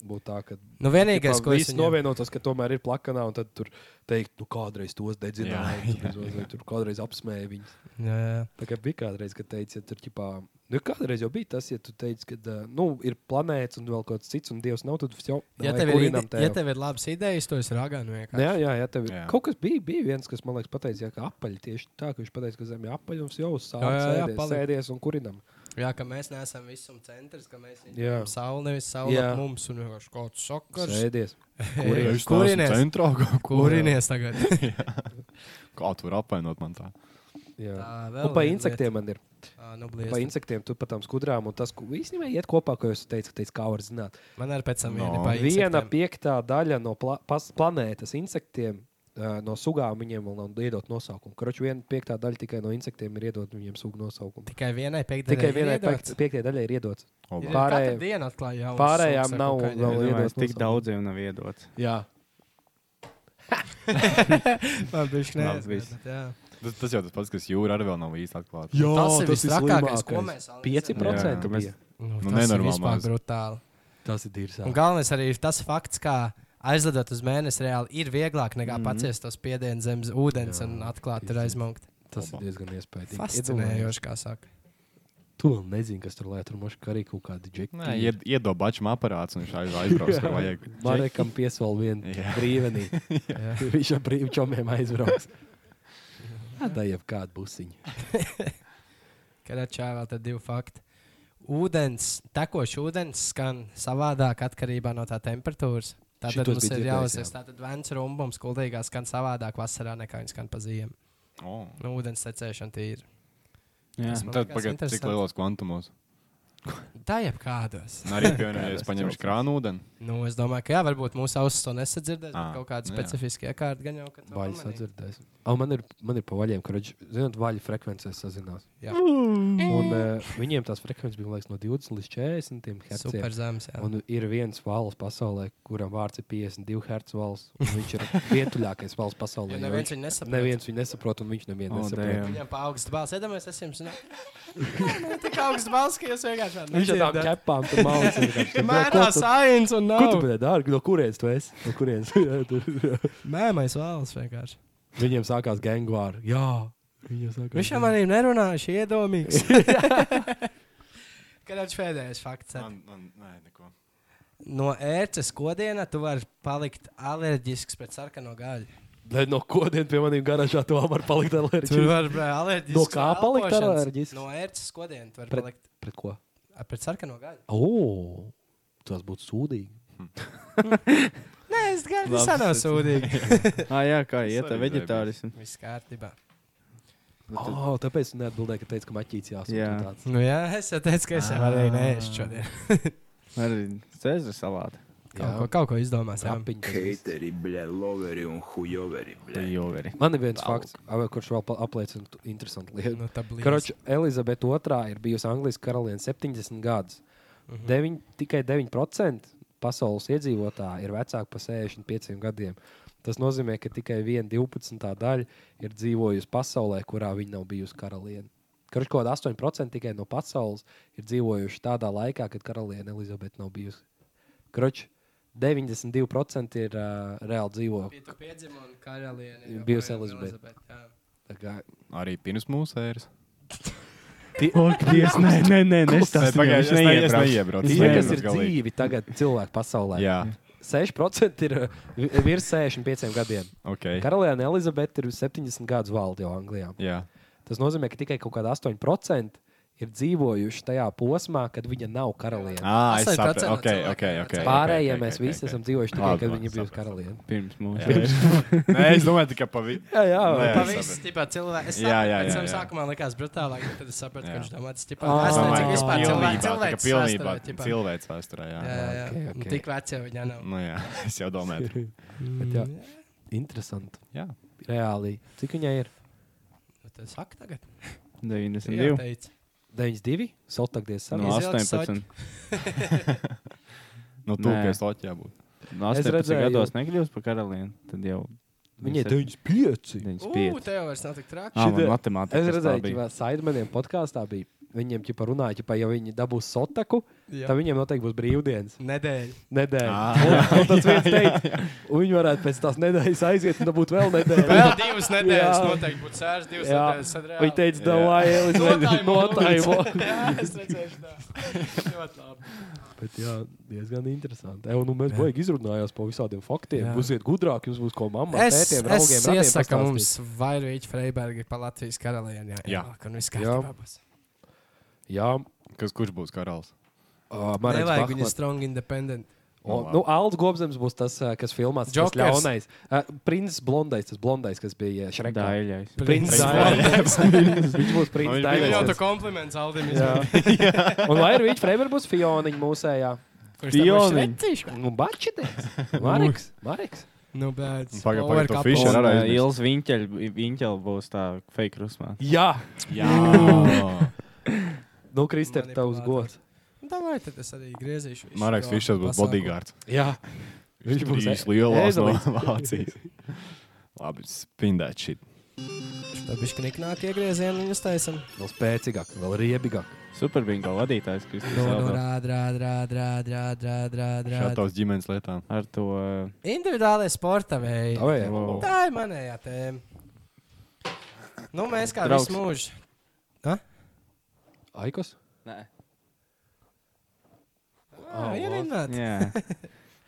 S2: būtu tā, ka
S1: Nu, vienīgais, ko es
S2: es novienotos, ka tomēr ir plakanā, un tad tur teikt, nu, kādreiz tos dedzināja,
S8: Jā,
S2: tur, vai tur kādreiz apsmēja viņus.
S1: Jā,
S2: Tā kā bija kādreiz, kad teica, ja tur ķipā, nu, kādreiz jau bija tas, ja tu teici, ka ā, nu, ir planētas un vēl kaut kas cits, un Dievs nav, tad jau
S1: ja tev, ir, ide- ja tev ir labas idejas, to es raganu vienkārši.
S2: Nu, Jā, jā, jā, tev ir.
S8: Jā.
S2: Kaut kas bija, bija viens, kas man liekas, pateica, jā, ka apaļ tieši tā, ka viņš pateica, ka zem ir apaļ, un jau
S1: Jā, jā, jā,
S2: sāpēs,
S1: palika.
S2: sēdies un kurinam.
S1: Jā, ka mēs neesam visuma centrs, ka mēs
S2: Jā.
S1: esam saule, nevis saule
S2: Jā.
S1: ap mums un vienkārši kaut kas sakars.
S2: Sēdies.
S8: Kurienes?
S1: Kurienes?
S8: Centrā.
S1: Kurinies tagad?
S8: Kā tu vari apvainot man tā?
S2: Jā.
S1: Tā, vēl
S2: Un pa
S1: viena
S2: insektiem man ir.
S1: Ā, nu,
S2: Pa
S1: bliesti.
S2: insektiem, tu pa tām skudrām, un tas ku- īstenībā iet kopā, ko jūs teicāt, ka teic, kā var zināt.
S1: Man arī pēc tam
S8: No.
S1: viena pa
S2: Viena
S1: insektiem.
S2: piektā daļa no pla pas- planētas insektiem. ā, No sugām viņiem vēl nav iedot nosaukumu. Kroči, viena piektā daļa tikai no insektiem ir iedot viņiem sugu nosaukumu.
S1: Tikai vienai piekdienai.
S2: Tikai
S1: ir
S2: vienai
S1: iedots?
S2: piekt- piektajai daļai ir iedots.
S8: O,
S1: Ir
S8: bā.
S2: Pārējai-
S1: katru dienu atklāja jaunu
S2: pārējām
S1: suksu,
S2: nav
S1: kaut kādu.
S2: vēl-
S3: Iedomājos,
S2: iedots
S3: tik
S2: nosaukumu.
S3: daudziem nav iedots.
S2: Jā,
S1: Man bišķi
S3: Labi,
S1: neaizgāja,
S3: viss.
S1: bet jā.
S8: Tas, tas jau tas pats, kas jūra arī vēl nav īsti atklāta.
S2: jā
S1: Tas ir visrakākais, ko mēs vēl
S2: Pieci
S1: nezinām.
S2: procenti
S8: Jā, mēs-
S2: bija.
S1: Nu,
S8: Nu,
S1: tas ir
S8: nenormāli
S1: vispār
S8: maz.
S1: brutāli.
S2: Tas ir dīrs.
S1: Un galvenais arī ir tas fakts, ka aizlidot uz mēnesi reāli ir vieglāk nekā mm -hmm. paciest tos spiedienus zem z- ūdens
S2: Jā,
S1: jā, un atklāt tur
S2: tieši.
S1: aizmaukt.
S2: Tas ir diezgan iespaidīgi. Iedomājies,
S1: Fascinējoši, kā saka.
S2: Tu vēl nezini, kas tur lēk, tur mums arī kaut kādi
S8: Nē,
S2: džekļi.
S8: ied, iedod bačam aparāts un viņš aiz- aizbrauks, kur vajag.
S2: Marekam piesvēl vienu
S8: Jā.
S2: brīvenī. Viņš ar brīvu čomiem aizbrauks. Tā jau kāda busiņa.
S1: Karačā vēl tad divi fakti. Ūdens, tekošs ūdens skan savādāk atkarībā no tā temperatūras. Tātad
S2: Šitos
S1: mums
S2: bija
S1: ir
S2: dzirdējis,
S1: jāuzsver,
S2: jā.
S1: tātad vēns rumbums kuldīgā skan savādāk vasarā nekā viņš skan pa ziemu.
S8: O.
S1: Nu, ūdens secēšana tīri.
S3: Jā,
S1: Tas man
S8: Tad
S1: likās
S8: pagaid, cik
S1: interesanti.
S8: lielos kvantumos.
S1: Tā jau kādos.
S8: Un Arī pievienojies,
S3: tas jaucās.
S8: paņemšu krānu ūdeni.
S1: Nu, es domāju, ka jā, varbūt mūsu ausis to nesadzirdēs, bet
S8: Ā,
S1: kaut kāda
S8: nu jā.
S1: specifiska iekārta gan jau, ka to
S2: Vaļas
S1: pamanīs.
S2: atzirdēs. Oh, man, ir, man ir pa vaļiem, ka, zinot, vaļu frekvencēs sazinās.
S1: Jā.
S2: Un, uh, viņiem tās frekvences bija man liekas, no 20 līdz 40 hertziem.
S1: Super zemes. jā.
S2: Un ir viens valsts pasaulē, kuram vārds ir 52 hertz valsts. un Viņš ir vientuļākais valsts pasaulē.
S1: Jo
S2: jo
S1: neviens
S2: viņš-
S1: viņu nesaprot.
S2: neviens viņu nesaprot, un viņš nevienu
S3: O,
S2: oh, nesaprot.
S3: damn.
S1: Viņam pa augstu balsi. Iedomājieties, es jums nesaku. Tik augsts balss, ka jūs vienkārši
S2: Viņš ar tādām ķepām tur mācās.
S1: Mērā sāņas un
S2: Kur tu
S1: nav.
S2: biji dārgi? No kurienes tu esi? No kurienes? Jā, tur.
S1: Mēmais valsts vienkārši.
S2: Viņiem sākās gangvāri. Jā, viņiem sākās.
S1: Viņš ar maniem nerunāja, šī iedomīgs. Kad atš pēdējais fakts. tad.
S8: Man, man, nē, neko.
S1: No ērces kodiena tu vari palikt alerģisks pret sarkano gaļu.
S2: Lai no kodiem pie maniem garāžā tu vēl var palikt
S1: Tu
S2: alerģiski.
S1: vari būt alerģisks.
S2: No kā
S1: pret
S2: palikt
S1: elpošanas.
S2: alerģisks?
S1: No ērces kodiena tu vari
S2: Pret-
S1: palikt
S2: Pret ko?
S1: a, pret sarkano gaļu.
S2: O, tas būtu sūdīgi.
S1: Nē, es gaidu,
S3: Labs
S1: tas nav
S3: secinājumu.
S1: sūdīgi.
S3: Ah, jā, kā
S8: Es
S3: iet ar
S8: arī gribēju.
S3: veģetārismu.
S1: Viss kārtībā.
S2: Oh, tāpēc tu neatbildēji, ka teici, ka maķīts jāsaka.
S3: Jā.
S2: Jā. Tāds.
S1: Nu, jā, es jau teicu, ka es jau arī neesmu šodien.
S3: Arī Cēzara salāti.
S1: Kaut ko, kaut ko izdomās. jā.
S2: Rapiņi, tas viss.
S10: Хейтери, бля, ловери un хуёвери,
S3: Tā
S10: бля.
S3: jau ir.
S2: Man ir viens fakts, ā, kurš vēl pa- apliecina tu- interesantu lietu.
S1: Nu, tā blīz.
S2: Kroči, Elizabete II ir bijusi Anglijas karaliene 70 gadus. Mm
S1: Mhm.
S2: -hmm. Deviņ, tikai 9% pasaules iedzīvotāji ir vecāki par 65 gadiem. Tas nozīmē, ka tikai 1,12 daļa ir dzīvojusi pasaulē, kurā viņa nav bijusi karaliene. Kroči, kaut kāda 8% tikai no pasaules ir dzīvojuši tādā laikā, kad karaliene Elizabete nav bijusi. Kroči, 92% ir uh, reāli dzīvojuši.
S1: Pie tu piedzima un karaliene.
S2: Ir
S1: joprojām
S2: bijusi Elizabete.
S1: jā.
S8: Arī pirms mūsu ēras.
S3: Dievs, nē, nē, nē,
S8: Nē,
S3: nestāstiet. Viņš
S8: pagaidi, es ne- es
S3: neiebrauc.
S8: neiebraucu.
S3: Viņš
S8: Tie,
S2: Tie,
S8: Nē,
S2: kas
S8: nu,
S2: ir
S8: galīgi.
S2: dzīvi tagad, cilvēki pasaulē,
S8: Jā,
S2: 6% ir uh, vi- virs 65 gadiem.
S8: ok.
S2: Karaliene Elizabete ir 70 gadus valde jau Anglijā.
S8: Jā,
S2: Tas nozīmē, ka tikai kaut kāda 8% ir dzīvojuši tajā posmā, kad viņa nav karaliene.
S8: Ah, es
S1: 8%
S8: sapratu. Ok,
S1: cilvēkiem.
S8: ok, ok.
S2: Pārējie
S8: ok, ok,
S2: mēs
S8: ok,
S2: visi
S8: ok.
S2: esam dzīvojuši tikai,
S8: Labi,
S2: kad
S8: labi,
S2: viņa bija
S8: sapratu.
S2: karaliene.
S3: Pirms mums
S8: Jā. Nē, es domāju, ka pa vidu.
S2: Jā, jā,
S8: Nē,
S1: Pa
S8: es
S1: visu
S8: sapratu.
S1: tipā cilvēku. Es
S8: Jā, jā, jā,
S1: saprotu,
S8: jā.
S1: sākumā likās brutālāk, bet tad es sapratu,
S8: Jā.
S1: ka viņš domā, tas tipā
S2: Ah.
S1: es nezinu, cik
S2: Domāju,
S1: vispār
S2: ka
S1: cilvēks.
S8: pilnībā,
S1: Cilvēks
S8: pilnībā
S1: vēsturē, tipā.
S8: cilvēks vēsturē. Jā.
S1: Jā, jā,
S2: Ok,
S1: jā. Un
S2: ok.
S1: Tik vecs jau viņa nav.
S8: Nu, jā, es jau domāju.
S2: Bet, jā. Interesanti.
S8: Nu, Jā,
S2: Reāli. Cik viņai ir?
S1: Bet Tas Nu, saka tagad.
S3: 92.
S1: teicu.
S2: 92, Saltakties sarunā.
S3: No
S1: Nu, Izvilks
S3: 18.
S8: nu,
S3: Nē.
S8: tūkstoš loķi jābūt.
S3: No
S2: Es
S3: 18
S2: redzēju-
S3: gados nekļūst par karalieni. Tad jau
S2: Viņai 95.
S3: 95.
S1: Ugh, tev vairs nav tik traki.
S3: Ah, man
S2: Šitā-
S3: matemātika.
S2: Es
S3: tas tā
S2: redzēju,
S3: bija.
S2: ka Saidmaniem podkāstā bija. Viņiem jau runāja, ka, ja viņi dabūs sotaku, tad viņiem noteikti būs brīvdienas
S1: Nedēļa.
S2: nedēļa.
S8: Ah,
S2: Un, un tas viens teica, un viņi varētu pēc tās nedēļas aiziet un dabūt vēl
S1: Vēl
S2: nedēļu.
S1: divas nedēļas,
S2: Jā.
S1: noteiksi būtu sēž divas
S2: Jā.
S1: nedēļas. tad reāli.
S2: Viņa teica,
S8: Jā.
S2: dabūj, Elis,
S1: Notaimo.
S2: notaimo.
S1: Jā, es redzēju, tā. Ļoti labi.
S2: Bet, jā, diezgan interesanti. E, un, nu, mēs baigi izrunājām par visādiem faktiem.
S1: Jā.
S2: Būsiet gudrāki, jums būs ko mamma.
S1: Es,
S2: tētiem,
S1: es
S2: raugiem, radiem
S1: iesaku
S2: pastāstīt.
S1: mums Vairīgi Freibergi par Latvijas karalieni. Jā,
S8: Jā.
S1: un viss
S2: Jā.
S1: kārtībā būs.
S2: Jā,
S8: Kas, kurš būs karalis?
S2: uh, Marijas
S1: Nevajag viņu
S2: Bachmans.
S1: strong independent.
S2: Un,
S8: labi.
S2: nu, Alans Gobsams būs tas, eh, kas filmās tas
S1: Jokers.
S2: ļaunais. Uh, Princis blondais, tas blondais, kas bija eh, Šrekā.
S3: Daļais.
S2: Princis Dailers.
S1: Princis
S2: Viņš būs
S8: Nu,
S2: princis
S1: Viņam
S8: viņš
S1: jau tā
S8: Jā.
S2: Dailers.
S1: kompliments Aldim.
S2: Jā. Un vai ir viņa Freiber būs Fioniņa mūsējā?
S3: Pioniņ.
S2: Nu, bačitēs. Mariks. Mariks.
S1: Nu, bet.
S8: Pagaid,
S1: power
S8: pagaid, to
S1: couple.
S8: fišu
S3: Un
S8: Viņš arī
S3: uh,
S8: aizmirst.
S3: Ils Viņķel būs tā fake rusmā.
S2: Jā.
S8: Jā,
S2: Nu, Kristēr, tavs
S1: Manipulātori.
S2: gods.
S1: Nu, Davai, tad es arī griezīšu. visu
S8: Marks
S1: to
S8: Fišers būs
S1: pasākumu.
S8: bodyguards.
S2: Jā. Viņš būs
S8: Viņš
S2: e-
S8: lielās no
S2: ēzelis.
S8: Vācijas. Labi, spindēt šī.
S1: Tad viņš kniknāk iegriezienu un uztaisam.
S2: Vēl spēcīgāk, vēl riebīgāk.
S3: Superbingo vadītājs
S1: Nu, nu,
S3: Kristofers.
S1: rād, rād, rād, rād, rād, rād, rād, rād.
S8: Šādos ģimenes lietām.
S3: Ar to uh,
S1: Individuālajā sporta veidā.
S2: Tā vajag.
S3: wow.
S1: Tā ir manējā tēma. Nu, mēs kā
S3: Draugs.
S1: visu mūžu.
S2: Aikos?
S1: Ah, ierindāt.
S3: Jā.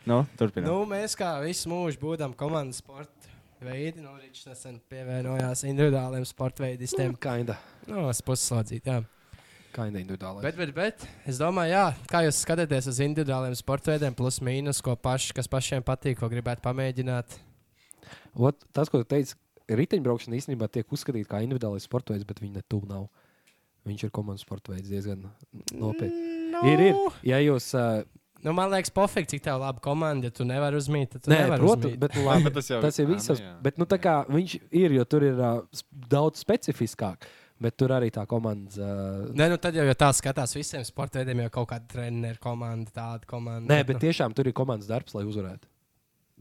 S3: Nu, turpinām.
S1: Nu, mēs kā visu mūžu būdam komandas sporta veidi, nu, Rīčs nesen pievienojās individuāliem sporta veidistiem.
S2: Kainda.
S1: Nu, es puslodzīt, jā.
S2: Kainda individuāli.
S1: Bet, bet, bet, es domāju, jā, kā jūs skatāties uz individuāliem sporta veidiem, plus mīnus, ko paši, kas pašiem patīk, ko gribētu pamēģināt.
S2: Ot, tas, ko tu teici, riteņbraukšana īstenībā tiek uzskatīta par individuālais sporta veids, bet viņa ne tuvu nav. Viņš ir komandas sporta veids diezgan nopietni.
S1: Nu,
S2: Ir, ir. Ja jūs. Uh,
S1: Nu, man liekas, pofīgi, cik tev laba komanda, ja tu nevari uzmīt, tad tu
S2: nē,
S1: nevari
S2: protams,
S1: uzmīt.
S2: bet, nu, labi,
S8: bet tas jau
S2: tas ir
S8: ir-
S2: viss.
S8: Ah, nu jā.
S2: Bet nu, tā kā viņš ir, jo tur ir uh, daudz specifiskāk. Bet tur arī tā komanda. Uh,
S1: Nē, nu tad jau, jau tā skatās visiem sporta veidiem, jau kaut kāda treniņa komanda, tāda komanda. Nu,
S2: nē, bet tiešām tur ir komandas darbs, lai uzvarētu.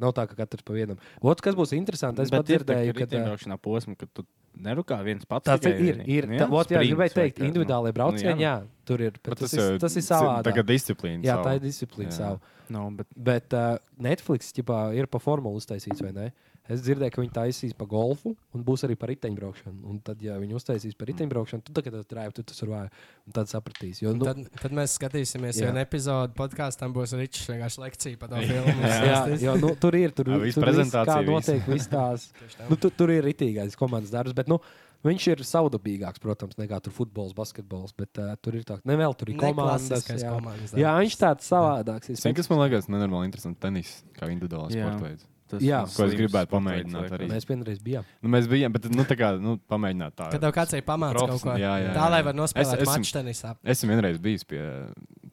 S2: Nav tā, ka katrs pa vienam. Otrs, kas būs interesants, es Nu, pat dzirdēju, ka. Uh,
S3: riteņbraukšanā posma, kad tu nerukā viens pats.
S2: Tas
S3: tikai
S2: ir, ir, ir.
S3: Nu
S2: Tā, ot, jā,
S3: sprints
S2: gribēju
S3: vai
S2: teikt,
S3: tā, nu,
S2: individuālajā braucienā,
S3: nu,
S2: jā, tur ir. Bet tas, ir, tas ir
S8: Tā kā
S2: savādāk.
S8: disciplīna.
S2: Jā, tā
S8: savu.
S2: ir disciplīna
S8: Jā.
S2: savā.
S3: Nu, bet
S2: Bet uh, Netflix ģipā, ir pa formulu uztaisīts, vai ne? Es dzirdēju, ka viņi taisīs pa golfu un būs arī par riteņbraukšanu. Un tad, ja viņi uztaisīs par
S8: Mm.
S2: riteņbraukšanu, tad tagad drive, tu tas ir vāja. Un tad sapratīs. Jo,
S1: Un
S2: nu,
S1: Tad, tad mēs skatīsimies,
S2: Jā.
S1: jau tādā epizodē podkāstā būs Ričs vienkārši lekcija par to filmu.
S2: jā, jā, jo, nu, tur ir tur,
S8: Jā, viss
S2: tur viss, kā
S8: prezentācija, viss.
S2: notiek viss tās. nu, tur, tur ir ritīgais komandas darbs, bet nu, viņš ir savdabīgāks, protams, nekā tur futbols, basketbols. Bet uh, tur ir tā, nevēl tur ir komandas.
S1: Neklasiskais
S2: jā.
S1: komandas
S2: jā,
S1: darbs.
S2: viņš tāds savādāks. ir
S8: Zini, kas man liekas, nenormāli interesants tenis, kā individuāls
S3: Jā.
S8: sports veids.
S3: tas
S2: Jā.
S3: ir
S8: Ko es
S3: slims
S8: gribētu
S3: sporta
S8: pamēģināt
S3: veids,
S8: arī.
S3: laikam.
S2: Mēs vienreiz bijām.
S8: Nu, mēs bijām, bet nu, tā kā nu, pamēģināt tā.
S1: Kad tev kāds ir pamācis kaut
S8: Profs-
S1: ko
S8: jā, jā,
S1: tā, lai
S8: jā.
S1: varētu
S8: Es-
S1: nospēlēt
S8: esmu-
S1: maču tenisā.
S8: Esmu vienreiz bijis pie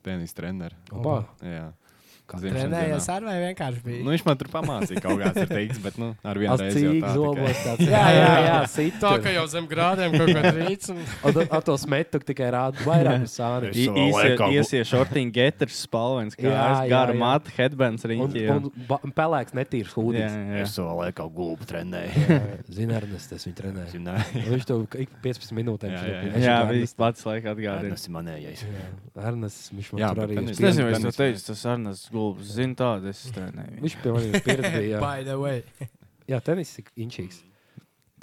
S8: tenisa trenera.
S2: Opa.
S8: Jā.
S2: Kā
S8: Dzimšanas
S1: Trenējies
S8: dienā.
S1: ar vai vienkārši bija?
S8: Nu, viņš man tur pamācīja kaut kādas teiksmes, bet nu, ar vienu
S2: Tas
S8: reizi jau
S2: cīņš
S8: tā tikai.
S2: zobos. tāds,
S1: Jā, jā, jā.
S2: sit
S1: Tā
S2: tur.
S1: kā jau zem grādiem kaut kā rīts. Un...
S2: Un tad ar to smetu tikai rāda vairāk uz sāniem.
S8: Es
S3: I-
S8: savā
S3: īsie-
S8: laikā bu-
S3: Iesie šortiņš, geters, spalvens,
S2: Jā, jā,
S3: kā gara
S2: jā.
S3: mata, headbands
S2: Un,
S3: riņķi.
S2: un ba- un pelēks, netīrs hūdens.
S8: Es savā laikā gulbu trenēju.
S2: Zini, Ernsts, tas viņa trenē.
S8: Zināju.
S2: Viņš to ik pa 15 minūtēm
S8: Jā,
S2: šito
S8: jā,
S2: pie-
S8: Es
S3: Jā,
S2: šito
S3: viņš
S2: Ernestu.
S3: pats laika atgādina.
S8: ir manējais.
S2: Ernests, viņš man
S8: Jā,
S2: tur
S8: bet
S2: arī
S8: tenis-
S2: uz
S3: Es nezinu,
S2: pieredzi-
S3: vai es to
S8: Tenis.
S3: teicu, tas Arnēs Gulbs zina tādu, es trenēju.
S2: Viņš pie manis pieredzēja. Jā.
S1: By the way,
S2: jā, tenis ir inčīgs.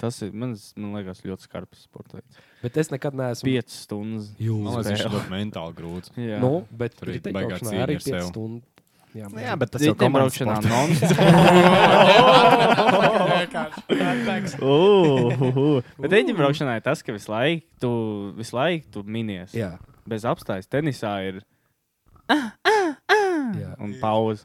S3: Tas ir, mans, man liekas, ļoti skarbs sports.
S2: Bet es nekad neesmu.
S3: 5 stundas.
S2: Jūs.
S8: Man liekas, viņš
S3: Spēle.
S8: ir ļoti mentāli grūts.
S3: Jā.
S2: Nu, bet
S8: Tur ir
S2: riteņbraukšanā
S8: baigā cīņa
S2: arī
S8: ar sevi.
S2: 5 stundu. Jā,
S8: Nu Jā, bet tas jau
S3: Citiem
S8: komandas
S3: braukšanām
S8: sports.
S1: Vienkārši.
S3: Uhuhu. Bet eņģeļa braukšanā ir tas, ka visu laiku tu, visu laiku tu minies.
S2: jā,
S3: Bez apstājas tenisā ir
S2: jā.
S3: un pauze.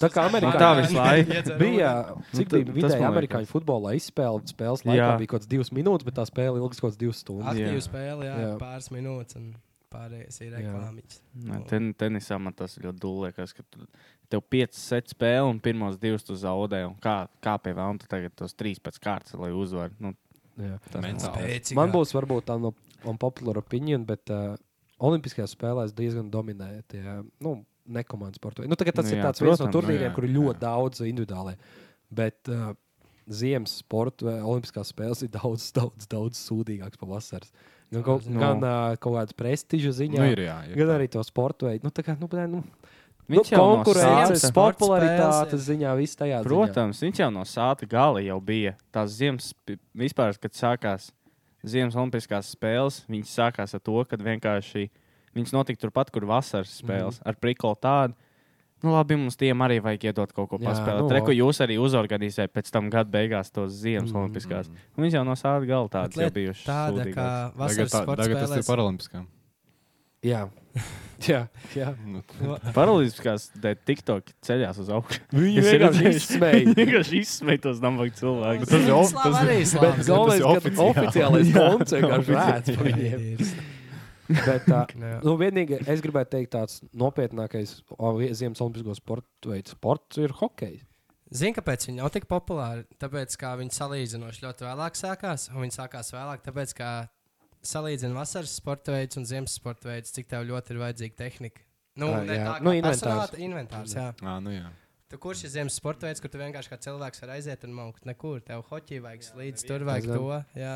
S2: Tā kā Amerikā
S3: Tā visu laiku.
S2: Bija,
S3: Nu,
S2: cik
S3: ta-
S2: bija
S3: tas
S2: vidēji
S3: man liekas.
S2: amerikāņu futbolā izspēle, spēles
S3: Jā.
S2: laikā bija kaut kāds divas minūtes, bet tā spēle ilgas kaut kāds divas stundas.
S3: Jā.
S1: Aktīva spēle, jā,
S2: Jā.
S1: pāris minūtes. un Pārējais ir
S2: Jā.
S1: reklāmiņš.
S3: Nē, Ten, tenisā man tas ļoti dūlēkās, ka tu- tev piecas sets spēle un pirmos divus tu zaudē. un Kā, kā pie vēl, un tu tagad tos trīs pēc kārtas, lai uzvarētu. Nu,
S2: Jā.
S1: Spēcīgāk.
S2: Man būs varbūt tā no populāra opinija, bet uh, Olimpiskajās spēlēs diezgan dominēja tie nu, nekomandas sportotāji. Nu, tagad tas
S3: Nu
S2: nu, ir
S3: jā,
S2: tāds viens no
S3: protams, nu
S2: turnīriem,
S8: jā,
S2: kur ir
S8: jā.
S2: ļoti daudz individuāli. Bet uh, ziemas sporta vai olimpiskās spēles ir daudz, daudz, daudz sūdīgāks par vasaras. Nu, kaut,
S3: Nu.
S2: gan uh, kaut kāda prestiža ziņā,
S8: Nu, ir, jā, ir
S2: gan
S8: tā.
S2: arī to sporta veidu. Nu, tā kā, nu, blē, nu, nu,
S3: Viņš jau no
S2: konkurences,
S3: sāta-
S2: popularitātes ziņā, viss tajā
S3: Protams, viņš jau no sāta gala jau bija. Tās ziemas, pi- vispār, kad sākās Ziemas Olimpiskās spēles, viņas sākās ar to, ka vienkārši viņas notika turpat, kur vasaras
S2: Mhm.
S3: spēles mm -hmm. ar priklu tādu. Nu, labi, mums tiem arī vajag iedot kaut ko
S2: Jā,
S3: paspēlēt.
S2: nu,
S3: Nu, Reku
S2: ok.
S3: jūs arī uzorganizējat pēc tam gada beigās tos Ziemas mm.
S2: Mhm.
S3: Olimpiskās. Un viņš jau no sāta gala tāds jau bija.
S1: Tāda kā
S8: Tagad,
S1: vasaras
S8: tā,
S1: sporta
S8: tagad tas ir
S1: spēlēs.
S8: paralimpiskā.
S2: ziņā. Jā, jā. jā.
S8: Nu,
S3: Paralīziskās dēļ TikTok ceļās uz augšu.
S2: Viņi
S3: Es
S2: vienkārši
S3: redzēju,
S2: izsmēja.
S3: Viņš vienkārši izsmēja tos nabaga cilvēkus.
S8: tas jau-
S1: Slava
S8: tas-
S1: arī
S2: Bet
S1: slava.
S2: galvenais,
S8: tas
S2: ka
S8: ir
S2: oficiālais
S8: oficiāli.
S2: konts ir redzēts par viņiem. Bet, uh,
S1: Jā.
S2: nu, vienīgi es gribētu teikt, tāds nopietnākais o, vie- Ziemas Olimpisko sporta veids sports ir hockey.
S1: Zini, kāpēc viņi nav tik populāri? Tāpēc, ka viņi salīdzinoši ļoti vēlāk sākās, un viņi sākās vēlāk, tāpēc, ka salīdzina vasaras sporta veids un ziemas sporta veids, cik tev ļoti ir vajadzīga tehnika. Nu,
S2: Ah,
S1: ne
S2: jā.
S1: tā kā
S2: Nu, Mm. inventārs.
S1: personāta- inventārs, jā.
S8: Jā, nu jā.
S1: Tu, kurš ir ziemas sporta veids, kur tu vienkārši kā cilvēks var aiziet un maukt nekur? Tev hoķī vajag slīdus, tur vajag
S2: Tas gan.
S1: to. Jā.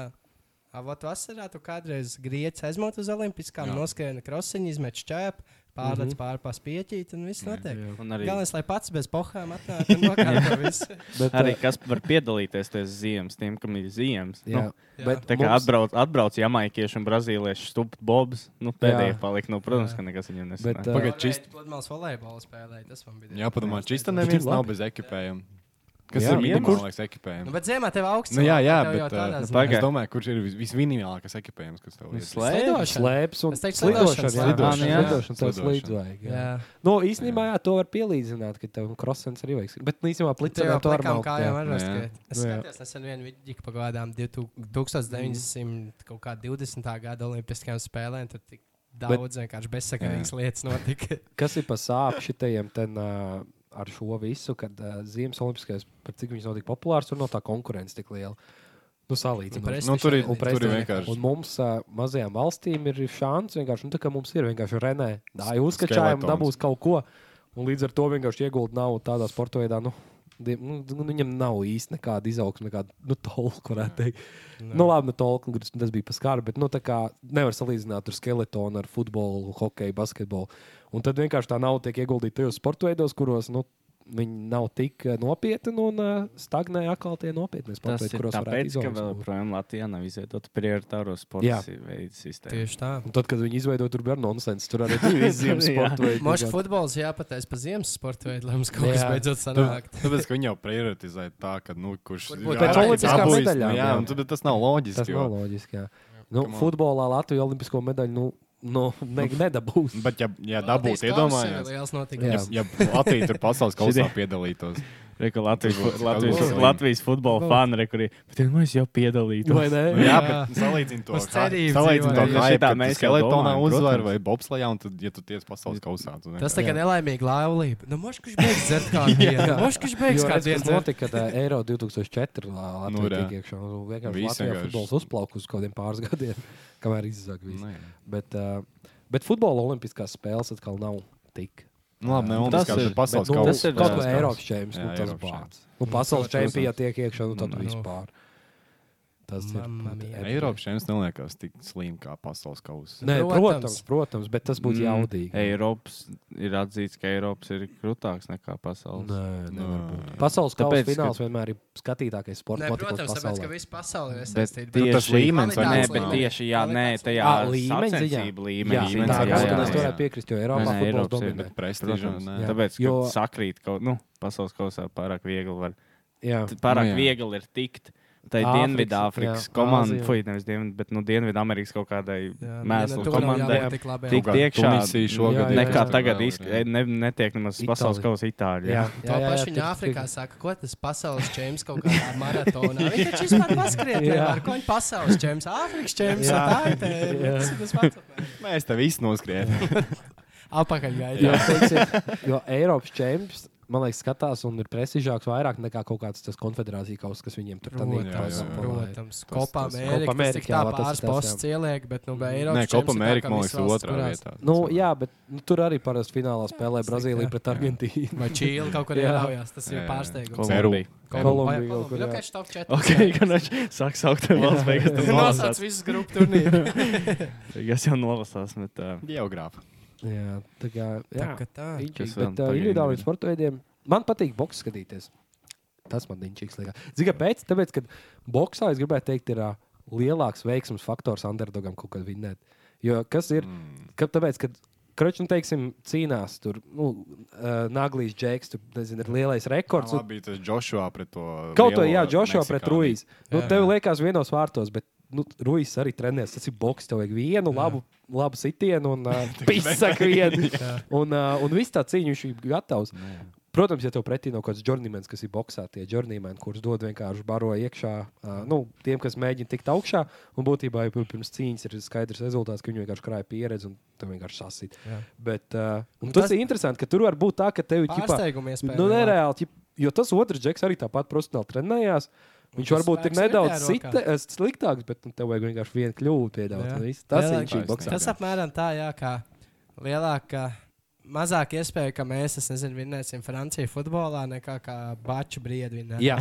S1: Avot vasarā tu kādreiz grieķis aizmot uz olimpiskām, noskrēja krosiņu, izmet čēpu, pārlec
S2: Mhm.
S1: mm -hmm. pārpās pieķīt un viss notiek.
S3: Un arī-
S1: Galvenais, lai pats bez pohām atnāk un nokārto visu.
S2: Bet,
S3: Arī kas var piedalīties tajā ziemas, tiem, kam ir ziemas.
S2: uh, jā,
S3: Nu,
S1: Jā.
S2: bet
S3: tā kā
S2: mums-
S3: atbrauc, atbrauc jamaikieši un brazīlieši stūpīgi bobs, nu pēdējie
S2: Jā.
S3: palika. Nu, protams, ka nekas viņam
S2: Bet,
S3: nesanāca.
S2: uh,
S8: Pagaidiet, čist.
S1: Pludmales volejbola spēlēja, tas man bija.
S8: Jā, padomā, čista
S2: Bet
S8: neviens
S2: ir
S8: nav
S2: labi.
S8: bez ekipējuma. Kas
S2: Jā,
S8: jā, ir
S3: viens.
S8: minimālais
S1: Nu,
S8: ekipējums?
S1: bet ziemā tev augsts.
S8: Nu, jā, jā,
S1: tev jau
S8: bet uh,
S1: tādā
S8: nu,
S1: ziņā.
S3: pagaid.
S8: es domāju, kurš ir visvinīgākais ekipējums, kas tev
S3: Nu,
S8: ir.
S3: slēdz.
S1: Slidošana.
S2: slēpes un
S1: Es teiktu,
S2: slidošana.
S1: slidošana,
S2: Jā,
S8: slidošana,
S2: jā,
S8: jā.
S2: slidošana, tas
S8: Slidošana.
S2: slidvaigi, jā.
S1: Jā.
S2: Nu, īstenībā jā, to var pielīdzināt, ka tev krosens arī vajag. skriet. Bet, nu, īstenībā
S1: Tev
S2: plicināt
S1: jau
S2: to ar
S1: plakām kājām
S2: maukt.
S1: arī
S8: Jā.
S1: skriet. Es
S2: Nu, jā.
S1: skatījos nesen vienu vidģiku pagādām 1920. gada olimpiskajām spēlēm. Tad tik daudz vienkārši bezsakarīgas lietas notika.
S2: Kas ir pa sāpšu tajiem ten? Uh, Ar šo visu, kad uh, Ziemas Olimpiskajās, par cik viņas nav tik populāras, tur nav tā konkurence tik liela. Nu, salīdzinot.
S8: Nu, tur ir,
S1: Un
S8: tur ir
S2: prestižs.
S8: vienkārši.
S2: Un mums, uh, mazajām valstīm, ir šāds vienkārši. Nu, tā kā mums ir vienkārši Renē, tā jau uzskačājām,
S8: skeletons.
S2: dabūs kaut ko. Un līdz ar to vienkārši iegūt naudu tādā sporta veidā. Nu, die- nu, nu, viņam nav īsti nekāda izaugsme, nekāda nu, tolka, varētu teikt. Nu, labi, nu, tolka, nu, tas bija paskāri, bet nu, tā kā nevar salīdzināt ar skeletonu, ar futbolu, hokeju, basketbolu. Un tad vienkārši tā nauda tiek ieguldīta tajos sporta veidos, kuros. Nu, Viņi nav tik eh, nopietni un uh, stagnē atkal tie nopietni
S3: Tas
S2: sporta veidi,
S3: ir
S2: kuros varētu
S3: tāpēc, ka
S2: izaugsme
S3: vēl
S2: būt.
S3: joprojām Latvijā nav izveidota prioritāro
S2: Jā.
S3: sporta veidu sistēmu.
S1: Tieši tā.
S2: Un tad, kad viņi izveidoja tur bija nonsens, tur arī bija izjūta
S3: Jā.
S2: sporta veidā.
S1: Mošs futbols jāpateic pa ziemas sporta veidu, lai mums kaut kas
S2: Jā.
S1: beidzot
S8: Tāpēc,
S1: sanāktu.
S8: tāpēc, ka viņi jau prioritizē tā, ka, nu, kurš
S1: Kur-
S8: ir
S1: kur-
S2: Pēc
S8: ārā
S2: olimpiskām
S8: dabūjis,
S2: medaļām,
S8: nu, Jā,
S2: jā.
S8: un tad tas nav loģiski.
S2: Tas
S8: jo-
S2: nav loģiski. jā. Nu,
S8: come on.
S2: futbolā Latvija olimpisko medaļu nu, nu, ne, nedabūs.
S8: Bet, ja, ja
S1: Baltijas
S8: dabūtu,
S1: kausi
S8: iedomājieties,
S1: ir Liels
S2: Jā.
S1: notikums.
S8: ja, ja Latvija tur pasaules kausā piedalītos.
S3: Re, ka Latvijas,
S8: Tas
S3: fu-
S8: būs- tas
S3: Latvijas,
S8: būs-
S3: Latvijas futbola fani, re, kuri ir. Mēs jau
S2: Vai
S3: piedalītos.
S2: ne?
S8: Nu, jā,
S1: Jā.
S8: bet salīdzinu to
S1: Uz
S8: kā-
S1: cerību
S8: salīdzinu to
S3: dzīvojam.
S8: kā,
S3: Ja
S8: ja
S3: šitā
S8: tā
S3: mēs
S8: mēs
S3: jau
S8: skeletonā
S3: domājam,
S8: uzvar
S3: protams.
S8: vai bobslejā, un tad, ja tu tiec pasaules kausā.
S1: Tas
S8: tu vienkārši-
S1: tā kā
S2: Jā.
S1: nelaimīga laulība. Nu, mošs, kurš beigs dzert kā dienu.
S2: Jā.
S1: Mošs, kurš
S2: Jo,
S1: beigs
S2: redz,
S1: kā
S2: Kas
S1: dienu. dzert.
S2: notika, kad eh, Eiro 2004. lā
S8: Nu,
S2: Latvija
S8: jā.
S2: tika iekšā? Nu, vienkārši
S8: Visi
S2: Latvijā
S8: vienkārši-
S2: futbols uzplauka uz kaut kādiem pāris gadiem, kamēr izzāk viss.
S8: Nu, jā.
S2: Bet, eh, bet futbola olimpiskās spēles atkal nav tik.
S8: Nu, labi, ne,
S3: Tas
S8: tas
S3: ir-
S8: ir pasaules
S2: nu,
S8: kausā.
S2: tas
S3: kausa.
S2: ir kaut
S3: Jā,
S2: kā
S3: jā.
S2: Eiropas čempions.
S8: Jā,
S2: Nu, tas
S8: Eiropas
S2: bāc. Nu, pasaules
S8: protams.
S2: čempionā tiek iekšā, nu tad
S8: Nu,
S1: nu.
S2: vispār. Tas ir
S1: Mamma mia.
S8: Eiropas šiem neliekas tik slims kā pasaules kausa.
S2: Nē, protams,
S1: Protams.
S2: protams, bet tas būtu
S3: Mm,
S2: jaudīgi.
S3: Eiropas ir atzīts, ka Eiropas ir krūtāks nekā pasaules. Nu,
S2: Nē, nevar
S8: Nē.
S2: būt. Pasaules kausa
S3: Tāpēc, ka-
S2: fināls vienmēr ir skatītākais sports.
S1: Nē, protams,
S2: notikums
S1: tāpēc,
S2: pasaulē.
S1: ka visa pasaule ir
S3: Bet
S1: iesaistīta.
S3: tieši-
S8: Tas līmenis, vai
S3: Nē,
S8: Tāds
S3: bet
S8: nav.
S3: tieši jā, nē, tajā
S2: Ah, līmeņa ziņā.
S3: sacensību
S2: Jā,
S3: līmeņa
S2: tā
S3: ziņā,
S2: ir
S8: jā,
S2: tā,
S8: jā,
S2: es to
S8: jā.
S2: varētu piekrist, jo Eiropā
S3: Nē, nē,
S2: futbols
S3: Eiropas ir,
S2: dominē.
S8: Bet prestižā.
S3: Protams,
S8: nē.
S2: jā.
S3: Tāpēc, ka
S2: Jo-
S3: sakrīt kaut nu, pasaules kausā pārāk viegli var.
S2: Jā,
S3: t- Pārāk
S8: Nu, jā.
S3: viegli ir tikt. Tā ir
S2: Āfrikas,
S3: Dienvidāfrikas
S2: jā,
S3: komanda,
S2: Āzija.
S3: fui, nevis Dienvidu, bet nu, Dienvidamerikas kaut kādai
S1: Mēs
S3: mēslu
S1: tam
S3: komandai.
S1: komandējam tik labi.
S3: Tik
S8: Kaut kā
S3: iekšā
S8: Tunisija
S2: Jā,
S8: šogad
S2: jā,
S3: nekā
S2: jā.
S3: tagad
S8: Vēl ir,
S3: izk-
S8: jā.
S3: ne, netiek nemaz pasaules
S2: Itālija.
S3: kausa Itālijā.
S1: To pašu
S2: tik-
S1: viņa Āfrikā saka, ko tas pasaules čempions kaut kādā maratonā. Viņš taču vispār paskrien,
S2: Jā.
S1: ar ko viņa pasaules čempions, Āfrikas čempions,
S2: Jā.
S1: tā ir. te-
S2: Jā.
S1: tas ir tas pats.
S8: Mēs te visi noskrienam.
S1: Apakaļ
S2: Jo,
S1: gaidā.
S2: teiksim, jo Eiropas čempions, man liekas, skatās un ir prestižāks vairāk nekā kaut kāds tas konfederācijas kausas, kas viņiem tur tādā
S8: jā, jā,
S1: Protams,
S8: jā.
S1: protams.
S8: Tas-
S1: Kopā
S8: tas-
S1: Amerikā
S2: Copa
S1: tas ir tā
S2: Amerikā, va, tas ir
S1: pāris
S2: tas,
S1: posts ieliek, bet nu bei Eiropas
S8: Nē,
S1: čempions
S8: Copa
S1: ir tā,
S8: Amerika,
S1: ka
S8: man
S1: visvalsts
S8: liekas, otrā
S1: kurās.
S8: vietā.
S2: Nu, jā, bet nu, tur arī parasti finālā spēlē Brazīlija
S1: jā.
S2: pret Argentīnu.
S1: Vai Čīla kaut kur
S2: Jā.
S1: ieraujās, tas
S8: Jā,
S1: ir
S8: jā.
S1: pārsteigums.
S8: Peru.
S3: Kolumbija.
S2: Kolumbija kaut kur, jā.
S1: Kāpēc top 4?
S3: Ok, gan viņš sāk saukt par valsts beigas. Tas
S1: Nosauc
S3: nolasās.
S1: visus grupu turnīrus.
S3: Es jau nolasās, bet uh,
S8: Geogrāfa.
S2: Jā, tā kā jā.
S1: Tā kā tā.
S3: Kas
S2: Inčīgs,
S3: vēl?
S2: bet uh,
S3: Pagaidi.
S2: individuāliem sporta veidiem man patīk boks skatīties. Tas man inčīgs liekas. Zini, kāpēc? Tāpēc, ka boksā es gribēju teikt, ir uh, lielāks veiksmes faktors underdogam kaut kad vinnēt. Jo kas ir? Mm. Ka, tāpēc, kad Kroķis, nu, teiksim, cīnās tur, nu, uh, Nāglīs Džeks, tur, nezinu, ir lielais rekords. un-
S8: Labi, bija tas Joshua pret to.
S2: Kaut kā,
S8: lielo
S2: jā, Džošo pret
S8: Meksikāni.
S2: Ruijas. Nu,
S1: Jā.
S2: tev liekas, vienos vārtos, bet nu, Ruijas arī trenējas. Tas ir boks, tev vajag vienu labu, labu sitienu un uh, pisaku vienu. un, uh, un viss tā cīņa viņš ir gatavs. Protams, ja tev pretī nav kaut kāds journeyman, kas ir boxā, tie journeyman, kurus dod vienkārši baro iekšā, uh, nu, tiem, kas mēģina tikt augšā, un būtībā jau pirms cīņas ir skaidrs rezultāts, ka viņi vienkārši krāja pieredzi un tev vienkārši sasīt.
S1: Jā.
S2: Bet, uh, un tas,
S1: Tas-
S2: tas ir interesanti, ka tur var būt tā, ka tev ir ģipā-
S1: Pārsteigumu iespēja.
S2: Nu,
S1: vienmēr.
S2: nereāli, ķip, jo tas otrs džeks arī tāpat profesionāli trenējās. Viņš
S1: tas
S2: varbūt ir
S1: spēks
S2: nedaudz
S1: nepjā rokā.
S2: sita, eh, sliktāks, bet nu, tev vajag vienkārši vienu kļūdu piedāvāt.
S1: Jā.
S2: un viss. Tas
S1: Jā,
S2: ir šī
S8: taisnība.
S2: boxā.
S1: Tas apmēram tā, jā, kā lielāka. Mazāk iespēja, ka mēs, es nezinu, vinnēsim Franciju futbolā, nekā kā Baču brīvdienā.
S2: Jā.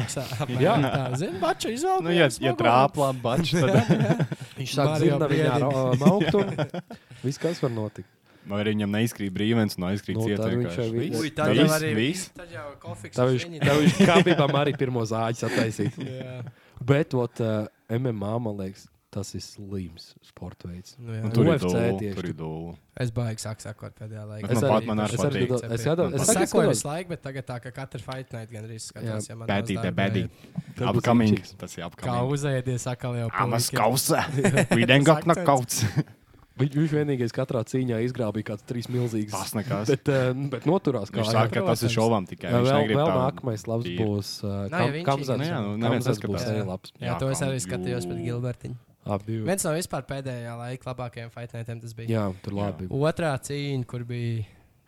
S2: Jā.
S1: tā zina, Baču izvēlējās.
S8: Nu, ja, ja trāplām bačs, tad
S2: Viņš sāk
S1: Mario
S2: dzirdēt, viņa
S1: Biedini.
S2: ro- maukt un viss, kas var notikt.
S8: vai arī viņam neizkrīt brīvens un aizkrīt
S2: Nu, tad viņš jau
S8: cietā.
S2: viss.
S1: Ui, tad jau
S8: Viss,
S1: arī
S8: viss.
S1: Tad jau kofiks.
S2: Tā viņš, tā viņš kabībām arī pirmo zāģi sataisīja.
S1: Jā.
S2: Bet ot, eh, MMA, man liekas, tas ir slims sporta veids.
S1: Nu, jā.
S8: Un tur ir
S2: UFC
S8: dūle,
S2: tieši.
S8: tur ir dūle.
S1: Es baigi sāk sakot pēdējā laikā.
S8: Bet man pat- man arī
S2: es arī
S8: patīk.
S2: do- es skatos-
S1: Es
S2: es
S1: saku,
S2: tagad
S1: ka
S2: skatos.
S1: visu laiku, bet tagad tā, ka katra fight night gandrīz
S2: Jā.
S1: skatās. ja man
S8: Bēdī,
S1: nav
S8: te
S1: darba,
S8: bēdī.
S2: Tad būs
S8: Upcoming.
S2: inčīgs.
S8: Tas ir
S1: Kā
S8: upcoming.
S1: uzēdies, atkal jau
S8: Amas
S1: paliki.
S8: kausa. Viden got
S1: Sakcents.
S8: knockouts.
S2: Viņ- Viņš vienīgais katrā cīņā izgrābīja kāds trīs milzīgus.
S8: Tas nekas.
S2: Bet, eh, bet noturās kā
S8: Viņš saka, ka tas ir
S1: protams.
S8: šovam tikai.
S2: Jā,
S8: Viņš
S2: vēl,
S8: negrib
S2: vēl
S8: tā-
S2: nākamais labs
S8: tīri.
S2: būs uh,
S1: Nā, ja viņš-
S2: Kamzats.
S8: Nu jā, nu, neviens
S2: Kamzats būs
S8: neskatās.
S2: arī labs.
S1: Jā,
S8: Jā,
S1: to es arī
S8: kam-
S1: skatījos
S8: jū.
S1: pret Gilbertiņu.
S2: Abi,
S1: Viens no vispār pēdējā laika labākajiem fight nightiem tas bija.
S2: jā, tur labi.
S1: Otrā cīņa, kur bija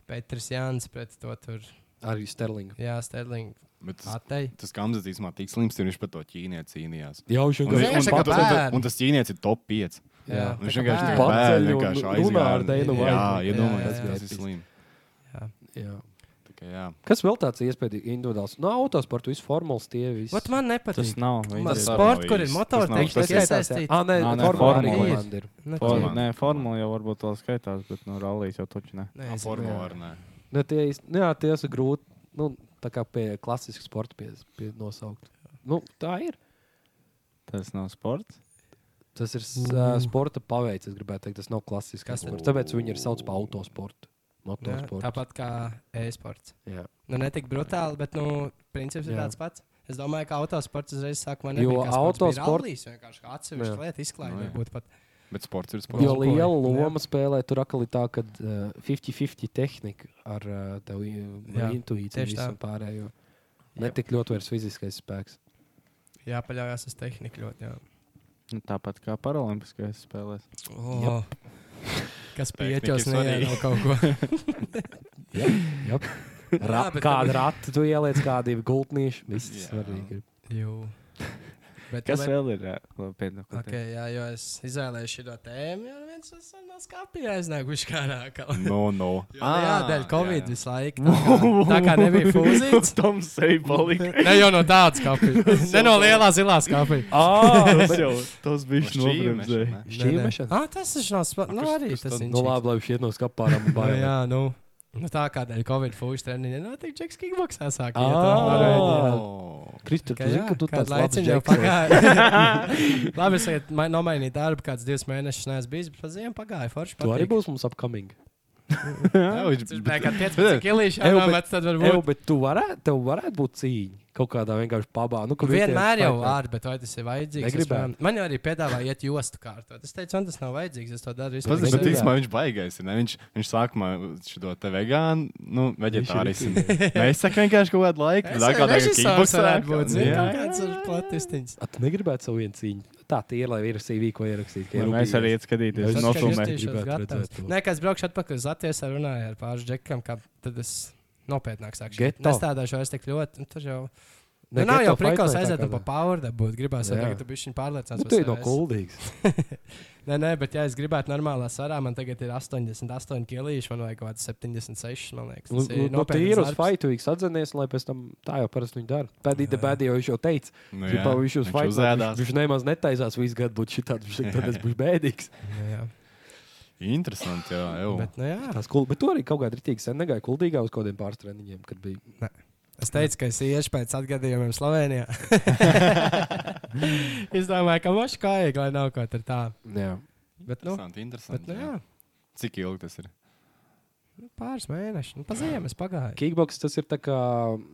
S1: Pēters Jānis pret to tur,
S2: Arī Sterlinga.
S1: Jā, Sterlinga
S8: Bet tas-
S1: attei.
S8: Tas Kamzas īstenībā tik slims, ir viņš pat to ķīnieci cīnījās.
S2: Jā, viņš
S8: Un,
S1: Kas
S8: un,
S1: vienkārši
S8: un,
S2: vienkārši
S1: kā
S8: un, un,
S1: bērni.
S8: un tas ķīnietis ir top 5.
S1: Jā,
S8: Viņš
S1: tā kā
S8: vienkārši
S1: bērni.
S8: tur
S2: Paceļ
S8: bērnu
S2: un
S8: vienkārši
S2: runā ar
S8: aizgāja.
S2: Deinu
S8: Jā,
S2: Vaidu.
S8: iedomājieties,
S1: Jā,
S8: ja
S1: jā,
S8: tas ir slims.
S2: Jā.
S8: Tā kā jā.
S2: Kas vēl tāds iespējams individuāls? Nu, No autosporta visu formulas tie visi.
S1: Vat man nepatīk.
S3: tas nav.
S1: Man
S8: tas
S3: viņas-
S8: nav
S1: sports, kur ir
S8: īsti. Tas nav-
S1: motori,
S8: tas
S1: tas Nu, ir saistīts.
S2: Ah, nē,
S3: Nā, nē,
S2: formula arī
S3: formula
S1: ir.
S2: komanda ir.
S3: Formu-
S8: formā.
S3: Nē, formula jau varbūt vēl skaitās, bet no rallijas jau taču ne.
S8: Nē, Ah, formā.
S2: Nu, tie, īsti- nu, jā, tie ir grūti. Nu, tā kā pie klasiskā sporta pie, pie nosaukt. Nu, tā ir.
S3: Tas nav sports.
S2: Tas ir s- uh, sporta paveids, es gribētu teikt, tas nav klasiskais
S1: Kas tad?
S2: sports. Tāpēc viņi ir sauc par autosportu. Motorsportu.
S1: Tāpat kā e-sports.
S2: Jā.
S1: Nu, ne tik brutāli, bet nu, princips ir
S2: Jā.
S1: tāds pats. Es domāju, ka autosports uzreiz sāk man
S2: Jo autosport-
S1: autosports vienkārši kā atsevišķa
S2: Jā.
S1: lieta izklājē.
S8: Nu, jā.
S1: varbūt pat.
S8: Bet sports ir sports.
S2: Jo
S1: Balkoja.
S2: liela
S1: Jā.
S2: loma spēlē tur atkal ir tā, ka uh, 50-50 tehnika ar uh, tev
S1: Jā,
S2: uh, intuīciju un
S1: tieši
S2: visu
S1: tā.
S2: pārējo. Ne tik ļoti vairs fiziskais spēks.
S1: Jā, paļaujas uz tehniku ļoti. Jā.
S3: Nu, Tāpat kā paralimpiskajās spēlēs.
S1: O, Oh. Kas
S8: Tehnika
S1: pieķers neiet
S8: ir
S1: no kaut ko.
S2: Ra
S1: Jā, bet
S2: kāda
S1: tev-
S2: rata tu ieliec, kādi ir gultnīši. Viss
S8: Jā.
S2: svarīgi. ir.
S1: Jū. Bet
S3: Kas
S1: tu
S3: vēl ir? ā, labi, piedod, ko te-
S1: Okay, jā, jo es izvēlējos šo tēmu, jo viens tas no skāpja aiznākuši kārā.
S8: No, no.
S1: Jā,
S8: Ah.
S1: dēļ Covid visu laiku. Tā kā, tā kā nebija fūzīts.
S3: Toms Seibolīgs.
S1: Ne jau no tādas skāpjas. Ne no lielās zilās skāpjas.
S3: Ah, tas jau tas bija
S8: No šķīmešiem,
S3: šnobremzē.
S8: ne?
S2: Šķīmešana.
S1: Ah, tas taču nav spēcīgs. Nu, arī tas ir.
S2: Nu, labi, lai viņš iet no skapām.
S1: Nu, jā, nu. nu tā kā dēļ Covid nu, fūžu treniņa nenotiek, Džeks Kingboksā sāk. iet,
S2: Ah.
S1: un-
S8: Oh.
S2: Kristian,
S1: Ka
S2: tu zini,
S1: jā,
S2: ka tu
S1: kādu
S2: tāds labs
S1: laiciņu jau
S2: džeks esi.
S1: pagāja. Labi, es tagad mai- nomainīju darbu, kāds divus mēnešus neesmu bijis, bet pa ziemu pagāja. Forši
S2: Tu arī
S1: patīk.
S2: būsi mums upcoming.
S8: Jā, viņš
S1: Viņš bija kā 15
S8: bet-
S1: kilīši,
S2: Eju,
S1: jau
S2: bet-
S1: bet tad
S2: Eju,
S1: varbūt.
S2: bet tu varētu, tev varētu būt cīņa kaut kādā vienkārši pabā. Nu, ka visi
S1: Vienmēr jau
S2: spēkā.
S1: ārā, bet vai tas ir vajadzīgs? Es
S2: Negribētu.
S1: piemēram- Man jau arī piedāvāja iet jostu kārtā. Es teicu, man tas nav vajadzīgs, es to daru visu.
S8: Tas
S2: Bet
S8: ir
S2: jā.
S8: īstenībā viņš baigais. ir, Ne? Viņš, viņš sākumā šo te vegānu, nu, vegetārismu. Mēs sakām, vienkārši kaut kādu laiku.
S1: Es
S8: Tā kā tā ir
S1: režisors varētu būt, zini,
S8: Jā,
S1: kaut kāds ir platistiņš.
S2: A, Tu negribētu savu vienu cīņu. Tā tie ir, lai ir CV, ko ierakstīt. ka ir rubīnes.
S3: Mēs arī iet skatīties,
S2: Es
S1: Tad, kad
S3: nofilmēt.
S2: skatīšu.
S1: justīšos
S2: gribētu
S1: gatavs.
S2: redzēt to.
S1: Nē, kad es braukšu atpakaļ uz Latvijas, ar runāju ar pāris džekiem, kā tad es nopietnāk sāku.
S2: Geto.
S1: Nestādāšu vairs tik ļoti. nu, Tur jau
S2: Ne,
S1: Nu, nav jau
S2: geto fight
S1: prikals
S2: night
S1: aiziet
S2: tā
S1: un pa
S2: kādā.
S1: power dabūt. Gribās, lai
S2: Jā.
S1: tagad tu bišķiņ
S2: Nu,
S1: pārliecināts. par
S2: Tu esi
S1: sevi
S2: no
S1: esi.
S2: kuldīgs.
S1: Nē, nē, bet ja es gribētu normālā sarā, man tagad ir 88 kilīši, man vajag kaut kāds 76, man liekas.
S2: Nu,
S1: Tas
S2: nu,
S1: ir
S2: nu,
S1: nopietns
S2: tīri uz
S1: darbs.
S2: faitu viņš atzinies, lai pēc tam tā jau parasti viņi dara. Pēdējā
S1: Jā.
S2: dabēdī jau viņš jau teica,
S8: nu,
S2: Žipā, viņš uz
S8: viņš
S2: faitu viņš,
S8: uzēdās.
S2: viņš nemaz netaisās visu gadu būt šitāds, viņš teica, tad es būšu bēdīgs.
S1: Jā, jā.
S8: Interesanti, jā.
S2: Oh.
S8: Jau.
S1: Bet, nu, jā.
S2: Tas cool, bet tu arī kaut kādā rītīgi sen negāji kuldīgā uz kaut kādiem pārstreniņiem, kad bija.
S1: Es teicu, ka es iešu pēc atgadījumiem Slovenijā. es domāju, ka moši kājīgi, lai nav kaut kā tā.
S2: Jā.
S1: Bet, nu,
S8: Interesanti,
S1: bet,
S8: interesanti.
S1: nu
S8: jā.
S1: jā,
S8: Cik ilgi tas ir?
S1: nu, pāris mēneši. Nu, pa ziemas pagāja.
S2: Kickbox tas ir tā kā,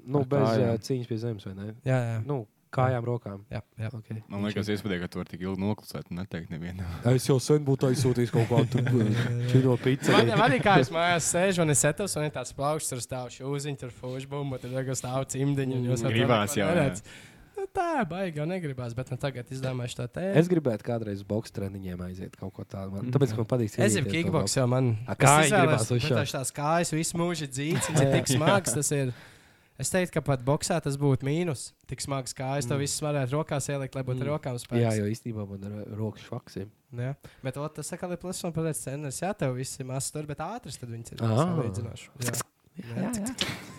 S2: nu,
S3: Ar
S2: bez
S3: kājām.
S2: ā, cīņas pie zemes, vai ne?
S1: Jā, jā.
S2: Nu, kājām, rokām.
S1: jā, jā.
S2: Okay.
S8: Man liekas, iespējams, ka tu vari tik ilgi noklusēt un neteikt nevienam.
S2: Es jau sen būtu aizsūtījis kaut kādu uh, čino pizzu.
S1: Man, man arī kā es mājās sēžu, un es setos, un ir tāds plaukts, tur stāv šūziņš, tur fušbumba, tur tagad stāv cimdiņš, un jūs
S8: Mm, Gribās jau, jā.
S1: neredz. Nu, tā, baigi jau negribās, bet nu, tagad izdomāju šo tēmu.
S2: Es gribētu kādreiz uz boks treniņiem aiziet kaut ko tādu. Man, tāpēc, ka man patīk.
S1: Es
S2: skatīties
S1: esmu
S2: to
S1: kickboks, jau man.
S2: A, kāju
S1: es
S2: gribās
S1: izvēlos,
S2: uzšaut.
S1: bet tās kājas visu mūžu ir dzīves, un ir tik smags tas ir. Es teiktu, ka pat boxē tas būtu mīnus. Tik smags kājas, to viss varētu rokās ielikt, lai būtu
S2: Mm.
S1: ar rokām spēks.
S2: Jā, jo īstenībā man ir ā, rokas švaksiem.
S1: Nu Jā. Bet ot, tas atkal ir pluss, man liekas, centrs. Jā, tev viss ir mazs, tur, bet ātrs tad viņš ir.
S2: Ah.
S1: Salīdzinoši. Jā. Jā, jā.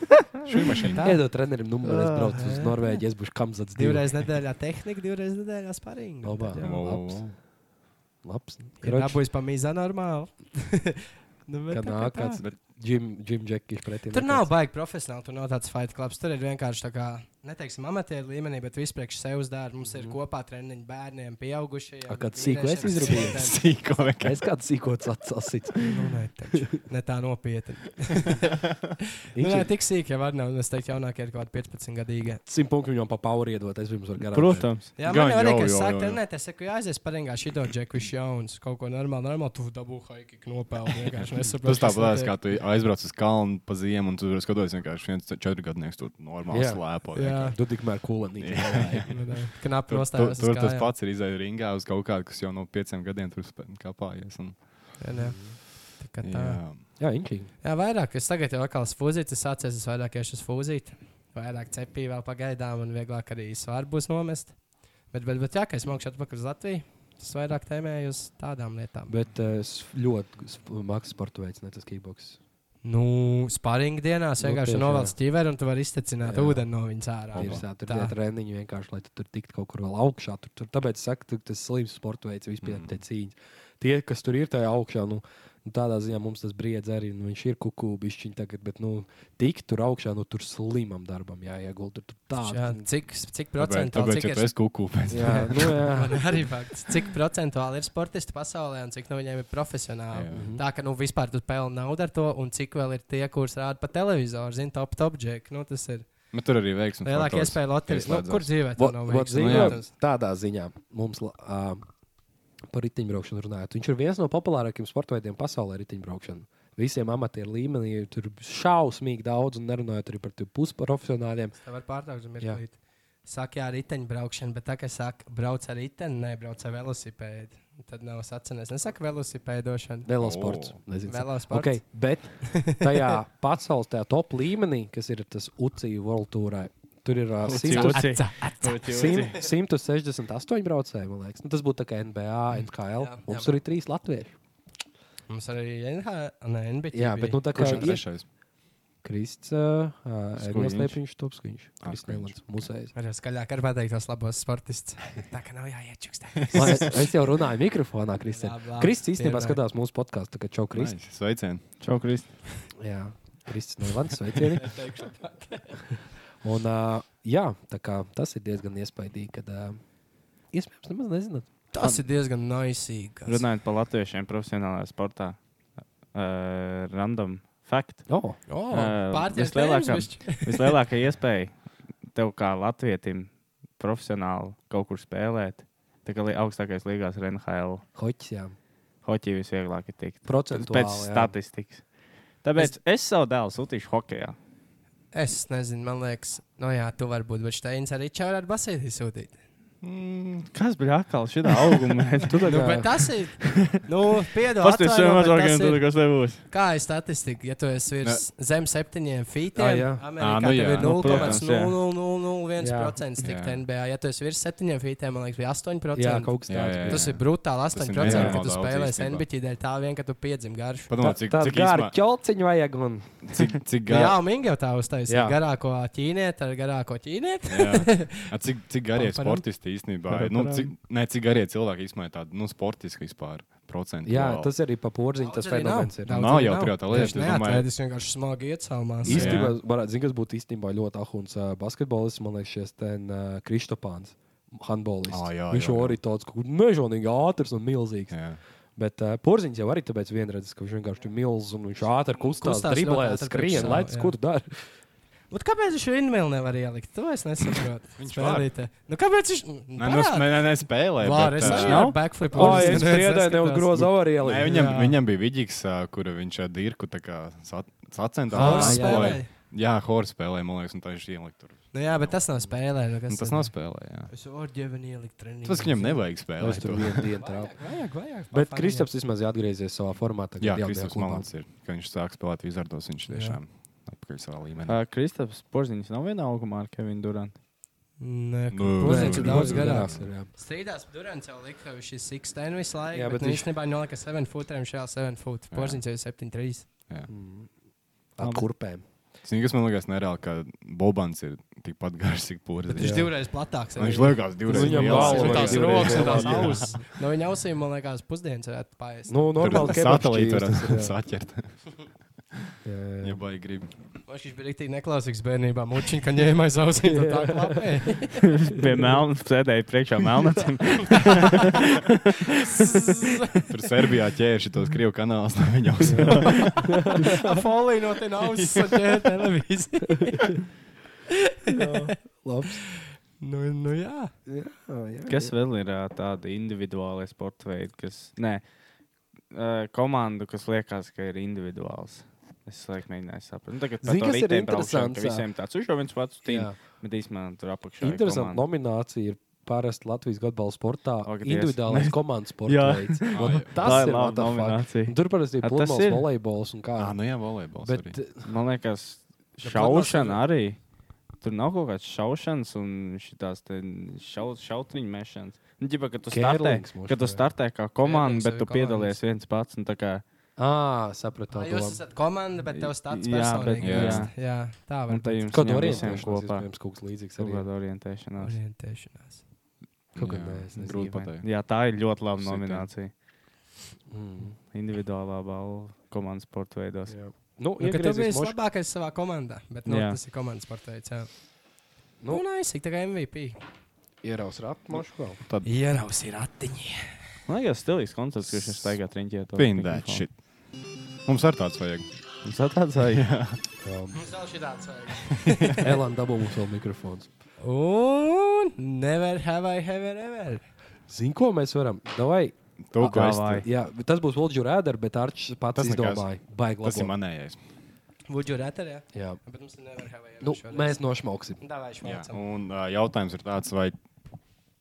S8: Šī mašīna.
S1: Tā.
S2: Iedod trenerim numuru, es braucu uz
S1: Jā.
S2: Norvēģiju, es būšu kamzats divreiz.
S1: Divreiz nedēļā tehnika, divreiz nedēļā sparīgi.
S2: Labā.
S1: Jā,
S8: Vau, vau,
S2: labs.
S8: vau.
S2: Labs.
S1: Ir
S2: Kroč,
S1: dabūjis pamīzā normāli. nu, bet
S2: kad
S1: tā kā
S2: nāk
S1: tā.
S2: kāds Jim Jim Jackies pretim.
S1: Tur nav baigi profesionāli, tur nav tāds fight clubs. Tur ir vienkārši tā kā, neteiksim, amatieru līmenī, bet vispār priekš sevis dārba. Mums ir kopā treniņi bērniem, pieaugušajiem.
S2: Mhm. A, kāds sīku esi izrabījies?
S8: Sīko vienkārši.
S2: Es kāds sīkots atsasīts.
S1: Nu, nē, taču, ne tā nopietni. nu, nē, tik sīki jau var nav. nu, Es teiktu, jaunākie ir kaut kādi 15 gadīgi.
S2: Simt punktu viņam pa pauri iedot, es jums varu garantēt.
S3: Protams.
S1: Jā,
S8: Gan
S1: man jau arī
S8: jau,
S1: tas
S8: jau,
S1: saka,
S8: jau,
S1: tev
S8: jau.
S1: nē, tas saka, jāaizies parengā šito džeku jauns, kaut ko normālu, normālu, tu dabū haikiku nopelnu. Vienkārši nesaprotu.
S8: Tas tāpat kā tu aizbrauc uz kalnu pa ziemu, un tu tur skaties, vienkārši viens četrgadnieks tur normāli
S2: Jā.
S8: slēpo.
S1: Jā.
S8: vienkārši.
S2: Tu tikmēr kulanīti.
S1: Knapi
S8: Tur, tur,
S1: nu nostājās.
S8: tur tas pats ir izdevies ringā uz kaut kādu, kas jau no pieciem gadiem tur spē- kāpājies. Un,
S1: Tā kā tā.
S8: jā.
S2: Jā, inčīgi.
S1: Jā, vairāk. Es tagad jau atkal sfūzīju, es sācies, es vairāk iešu uz fūzīti. Vairāk cepī vēl pagaidām, un vieglāk arī svāru būs nomest. Bet, bet, bet jā, ka es mokšu atpakaļ uz Latviju, tas vairāk tēmēju uz tādām lietām.
S2: Bet eh, s- ļoti s- maksas sporta veids, ne tas kickboks.
S1: Nu, sparīgi dienās
S2: Nu,
S1: vienkārši
S2: tieši,
S1: nu, novelc
S2: jā.
S1: ķiveri, un tu vari iztecināt
S2: Jā.
S1: ūdeni no viņas ārā.
S2: Ir
S8: Labā.
S2: sāturēt treniņu vienkārši, lai tu tur tiktu kaut kur vēl augšā. Tur, tur, tāpēc es saku, tur tas slims sporta veids vispār mm.
S8: Mm.
S2: tie cīņas. Tie, kas tur ir tajā augšā, nu, nu tādā ziņā mums tas briedz arī, nu, viņš ir kukūbišķiņ tagad, bet, nu, tik tur augšā, nu, tur slimam darbam jāiegulda. Tur, tur
S1: Jā,
S2: tāda.
S1: cik cik
S8: Tāpēc,
S1: procentuāli
S8: tāpēc
S1: cik
S8: ja tu
S1: ir,
S8: esi kukūpēs.
S2: Jā, nu, jā.
S1: Man arī fakts, cik procentuāli ir sportisti pasaulē, un cik no viņiem ir profesionāli?
S8: Jā.
S1: Tā ka nu, vispār tu pelni naudu ar to, un cik vēl ir tie, kurus rāda pa televizoru, zina, top, top džekļi. Nu, tas ir
S8: Bet tur arī veiksmi.
S1: lielākā iespēja loterijas. Nu,
S8: Pieslēdzās.
S1: kur dzīvē
S2: Vo-
S1: tas nav
S2: vo-
S1: veiksmi,
S2: zini,
S8: jā.
S1: protams.
S2: Nu Tādā ziņā mums la- ā, par riteņbraukšanu runājot. Viņš ir viens no populārākajiem sporta veidiem pasaulē, riteņbraukšana. Visiem amatieru līmenī ir tur šausmīgi daudz, un nerunājot arī par tiem pusprofesionāļiem.
S1: Tā var pārtraukt uz
S2: Jā.
S1: mirklīti. Saka, jā, riteņbraukšana, bet tā kā saka, brauc ar riteni, ne brauc ar velosipēdu. Tad nav sacenies. Nesaka velosipēdošana.
S2: Velosports.
S8: O.
S2: nezinu,
S1: Velosports.
S2: Okay, bet tajā pasaules tajā top līmenī, kas ir tas UCI World Tour, Tur ir uh,
S3: Uci,
S2: 100,
S3: uci.
S1: Atca,
S2: Sim- 168 braucēji, man liekas. Nu, tas būtu tā kā NBA, NKL.
S1: jā,
S2: Mums
S1: jā.
S2: tur ir trīs latvieši.
S1: Mums arī NH, ne, NBT.
S2: Jā, bet nu, tā kā
S8: Kurš ir trešais?
S2: Krists, uh, Edgars
S8: Skujiņš.
S2: Lepiņš, Topskiņš,
S8: Ah,
S2: Krists
S8: Skujiņš.
S2: Nīlands, Musējs.
S1: Arī skaļāk ar pateiktos labos sportistus. Tā kā nav jāiet čukstē.
S2: Man- Es es jau runāju mikrofonā, Krists.
S1: Labi, labi.
S2: Krists īstenībā
S1: Pierunāju.
S2: skatās mūsu podkāstu, kad čau Krists.
S8: Nice, Sveicieni.
S3: Čau, Kristi.
S2: Jā, Kristis Nīlands, sveicieni. Un, uh, jā, tā kā tas ir diezgan iespaidīgi, kad uh, iespējams nemaz nezināt.
S1: Tas ir diezgan naisīgi.
S3: Runājot par latviešiem profesionālajā sportā, uh, random fact.
S2: Oh,
S1: Oh,
S3: Ā,
S1: Pārties
S3: vislielākā-
S1: tēmas, bišķi.
S3: Vislielākā iespēja tev kā latvietim profesionāli kaut kur spēlēt, tā kā li- augstākais līgās ir NHL.
S2: hoķis, jā.
S3: Hoķī visvieglāk ir tikt. Tas
S2: Procentuāli.
S3: Pēc
S2: jā.
S3: statistikas. Tāpēc es, es savu dēlu sūtīšu hokeja.
S1: Es nezinu, man liekas, no jā, tu vari būt, bet Steins arī čau ar basēdi sūtīt.
S3: Mm, kas bija atkal šī auguma?
S2: Tu tā
S1: Nu,
S2: kā-
S1: bet tas ir. Nu, piedod,
S3: Pastāstiet,
S1: atvaino, bet
S3: kas
S1: tas ir-
S3: nebūs. nebūs.
S1: Kā ir statistika? Ja tu esi virs zem septiņiem
S2: Ah,
S1: feetiem,
S2: jā.
S1: Amerikā
S8: Ah,
S1: nu,
S8: nu jā,
S1: tev ir
S8: nu,
S3: protams, jā.
S1: 0,0001% tikt
S8: Jā.
S1: NBA. Ja tu esi virs septiņiem feetiem, man liekas, bija 8%.
S2: Jā, kaut kas
S8: Jā, jā,
S2: tāds.
S8: jā.
S1: Tas ir brutāli.
S8: Tas ir
S1: 8% ka
S8: nenormāli
S1: tu
S8: daudz
S1: spēlēsi
S8: īstenībā.
S1: NBA dēļ tā vien, ka tu piedzim garšu.
S8: Padomā, Nu, cik,
S2: tā
S8: cik,
S2: gara
S8: īsmā,
S2: ķelciņa vajag. Un...
S8: cik, cik
S1: Jā,
S8: gara
S1: jā Minga jau tā
S2: Jā.
S1: uztaisīja. Garāko ķīnieti ar garāko ķīnieti.
S8: Jā. A, Cik, cik garie
S1: Pamparam.
S8: sportisti īstenībā ir? Nu, cik, ne, cik garie cilvēki īstenībā ir tādi nu, sportiski vispār? Procentu,
S2: Jā, tas arī pa porziņu tas fenomens ir.
S8: Nav jau trijotā lieta, es
S1: Nē,
S8: domāju.
S1: tā ir vienkārši smagi iecaumās.
S8: Īsti.
S2: Īstenībā, varētu zināt, kas būtu īstenībā ļoti ahuns uh, basketbolists, man liekas, šis ten uh, Kristopāns. Handbolists.
S8: Ā, jā,
S2: viņš
S8: jā,
S2: jau
S8: jā.
S2: arī tāds - mežonīgi ātrs un milzīgs.
S8: Jā.
S2: Bet uh, porziņš jau arī tāpēc vienreiz, ka viņš vienkārši ir milzīgs un viņš ātri kustās,
S1: Kustās ļoti
S2: driblē,
S1: ātri
S2: skrien,
S1: priekšā,
S2: lec,
S1: jā.
S2: kur tu dari.
S1: Bet kāpēc viņš īņķi nevar ielikt? To es nesaprotu.
S8: Viņš var.
S1: spēlīja. Nu, kāpēc viņš
S8: Nē, nu, nē, nē, nē, spēlē.
S1: Vār,
S8: bet,
S1: es
S8: ā,
S1: arī
S3: nav?
S1: ar backflipu.
S2: O,
S1: uzreiz
S2: ja es priedēju ne uz
S1: neskatās.
S2: grozu avarieli.
S8: Nē, viņam,
S1: Jā.
S8: viņam bija vidīgs, kur viņš ar dirku tā kā sa-
S1: Hors
S8: sacentās.
S2: Ā, jā.
S1: spēlē.
S8: jā Hors spēlē, man liekas, un tā viņš ielika tur.
S1: Nu, jā, bet tas nav spēlē. Nu,
S8: Un
S1: kas
S8: tas nav spēlē, jā.
S1: Es varu ģeveni ielikt treniņu.
S8: Tas, ka viņam nevajag
S2: Es
S8: spēlēt.
S2: tur
S8: to.
S2: vienu dienu trauku.
S1: Vajag, vajag.
S2: Bet
S1: Fani,
S2: Kristaps vismaz ir atgriezies savā formā. tagad
S8: Jā,
S2: jaunajā
S8: Kristaps
S2: klubā.
S8: Malans ir, ka viņš sāk spēlēt vizardos, viņš
S1: Jā.
S8: tiešām atpakaļ savā līmenī.
S3: Uh, Kristaps Porziņš nav vienā augumā ar Kevinu Durantu.
S1: Nē,
S8: Nu,
S1: Kurzēns ir
S8: Nē,
S1: daudz
S8: Kurzēns
S1: garāks.
S2: ir, jā.
S1: Strīdās Durants jau lika, ka viņš ir 6 ten visu laiku.
S2: Jā,
S1: Jā, bet
S2: bet
S1: nu,
S2: viņš-
S1: īstenībā viņš nolika 7 footriem šajā 7 foot. Kurzēns jau ir 7-3.
S2: Ar Mm. kurpēm.
S8: Zini, kas man liekas nereāli, ka Bobans ir tikpat garš, cik
S1: Bet viņš
S8: pūris.
S1: divreiz platāks.
S8: Viņš liekas divreiz
S2: Viņam
S8: lielāks.
S2: galva
S1: ir
S2: Viņš
S1: tās
S2: arī divreiz
S1: rokas un tās
S8: lielāks.
S1: ausis. No viņa ausīm, man liekas, pusdienas varētu paēst.
S2: Nu,
S8: Tur
S2: normāli, ka
S8: satelīti var saķert, ja baigi grib.
S1: Viņš bija rīktīgi neklausīgs bērnībā. Mūķiņa, ka ņēma aiz ausīm no tā klapē.
S3: Pie melna sēdēja priekšā melnacim.
S8: Tur Serbijā ķērši tos krievu kanālus, lai viņi jau
S1: Folija no tiem ausis saķēra televīziju. Nu, nu jā.
S3: Kas vēl ir ā, tādi individuālie sporta veidi, kas. Nē, ā, komandu, kas liekas, ka ir individuāls. Es laikam mēģināju saprast. Nu, tagad par
S2: Zini,
S3: to
S2: kas ir
S3: riteņbraukšanu, ka
S2: interesants, ā?
S3: Visiem tāds viņš jau viens pats tīm, bet īstenībā tur apakšā. ir
S2: Interesanti.
S3: komanda.
S2: Nominācija ir parasti Latvijas gudbola sportā.
S3: O, ka
S2: Individuālais komandas sports.
S3: Jā.
S2: veids. Tas
S3: Tā
S2: ir what the
S3: laba
S2: fuck. Un
S3: nominācija.
S2: Tur parasti ir
S3: A, tas
S2: pludmales,
S3: ir?
S2: volejbols un kā.
S8: Ah, nu jā, volejbols.
S2: Bet eh,
S8: arī.
S3: Man liekas,
S1: Ja
S3: šaušana arī. Tur nav kaut kādas šaušanas un šīs šaušanu mešanas. Nu, ģipa, kad, tu startē,
S2: Kērlings mums
S3: kad tu
S2: vajag.
S3: startē kā komanda,
S1: Kērlings
S3: bet tu
S1: vai komandas.
S3: piedalies viens pats. un tā kā-
S2: ā, sapratu.
S1: Tā
S2: to
S1: jūs
S2: labi.
S1: esat komanda, bet tev stāsts
S3: Jā, Nu, bet-
S1: personīgi.
S8: jā.
S1: rakst. jā, tā var
S3: Un tā
S1: būt
S3: jums
S2: Kaut
S3: viņiem
S2: kā
S3: visiem
S2: orientēšanās,
S3: kopā.
S2: iespējams, kaut kas līdzīgs
S3: Kaut
S2: arī.
S3: kāda orientēšanās.
S1: orientēšanās.
S2: Kaut kā
S8: Jā,
S2: nē, es nezinu.
S8: Grūti pateikt.
S3: Jā, tā ir ļoti laba
S8: Sitā.
S3: nominācija.
S2: Mm,
S3: Individuālā balva komandas sporta veidos.
S2: jā. Nu,
S1: Nu, ka tu
S2: iegriezies
S1: biji
S2: moš-
S1: vislabākais savā komandā, bet nu,
S3: Jā.
S1: tas ir komandas sports.
S2: Nu.
S1: Nu, nu aizsīgi, tā kā MVP.
S2: Ieraus rapu mošu vēl.
S1: Ieraus ir attiņi.
S3: Man liekas, stilīgs koncerts, kurš ir staigā trījā.
S8: Pindēt šit. Mums ar tāds vajag.
S3: Mums atnāca arī.
S2: Um,
S1: Mums vēl šitāds vajag.
S2: Elan dabū mums vēl mikrofons.
S1: Un never have I ever ever.
S2: Zini, ko mēs varam? Davai,
S8: To, ko es
S3: Davai.
S2: jā, tas būs Volģu rēder, bet Arčs pats
S8: Tas nekas.
S2: izdomāja. Baigi
S8: Tas ir
S2: labi.
S8: manējais.
S1: Would you rather? Jā,
S2: Jā.
S1: bet mums ir never have I ever.
S2: Nu, mēs nošmauksim.
S1: Davai,
S8: Jā.
S1: šmaucam.
S8: Un ā, jautājums ir tāds, vai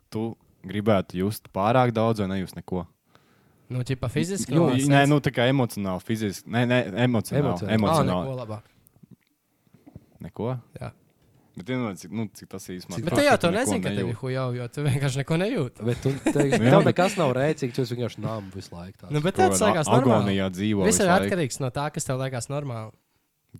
S8: tu gribētu just pārāk daudz vai nejust neko?
S1: Nu, ķipa fiziski.
S8: Nu,
S1: labāk
S8: nē,
S1: sens.
S8: nu tā kā emocionāli, fiziski. Nē, nē, emocionāli.
S2: Emocionāli.
S1: Ā,
S8: emocionāli.
S1: neko labāk.
S8: Neko?
S1: Jā.
S8: Bet vienmēr, cik, nu, cik tas īstenībā
S1: Bet tu jau to nezini, ka tev ir huijau, jo tu vienkārši neko nejūti.
S2: Bet tu teiksi,
S8: Jā.
S2: tev nekas nav rēcīgs, tu esi vienkārši nāmu visu laiku.
S1: Nu,
S2: tāds.
S1: bet tas sākās normāli.
S8: agonijā dzīvo.
S1: Viss ir
S8: visu laiku.
S1: atkarīgs no tā, kas tev liekas normāli.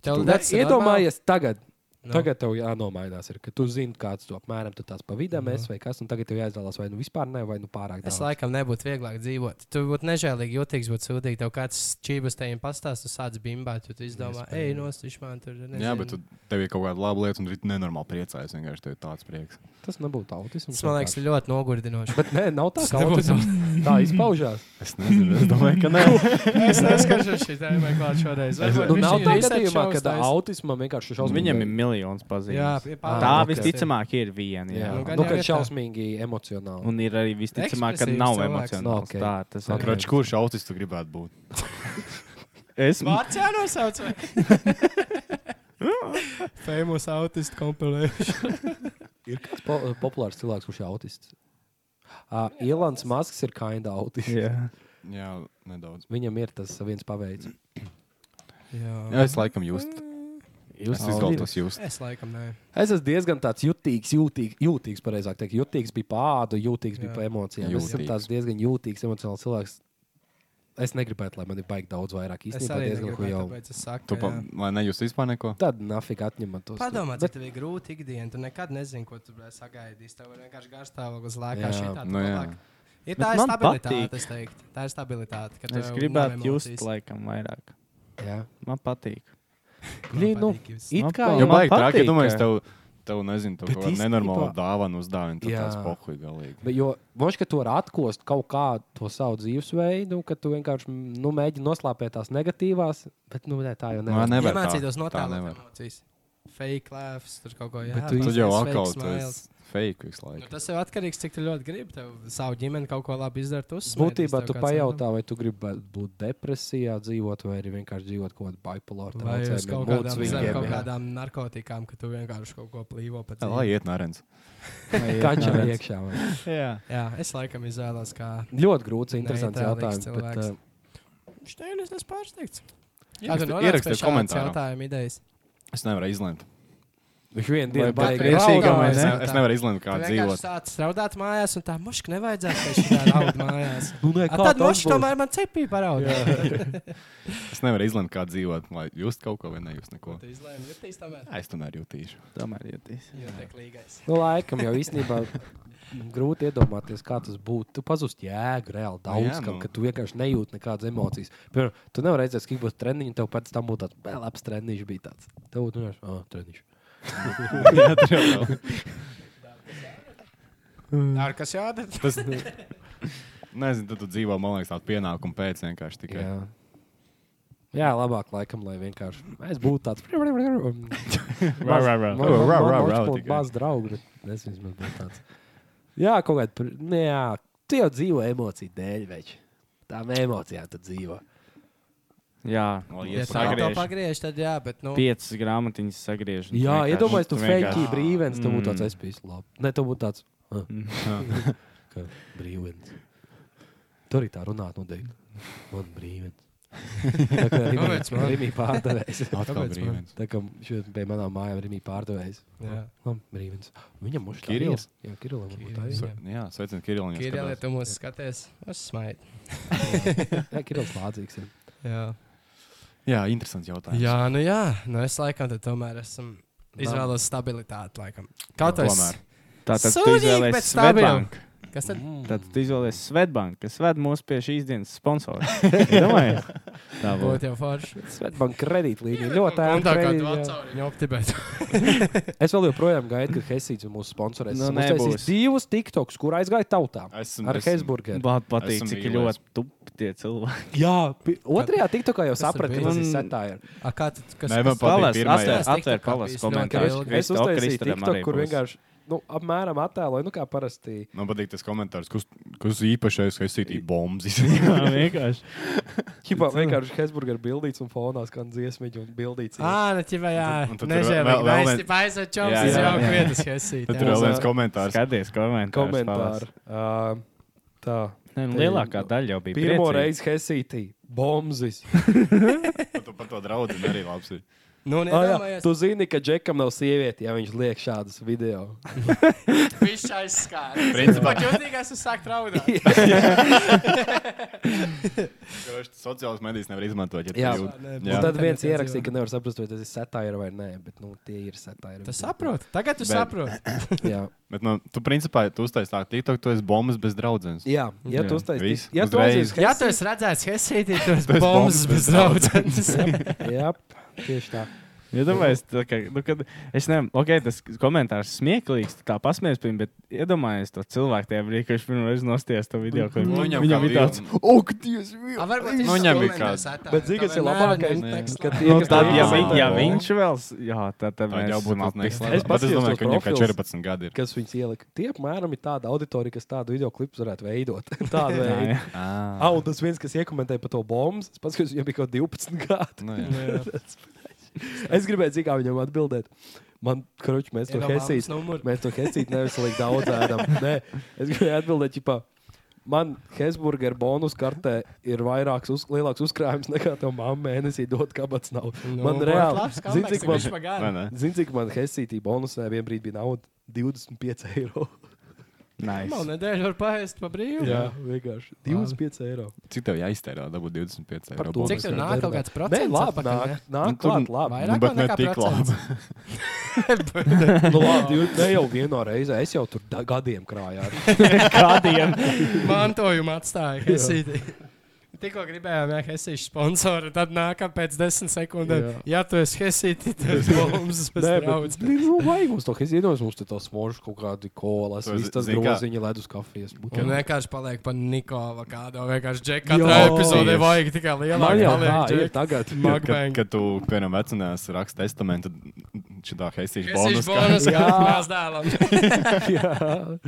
S8: Tu-
S1: Tev
S2: Bet
S1: liekas,
S2: Iedomājies tagad.
S1: Nu.
S2: Tagad tev jānomainās, ir, ka tu zini, kāds to apmēram tu tās pa vidu mēs vai kas, un tagad tev jāizvēlās vai nu vispār ne, vai nu pārāk
S1: Mhm. Es
S2: daudz.
S1: laikam nebūtu vieglāk dzīvot. Tu būtu nežēlīgi, jutīgs, būtu sūdīgi. Tev kāds čības te jums pastāsta, tu sāc bimbāt, jo tu izdomā,
S2: Iespējams.
S1: ej, nosviš man tur. Nezinu.
S8: Jā, bet tu, tev ir kaut kāda laba lieta, un tu nenormāli priecājies. Vienkārši tev ir tāds prieks.
S2: Tas nebūtu autisms.
S1: Tas man liekas
S2: vienkārši.
S1: ļoti nogurdinoši.
S2: Bet nē, nav tā,
S1: Tas
S2: ka
S1: nebūtu-
S2: autisms tā izpaužās.
S8: Es nezinu, es domāju, ka nē.
S1: es neskaidrošu šī tēma klāt šoreiz. Varbūt
S2: Nu,
S1: viņš
S2: nav
S1: ir
S2: tā
S1: research
S2: gadījumā,
S1: shows
S2: kad
S1: taisa.
S2: autismam vienkārši šausmīgi.
S3: Viņam ir miljons
S1: Jā,
S3: paziņas.
S1: pie
S2: Ah,
S3: Tā
S1: pārāk-
S3: visticamāk ir viena.
S2: Jā,
S3: Jā.
S1: Nu, gan
S2: nu,
S1: jau
S2: kad
S1: ir tā.
S2: šausmīgi emocionāli.
S3: Un ir arī visticamāk, ka
S1: Ekspresīvs
S3: nav
S1: cilvēks.
S3: emocionāls.
S2: Nu, ok.
S3: Tā tas
S2: Ok.
S3: ir.
S8: Kroč, kurš autists tu gribētu būt?
S3: Es
S1: Vārds jānosauc. vai? Famous autistu kompilēšana.
S2: Ir kāds po populārs cilvēks, kurš ir autists. Uh, Ilans Masks ir kinda autists. Yeah.
S3: Jā.
S8: Jā, nedaudz.
S2: Viņam ir tas viens paveids.
S8: Jā, es laikam jūs. Jūs
S2: Autists.
S8: izvēlētos jūs.
S1: Es laikam nē.
S2: Es esmu diezgan tāds jutīgs, jūtīgs, jūtīgs pareizāk teikt. Jutīgs bija pādu, jūtīgs
S1: Jā.
S2: bija pa emocijām. Jūtīgs. Es esmu
S8: Jūtīgs.
S2: tāds diezgan jūtīgs, emocionāls cilvēks. Es negribētu, lai man ir baigi daudz vairāk
S1: Es
S2: īstenībā.
S1: arī
S2: Diezgan
S1: negribu,
S2: hujau.
S1: tāpēc es saku.
S8: Tu
S1: ka
S8: pa,
S1: jā.
S8: vai ne jūs vispār neko?
S2: Tad nafika atņemat to.
S1: Padomā, cik tev ir grūti ikdienā. Tu nekad nezini, ko tu brāl, sagaidīsi. Tev ir vienkārši garstāvoklis lēkā.
S2: Jā,
S1: šitā, tu
S8: nu jā.
S1: labāk-
S3: Bet
S1: Ir tā ir
S3: man
S1: stabilitāte,
S3: patīk.
S1: es teiktu. Tā ir stabilitāte. ka
S3: Es
S1: tev
S3: gribētu
S1: nav
S3: just,
S1: emocijas.
S3: laikam, vairāk.
S2: Jā,
S3: Man patīk.
S1: Man
S2: Lī, nu,
S1: patīk jūs.
S2: it
S3: Man
S2: kā
S3: patīk.
S8: Jo
S2: jau.
S3: man
S8: baigi traki,
S3: patīk,
S8: domāju, es
S3: ka-
S8: tev, tev nezinu, tev
S2: Bet
S8: kaut kādu
S2: īstenībā-
S8: nenormālu dāvanu uzdāvinu, tad
S2: Jā.
S8: tāds pohuļ galīgi.
S2: Bet, jo moš, ka tu vari atkost kaut kādu savu dzīvesveidu, ka tu vienkārši nu, mēģini noslēpēt tās negatīvās, bet nu, nē, tā jau
S8: Nē,
S2: nav.
S8: nevar.
S1: Iemācītos
S8: tā, tā
S1: notēlot
S8: nevar.
S1: emocijas. Fake laughs, tur kaut ko
S2: Bet tu
S1: jādara.
S8: Tad jau atkal tas fake visu
S1: Nu,
S8: laiku.
S1: tas jau atkarīgs, cik tu ļoti gribi tev savu ģimeni kaut ko labi izdarīt.
S2: Būtībā tu pajautā, vai tu gribi būt depresijā, dzīvot, vai arī vienkārši dzīvot kaut kādā bipolārā
S1: vai uz kaut kādām, zem, kaut
S2: formā.
S1: kādām narkotikām, ka tu vienkārši kaut ko plīvo pa
S8: Jā,
S1: dzīvi.
S8: Lai iet nārens.
S2: Kaņķa ir iekšā. vai?
S3: Jā.
S1: Jā, es laikam izvēlos, kā
S2: Ļoti grūts, interesants
S1: Neitrālīgs
S2: jautājums. Bet,
S1: cilvēks.
S2: uh,
S1: Šteinis ir pārsteigts. Jā,
S8: Ieraksti-
S1: tu nonāci
S8: ieraksti
S1: pie šādas
S8: komentāru.
S1: jautājuma idejas.
S8: Es nevaru izlemt.
S2: viņš vienu dienu
S1: pat
S2: baigi raudāt.
S1: priecīgam, vai
S8: Es,
S1: ne?
S8: ne, es nevaru izlemt, kā
S1: Tu vienkārši
S8: dzīvot.
S1: sāc strādāt mājās, un tā muška nevajadzētu pie šī rauda mājās.
S2: Nu, nē,
S1: A,
S2: kā
S1: tad
S2: tas
S1: muška
S2: būs?
S1: tomēr man cepīja paraudā.
S8: Es nevaru izlemt, kā dzīvot. Lai jūs kaut ko vai nejūst neko.
S1: Tu izlēmi, jutīs tomēr.
S8: Jā, Es tomēr jutīšu.
S3: Tomēr jūtīs.
S1: Jo teklīgais.
S2: Nu, laikam jau īstenībā grūti iedomāties, kā tas būtu. Tu pazūsti jēgu reāli daudz, jā,
S8: jā,
S2: kam,
S8: nu.
S2: ka tu vienkārši nejūti nekādas emocijas. Piemēram, tu nevari redzēt, cik būs treniņš, un tev pēc tam būtu tāds vēl labs treniņš. bija tāds." Tev būtu vienkārši, ah, treniņš. Mm.
S1: Ar kas jādara?
S8: Tas, nezinu, tad tu dzīvo, man liekas, tādu pienākumu pēc vienkārši tikai.
S2: Jā. Jā, labāk laikam, lai vienkārši es būtu tāds. Maz-
S3: rā, rā.
S2: man- man-
S8: Rā, rā,
S2: man
S8: rā
S2: būtu
S8: tikai.
S2: Maz draugu, bet es vismaz būtu tāds. Jā, kaut kāda. pr- nē, Jā, tu jau dzīvo emociju dēļ, veči. Tām emocijām tu dzīvo.
S3: Jā.
S8: O,
S1: Ja
S8: Ies
S1: tā to
S3: sagriež.
S1: pagriež, tad jā, bet nu.
S3: Piecas grāmatiņas sagriež. un
S2: Jā,
S3: vienkārši
S2: iedomājieties, tu fake
S3: vienkārši-
S2: brīvens, tu būtu tāds
S3: Mm.
S2: espijas labi. Nē, tu būtu tāds ah, ka brīvens. Tur arī tā runāt noteikti. Man brīvens. Tā kā
S1: Kāpēc man?
S2: Rimī pārdevējs.
S8: Atkal
S1: Kāpēc man?
S8: brīvens.
S2: Tā kā šeit pie manām mājām ir Rimī pārdevējs.
S1: Jā.
S2: Man brīvens. Viņam mums
S8: Kirills?
S2: Jā, Kirillam būtu tā.
S1: Kirills,
S2: ir.
S1: jā.
S8: Jā, sveicinu Kirillu.
S1: Kirjā, ja tu mūs skaties, uzsmaid.
S2: Jā, Kirills lādzīgs. ir.
S1: Jā.
S8: Jā, interesants jautājums.
S1: jā, nu jā, nu es laikam tad tomēr esmu izvēlos stabilitāti, laikam. Kaut
S8: Jā,
S1: vai
S8: Nu, tomēr.
S3: Tātad tu
S1: Sūdīgi, bet
S3: izvēlējies
S1: stabili.
S3: Svetbanku.
S1: Kas
S2: Mm.
S1: tad?
S3: Tad tu izvēlējies Svetbanku, kas ved mūs pie šīs dienas sponsora. Domāju, tā būtu.
S1: Būtu jau forši.
S2: Svetbank kredītlīnija ļoti
S1: Un tā kā tu
S2: ērta.
S1: atcauri viņu aptibēt.
S2: Es vēl joprojām gaidu, kad Helsīds mūs sponsorēs.
S3: Nu,
S2: Mums taisīs
S3: nebūs.
S2: divus TikToks, kur aizgāja tautā.
S8: Esmu-
S2: Ar
S8: esmu-
S2: Helsburgeru.
S3: Man patīk,
S8: Esam
S3: cik
S8: mīlēs.
S3: ļoti tupi tie cilvēki.
S2: Jā, pi- otrajā tiktokā jau
S1: Tas ir
S2: sapratu,
S1: bijis.
S2: ka tas ir
S3: Un-
S2: satire.
S1: A, kā tu, kas,
S8: Nē, man
S1: kas-
S8: patīk
S3: Palas,
S8: pirmajā.
S3: atver-
S1: Es
S3: atver
S1: TikTokā
S3: palas
S1: biju
S3: komentārus.
S1: ļoti-
S2: Es
S3: Kristo-
S2: uztaisīju
S3: Kristaram
S2: tiktoku,
S3: arī
S2: kur
S3: būs.
S2: vienkārši, nu, apmēram attēloju, nu, kā parasti.
S8: Man patīk tas komentārs, kas, kas īpašais, ka es sītīju bombas.
S3: Jā, vienkārši.
S2: Hipā vienkārši Hesburger bildīts un fonā skan dziesmiņa un bildīts.
S1: Ā, nu, ķipa, jā,
S8: Un tad tur vēl- vēl-
S1: nežēlīgi.
S8: vēl
S1: Mēs
S8: vien-
S1: te paizot čoms,
S3: Jā,
S1: es
S2: jā,
S1: jau
S3: jā.
S1: kvietas jāsīt.
S8: Tad tur vēl viens komentārs.
S3: Skaties, komentārs.
S2: Komentāri. Ā, Tā.
S3: Nē, nu, lielākā daļa jau bija.
S2: Pirmo
S3: priecīga.
S2: reizi Helsītī. Bombzis.
S8: Tu par to draudu arī labs. ir.
S1: Nu,
S2: Ah, jā,
S1: nedomājies,
S2: tu zini, ka Džekam nav sieviete, ja viņš liek šādus video.
S1: viņš aizskāra.
S8: Principā.
S1: Pat jūtīgais es sāku traudāt.
S8: Sociālās medijas nevar izmantot. Ja tu
S2: Jā.
S8: jūt-
S1: Nē,
S8: Jā.
S2: Un tad viens
S1: Tagad
S2: ierakstīja,
S1: dzīvo.
S2: ka nevar saprast, vai tas ir satīra vai nē, bet nu, tie ir satīri.
S1: Tu saproti, tagad tu
S8: Bet-
S1: saproti.
S2: Jā,
S8: Bet, nu, tu principā tu uztaisīji tādu TikTok, tu esi bombas bez draudzes.
S2: jā, ja
S8: Jā.
S2: tu uztaisīsi.
S8: Viss,
S2: Ja tu
S8: uzreiz.
S2: aizies,
S1: Ja tu esi redzējis Helsītī, tad
S8: Tu esi
S1: tas bombas
S8: bombas
S1: bez
S8: bez
S1: draudzes.
S2: Jā, tieši tā.
S3: Iedomājies, tā kā, nu, kad es nezinu, ok, tas komentārs smieklīgs, tu tā pasmējies, pirms, bet iedomājies to cilvēku tajā brīdī, kad viņš pirmo reizi nosties to video. Kad,
S8: Nu, viņam
S3: viņam
S8: kā
S3: bija tāds,
S8: bija-
S3: ok, Dievs,
S1: A, varbūt
S8: Nu, viņam bija kāds.
S2: Bet zini, kas ir labākais? Ka tie,
S3: Nu,
S2: kas
S3: tad,
S2: tā
S3: ja,
S2: izmanto-
S3: viņ, ja viņš vēl, s- jā, tad, tad
S8: Tā
S3: mēs
S8: jau būtu tas nekas.
S3: apmēram.
S2: Es
S8: labs. Bet Es
S2: paskatījos
S8: domāju,
S2: tos
S8: ka viņam kā
S2: profils.
S8: 14 gadi ir.
S2: kas viņus ielika. Tie apmēram ir tāda auditorija, kas tādu video klipu varētu veidot. Tāda veida.
S8: Ah.
S2: Ah, un tas viens, kas iekomentēja par to bombu, es paskatījos, viņam bija kaut kādi 12 gadi.
S8: Nu, jā.
S2: Es gribēju zināt, kā viņam atbildēt. Man, kroķi, mēs to hesīt. Mēs to hesītu nevis liek daudz ēdam. Nē, es gribēju atbildēt, ķipā, man Hesburger bonus kartē ir vairāks, uz, lielāks uzkrājums nekā tev mamma mēnesī dot kabats nav. Nu, Man reāli, zini, cik man,
S8: Vai
S1: man.
S8: ne?
S2: zini, cik man hesītī bonusē vienbrīd bija nauda 25 eiro.
S1: Man
S3: Nice.
S1: nedēļa var paēst pa brīvu.
S2: Jā, vienkārši 25 eiro.
S8: Cik tev jāiztērē, lai būtu 25
S2: Par
S8: eiro?
S2: to.
S1: Cik tev nāk kaut kāds
S2: Nē,
S1: procents?
S2: labi,
S1: atpakaļ,
S2: nāk,
S1: ne?
S2: nāk
S8: Nu, tur-
S2: klāt, labi.
S1: Vairāk
S8: Nu, bet
S1: vēl
S8: ne
S1: nekā
S8: tik
S1: procents?
S8: labi.
S2: Nu, labi, div- ne jau vienā reizē, es jau tur da- gadiem krājā.
S3: Kādiem?
S1: Mantojumu atstāja Helsītī. Tikko gribējām, ja Helsīšu sponsoru, tad nākam pēc desmit sekundēm. Ja tu esi Helsītī, tad esi bombas bez
S2: Nē,
S1: draudzes.
S2: bet, nu, vajag mums to hezienos, mums te tās smožas kaut kādi kolas,
S8: Tu esi-
S2: vistas
S8: zini kā?
S2: groziņi, ledus kafijas.
S1: Un
S2: buteļi.
S1: vienkārši paliek pa Nikolu kādu. Vienkārši džeku
S2: Jo.
S1: katrā epizodē
S8: Yes.
S1: vajag tikai
S2: Man
S1: lielāku
S2: jau tā ir
S1: palieku.
S2: tagad.
S8: Kad,
S1: Magbang.
S8: kad tu, piemēram, vecinās raksta testamentu, šitā heisīša
S1: Kristīšu
S8: bonus.
S1: bonus
S2: Jā.
S1: mēs dēlam.
S2: Jā.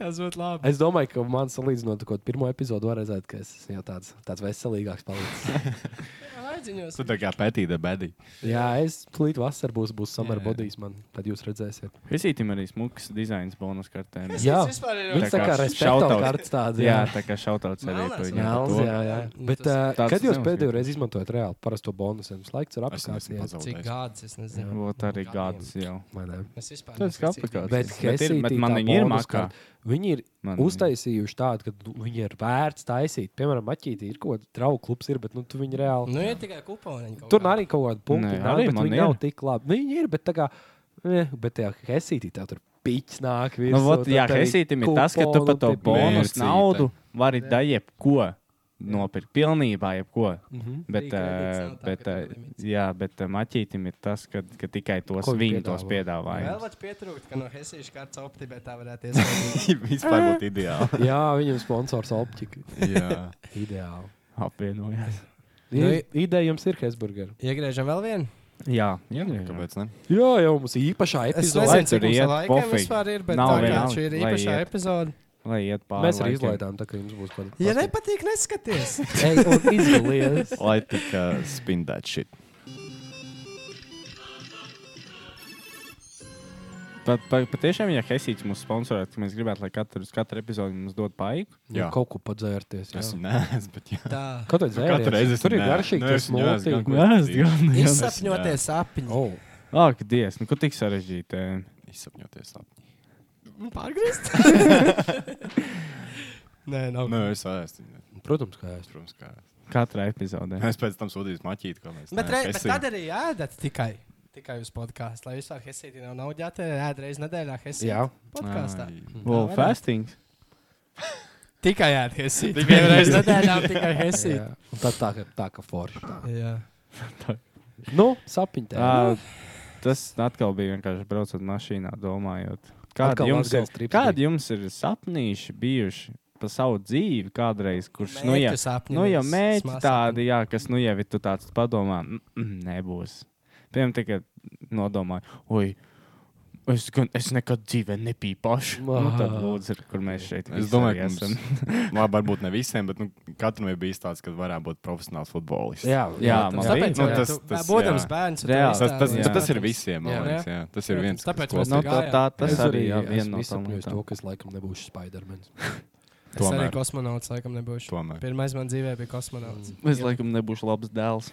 S1: Tas būtu labi.
S2: Es domāju, ka man salīdzinot ar pirmo epizodu, var redzēt, ka es esmu jau tāds, tāds veselīgāks palicis.
S8: ka-
S1: Aiziņos.
S8: Tu tā kā pētīji debedi.
S2: Jā, es plīt vasar būs, būs summer
S8: Jā.
S2: bodīs man, tad jūs redzēsiet.
S3: Visītim arī smuks dizains bonus kartēm.
S2: Jā.
S1: Tas vispār ir
S2: Viņš
S3: Tā
S2: tā
S3: kā
S2: kā respekto
S3: shoutouts.
S2: karts tāds.
S3: Jā, tā kā šautauts arī
S1: Melnās
S3: par viņu. par
S2: Jēls,
S3: to.
S2: jā, jā.
S1: Nu,
S2: Bet,
S1: tas-
S2: uh,
S3: Tāds
S2: kad jūs
S3: tas
S2: pēdējo
S3: ir.
S2: reizi izmantojat reāli parasto bonusu, jums laiks ir
S8: Es neesmu
S2: apgāzties.
S1: Cik
S8: pazaudējis.
S1: gads es nezinu.
S3: Vot arī gads jau.
S1: Es vispār
S3: Tas ir
S1: neesmu
S3: aplikācija.
S2: Bet,
S3: Bet ir-
S2: Hesītī
S3: bet man
S2: tā
S3: viņa ir
S2: bonus
S3: makā.
S2: karte. Viņi ir
S3: Man viņa-
S2: uztaisījuši tādu, ka viņi ir vērts taisīt. Piemēram, Maķītī ir kaut kāda draugu klubs, ir, bet nu, tu viņi reāli.
S1: Nu, ir tikai kuponi.
S2: Tur arī kaut kāda punkta,
S3: Nē,
S2: nāk,
S3: arī
S2: bet
S3: man
S2: viņi
S3: ir.
S2: nav tik labi. Nu, Viņi ir, bet tā kā. eh, Bet tajā Helsītī tā tur piņķis nāk. Visu,
S3: Nu, vot, jā, Helsītam ir tas, ka tu par to bonusu
S8: Mērcīte.
S3: naudu vari da jebko nopirkt. Pilnībā jebko.
S2: Mm -hmm.
S3: Bet,
S1: Tikai līdz
S3: eh,
S1: nav tā,
S3: bet,
S1: ka
S3: eh,
S1: tev limits.
S3: jā, bet eh, maķītim ir tas, ka, ka tikai tos
S2: Ko viņi
S3: viņi tos
S1: Vēl
S3: piedāvāja.
S1: var pietrūkt, ka no Helsīšu kārtas optibētā varētu iesaistīties.
S8: Vispār būtu ideāli.
S2: Jā, viņam sponsors optika.
S8: Jā.
S2: Ideāli.
S3: Apvienojās.
S1: Nu,
S2: I- Ideja jums ir Hesburger.
S1: Iegriežam vēl vienu.
S3: Jā, jā, jā.
S8: Kāpēc ne?
S2: Jā, jau mums īpašā
S1: Es
S2: epizode.
S1: nezinu,
S3: Lai
S1: cik
S3: tur
S1: mums
S3: iet,
S1: tā laikam
S3: pofīgi.
S1: vispār ir, bet
S3: Nav
S1: tā kā
S3: vienalga,
S1: šī ir
S3: lai
S1: īpašā
S3: iet.
S1: epizode.
S3: Lai iet pāri.
S2: Mēs arī
S3: laikiem.
S2: izlaidām, tā kā jums būs kaut kas
S1: Ja nepatīk, neskaties.
S2: Izdalījies.
S8: Lai uh, tika spindēt šit.
S3: Pat, pat, patiešām, ja Helsīts mums sponsorētu, tad mēs gribētu, lai katru, uz katru epizodi mums dod paiku.
S2: Jā, kaut ko padzērties.
S8: Es
S2: jā.
S8: nē, bet jā.
S1: Tā.
S2: Katru
S8: Katru reizi es
S2: Tur ir
S8: nē.
S2: garšīgi,
S8: Nu,
S2: tas
S8: es neesmu
S2: smultīgi.
S8: gan- Nē, es
S1: Izsapņoties sapņi.
S2: Oh.
S3: Ak, Dievs, nu, kur tik sarežģīti. eh?
S8: Izsapņoties sapņi.
S1: Nu, Pārgriezt? Nē, nav.
S8: Nē, Nu, es ēstu.
S2: Protams, kā es.
S8: Protams, kā ēst.
S3: Katrā epizodē.
S8: Es pēc tam sūtīju maķīti, ko mēs.
S1: Bet,
S8: neesam
S1: re, bet
S8: ēsījuši.
S1: tad arī ēdat tikai. Tikai uz podkāstu, lai vispār Helsītī nav naudas. Jā, ēd reizes nedēļā Helsītī.
S2: Jā.
S1: Podkāstā.
S8: Ai.
S3: Vēl
S1: varētu.
S3: fastings.
S1: Tikai ēd Helsītī. Tikai reizes nedēļā, un tikai Helsītī.
S2: Jā. Un tad tā, ka, tā ka forši. Tā.
S1: Jā.
S2: Nu, sapņot.
S3: Tā, tas atkal bija vienkārši braucot mašīnā, domājot, kāda
S2: Atkal
S3: jums,
S2: Latgales
S3: ir-
S2: trips
S3: kādi
S2: bija.
S3: jums ir sapnīši bijuši par savu dzīvi kādreiz, kurš nu,
S1: Mērķu
S3: jā,
S1: sapņi
S3: nu, jau
S1: nevis
S3: mēģi
S1: smā
S3: tādi, jā, kas nu jau ir tu tāds padomā, "Mm, mm, nebūs. Piemēram, tikai nodomāju, oi, es, gan, es nekad dzīvē nebiju pašs. Nu, tad
S2: Ā.
S3: lūdzu, ir, kur mēs šeit
S8: Es
S3: visi
S8: domāju,
S3: arī
S8: ka
S3: esam.
S8: mums, labi, varbūt ne visiem, bet nu, katram ir bijis tāds, ka varētu būt profesionāls futbolists.
S2: Jā,
S3: jā,
S2: jā,
S3: man
S2: tā-
S3: bija.
S1: Tāpēc,
S8: Nu,
S1: jā,
S8: tas-
S1: tu-
S8: tas,
S1: būdams
S8: jā.
S1: bērns, tu
S3: Reāli.
S1: iztēlojies.
S8: Tas, tas,
S3: Jā.
S8: tas ir visiem, man
S1: Jā.
S8: liekas. Jā, tas ir
S1: Protams,
S8: viens.
S1: tāpēc
S8: kas
S1: mēs
S3: Nu,
S8: kopā-
S1: gājām.
S3: tā, tā, tas
S2: Es
S3: arī jā,
S2: es
S3: viena no
S2: visu
S3: tām
S2: sapņoju
S3: lietām.
S2: to, ka es laikam nebūšu Spidermans.
S1: Es arī
S8: Tomēr.
S1: kosmonauts laikam nebūšu.
S8: Tomēr.
S1: Pirmais man dzīvē bija kosmonauts.
S3: Es laikam nebūšu labs dēls.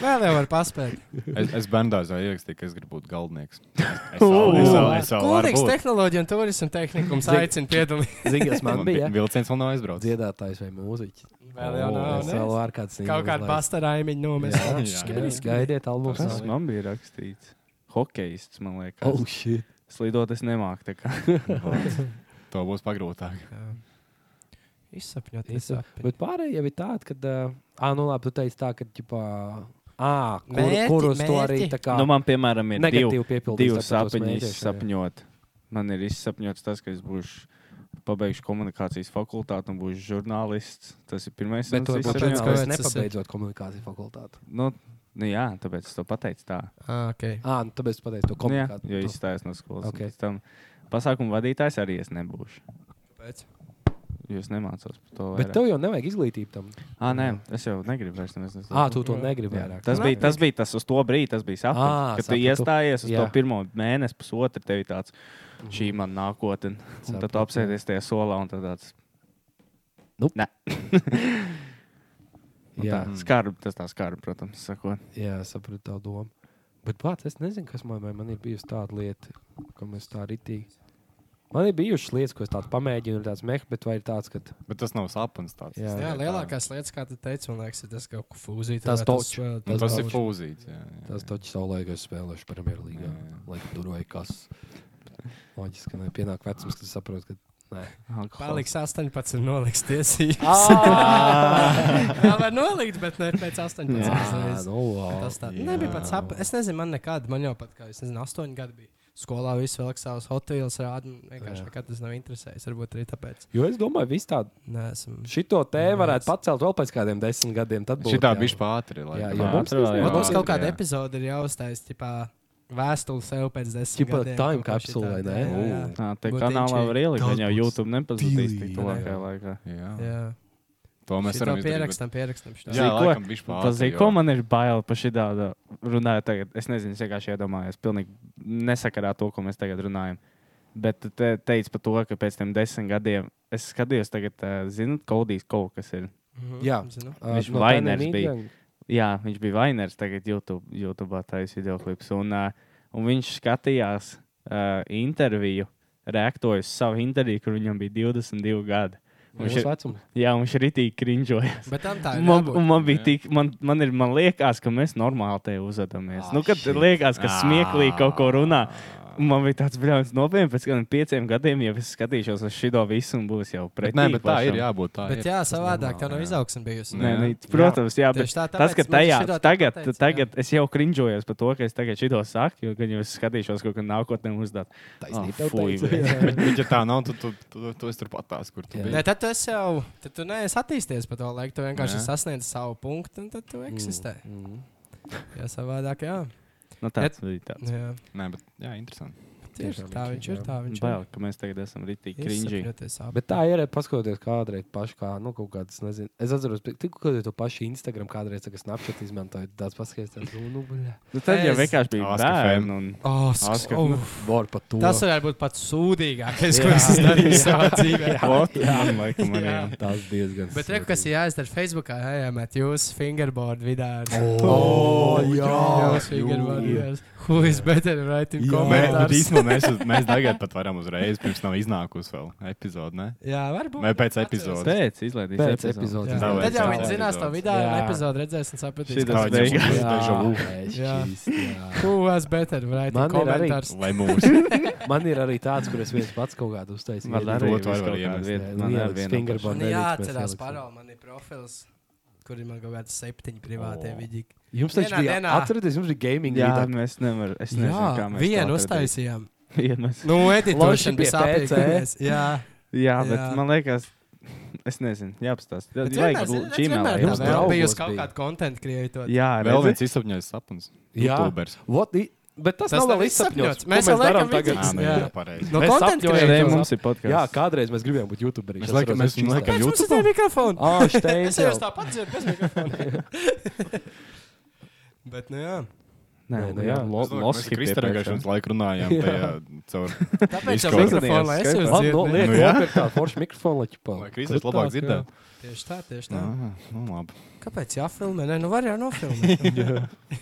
S1: Vēl jau var paspēt.
S8: Es, es bandāzā ierakstīju, ka es gribu būt galdnieks. Es jau
S1: Kultīgs tehnoloģija un turisma tehnikums
S2: Zini-
S1: aicina piedalīties.
S2: Zinās, man bija ja?
S8: Vilciens vēl nav aizbraucis.
S2: dziedātājs vai mūziķis. Oh,
S1: Vēl jau nav.
S2: Es
S1: ne?
S2: vēl ar kādu singlu
S1: Kaut kāda
S2: uzlaidu.
S1: pastarājumiņa
S2: Jā,
S1: nomest.
S8: jā.
S2: jā, Gaidiet, albumu
S3: Tas
S2: sākt.
S3: man bija rakstīts. Hokejists, man liekas.
S2: Oh,
S3: Oh.
S2: shit.
S3: Slidot es nemāku. tā kā.
S8: To būs pagrūtāk.
S1: Izsapņot,
S2: Visu.
S1: izsapņot.
S2: Bet pārējie bija tādi, ka. Ah, nu labi, tu teici tā, ka. Ģipā, À, kur,
S1: Mērķi,
S2: mērķi, kurus mērķi. to arī
S1: mērķi.
S2: tā kā
S3: Nu, man, piemēram, ir divi,
S2: negatīvi piepildīt?
S3: divi sapņi izsapņot. Man ir izsapņots tas, ka es būšu. Pabeigšu komunikācijas fakultāti un būšu žurnālists. Tas ir pirmais.
S2: Bet tu
S3: mans
S2: varbūt tāpēc,
S1: Tāpēc, ka
S2: ka
S3: izsapņotais.
S2: es
S1: tas ir-
S2: nepabeidzot komunikāciju fakultāti.
S3: Nu, nu, jā, tāpēc es to pateicu tā.
S1: Ah, okay.
S2: Ā, nu tāpēc es pateicu to
S3: Nu Jā,
S2: komunikāciju.
S3: jo izstājos no skolas.
S2: Ok.
S3: Okay. Tam pasākumu vadītājs arī es nebūšu.
S1: Kāpēc?
S3: Jo es nemācos par to.
S2: Bet
S3: vairāk.
S2: tev jau nevajag izglītību tam.
S3: Ā, nē, es jau negribu vairs nemaz nezināt.
S2: Ā, tu to negribi
S3: Jā,
S2: vairāk.
S3: tas bija, tas bija tas uz to brīdi, tas bija
S2: Ā,
S3: sapnis. Kad tu
S2: sapratu.
S3: iestājies uz
S2: Jā. Mhm.
S3: to pirmo mēnesi, pusotru, tev ir tāds, šī ir mana nākotne. Un tad tu
S2: Sapratu.
S3: apsēties tajā solā un tad tāds.
S2: Nu.
S3: Nē. Un
S2: Jā.
S3: tā, skarbi, tas tā skarbi, protams, sakot.
S2: Jā, sapratu tā domu. Bet pats es nezinu, kas man, vai man ir bijusi tāda lieta, ka mēs tā ritīgi. Man ir bijušas lietas, ko es tādu pamēģinu, ir tāds mehānisms, bet vai ir tāds, ka
S8: Bet tas nav sapnis. Tāds.
S2: Jā.
S1: Jā, lielākās lietas, kā tu teici, man liekas, ir tas, ka fūzīt.
S2: Tas toč.
S8: Tas,
S2: Tas
S8: tas ir
S2: nav-
S8: fūzīts. jā, jā.
S2: tas taču savulaik es spēlēšu Premjerlīgā,
S8: Jā.
S2: lai tur vai kas. Loģiski, ka ne, pienāk vecums, kad saprot, ka. Nē.
S1: Paliks 18, noliks tiesības.
S2: Ah!
S1: Jā, var nolikt, bet ne pēc 18.
S2: Jā,
S1: uzreiz.
S2: nu, o,
S1: Tas tā
S8: jā.
S1: nebija pats sapnis. Es nezinu, man nekad, man jau pat kā, es nezinu, 8 gadi bija. Skolā viss vēl savus hotelus rāda. un Vienkārši
S2: Jā.
S1: nekad tas nav interesējis. Varbūt arī tāpēc.
S2: Jo es domāju, visu tādu
S1: Nē, esam.
S2: šito tēmu varētu pacelt vēl pēc kādiem desmit gadiem. Tad būtu
S8: Šitā
S2: jau-
S8: bija pāri.
S2: Jā,
S3: jā,
S2: jo mums
S3: tur vēl
S2: tas
S3: jā.
S1: Bet
S2: nebūs
S1: Mums
S8: jā.
S1: kaut kāda epizode ir jāuztais, tipā vēstule sev pēc 10
S2: Tipā
S1: gadiem.
S2: time
S1: kaut kā
S2: capsule, vai
S1: šitādi.
S2: ne?
S1: Jā, jā, jā.
S3: Tā te
S1: Būtu
S3: kanālā var
S1: intriga.
S3: ielikt, viņa jau
S1: Kaut
S3: YouTube nepazudīs
S2: Dīlī.
S3: tik tuvākajā laikā.
S8: Jā.
S1: Jā.
S8: To mēs
S1: Šito
S8: varam izdarīt.
S1: pierakstam, pierakstam. šito.
S3: Zini,
S8: Jā,
S3: ko?
S8: laikam bija pāri.
S3: Pazīk, ko man ir bail par šī tādu runāju tagad. Es nezinu, es vienkārši iedomājos, pilnīgi nesakarā to, ko mēs tagad runājam. Bet tu te teici par to, ka pēc tam desmit gadiem es skatījos, tagad, eh, zinot, Kaudijas kaut kas ir.
S1: Mhm,
S2: Jā.
S1: zinu.
S2: Ā,
S3: Viņš
S2: no
S3: vainers
S2: Tiny
S3: bija.
S2: Media-
S3: Jā, viņš bija vainers tagad YouTube, YouTube taisa videoklips. Un, eh, un viņš skatījās eh, interviju, reaktojas savu interviju, kur viņam bija 22 gadi. Un
S2: Mūsu
S3: Viņš, ir-
S2: vecums.
S3: jā, un viņš ritīgi krinžoja.
S1: Bet tam tā ir.
S3: Man,
S1: jābūt.
S8: um,
S3: un man bija tik, man, man, ir, man liekas, ka mēs normāli te uzvedamies.
S2: Ah,
S3: nu, kad
S2: shit.
S3: liekas, ka smieklīgi kaut ko runā, man bija tāds brīnums, nopietni pēc kādiem pieciem gadiem, ja es skatīšos uz šo visu un būs jau
S8: Bet,
S3: pretī.
S8: nē, bet tā
S3: pašam.
S8: ir jābūt. Tā
S1: Bet
S8: ir.
S1: jā, savādāk tev nav izaugsme bijusi.
S3: Nē,
S8: Jā.
S3: nē, protams, jā, bet
S1: Tieši tā,
S3: tas, ka
S1: tāpēc man
S3: tajā
S1: šito tā
S3: tagad,
S1: pateica, jā.
S3: tagad es jau krinžojos par to, ka es tagad šito saku, jo, kad jau es skatīšos, ko nākotnē uzdot.
S2: Taisnība
S3: Ah,
S2: tev
S3: fuj,
S2: teica.
S3: bet-
S8: Bet, bet, ja tā nav, tad tu, tu, tu, tu esi turpat tās, kur tu
S2: Jā.
S8: biji.
S1: Nē, tad tu esi jau, tad tu neesi attīstījies pa to laiku. Tu vienkārši
S8: Nē.
S1: sasniedz savu punktu, un tad tu eksistē.
S2: Mm.
S1: Jā, savādāk, jā.
S3: Nu, tāds bija tāds.
S1: jā.
S8: Nē, bet jā, interesanti.
S1: Tieši,
S2: Tiešām
S1: tā viņš ir.
S2: jā.
S1: Tā viņš
S3: Bail, ka mēs tagad esam rītīgi krinžīgi.
S2: Bet tā ir, paskatieties, kādreiz pašā, kā, nu, kaut kādas, nezinu, es atceros, ka tikko to pašu Instagram kādreiz, kas Snapchat izmantoja, tāds paskaties, tāds, nu, nu, bļā.
S3: Nu, tad jau
S1: Es-
S3: vienkārši bija
S8: Ask
S3: bērni.
S8: FM.
S3: Un...
S1: Oh,
S3: Askar,
S1: oh,
S3: nu.
S2: Var par to.
S1: tas var būt pats sūdīgākais, ko es darīju savā dzīvē.
S3: Ot, Man liekas, man
S1: Jā.
S3: ir.
S2: tas diezgan.
S1: Bet reku, kas ir jāizdara Facebookā, jāiemet jūsu fingerboard vidē.
S3: Oh,
S2: O, Oh, jā,
S1: Jūsu fingerboard vidē. Who is better writing
S8: Mē, bet
S1: comments?
S8: īstenībā mēs, uz- mēs tagad pat varam uzreiz, pirms nav iznākusi vēl epizode. Ne?
S1: Jā, varbūt.
S8: Vai pēc
S1: Atceros.
S8: epizodes?
S3: Pēc izlaidīs
S2: Pēc
S3: epizodu.
S2: epizodes.
S1: Jā.
S8: Tā
S1: Tad jau
S8: vajadzētu.
S1: viņi zinās to video, un
S2: Jā.
S1: epizodu redzēs un sapratīs.
S3: Šī
S1: kas
S8: Kā
S3: tas
S1: bija.
S8: viņam
S3: beigās.
S8: būs
S2: Jā.
S8: deja vu?
S2: Es
S1: Jā.
S2: šīs, jā.
S1: Who was better? Right?
S2: Man ir arī-
S1: Komentārs.
S8: Vai mūsu
S2: Man ir arī tāds, kur es viens pats kaut kādu uztaisīju.
S3: Man
S8: arī
S3: liekas,
S8: to
S3: tas
S8: var
S3: ir
S8: iemest.
S2: Jā,
S3: viens.
S2: ieliks fingerboard. Man
S1: Man
S2: neliks
S1: ir
S2: pēc
S1: jāatcerās
S2: Feliksa.
S1: parāli, man ir profils, kur ir man kaut kāds septiņi privātie oh. vidi.
S2: Jums taču
S1: Vienā
S2: bija,
S1: dienā.
S2: atcerieties, jums bija gaming
S3: Jā,
S2: meetup.
S3: mēs nevaram. Es nezinu, kā
S1: Jā,
S3: mēs
S1: vienu uztaisījām.
S3: uztaisījām.
S1: Nu,
S2: Loši
S1: editošana
S2: pie
S1: bija sāpīgākais. Jā,
S3: Jā, bet
S1: Jā.
S3: man liekas, es nezinu, jāapstāsta. Jā,
S1: bet
S3: vajag
S1: vienmēr, zini, redz,
S3: Gmailā
S1: vienmēr
S2: jums
S1: tā vēl
S2: draugos
S1: bijusi kaut
S2: bija.
S1: kāda kontenta krievitot.
S3: Jā,
S8: vēl
S3: redzi?
S8: viens izsapņojis sapnis.
S2: Jā.
S8: YouTubers.
S2: What, i, bet tas,
S1: Tas
S2: nav
S1: nav
S2: vēl izsapņots.
S1: izsapņots.
S2: Ko
S1: Mēs jau
S2: darām
S1: laikam
S2: tagad.
S1: vidzis.
S8: Nē, nē,
S1: Jā.
S8: nu, jā, pareizi.
S1: No
S2: Mēs
S1: kontenta
S2: sapņojam,
S3: Nē,
S1: krievitot.
S3: mums ir podkāsts.
S2: Jā, kādreiz mēs gribējām būt YouTuberi.
S8: Mēs laikam, mēs viņu laikam
S1: Kāpēc mums ir
S8: jūtam.
S1: tie mikrofoni?
S2: Ah,
S1: Es jau
S2: Steins.
S1: tāpat dzirdu bez mikrofona. Bet, nu jā.
S3: Nē,
S2: Nē, nu
S3: nu
S2: jā.
S3: jā, lo-
S8: Es domāju, ka
S3: loss
S8: Mēs
S3: hip
S8: ar Kristēnu
S3: iepriekš,
S8: vienkārši
S3: jā.
S8: visu laiku runājām. Tajā, caur,
S1: Tāpēc jau
S8: Discord.
S1: mikrofonā es
S3: Skaidrs.
S1: jūs
S2: Labi, no, liek,
S8: Nu,
S2: nu,
S8: jā.
S2: tā forša mikrofona leķipā.
S8: lai Kristēns labāk dzirdētu.
S1: Tieši tā, tieši tā.
S8: Jā, nu, labi.
S1: Kāpēc jāfilmē? Nē, nu var jau nofilmēt.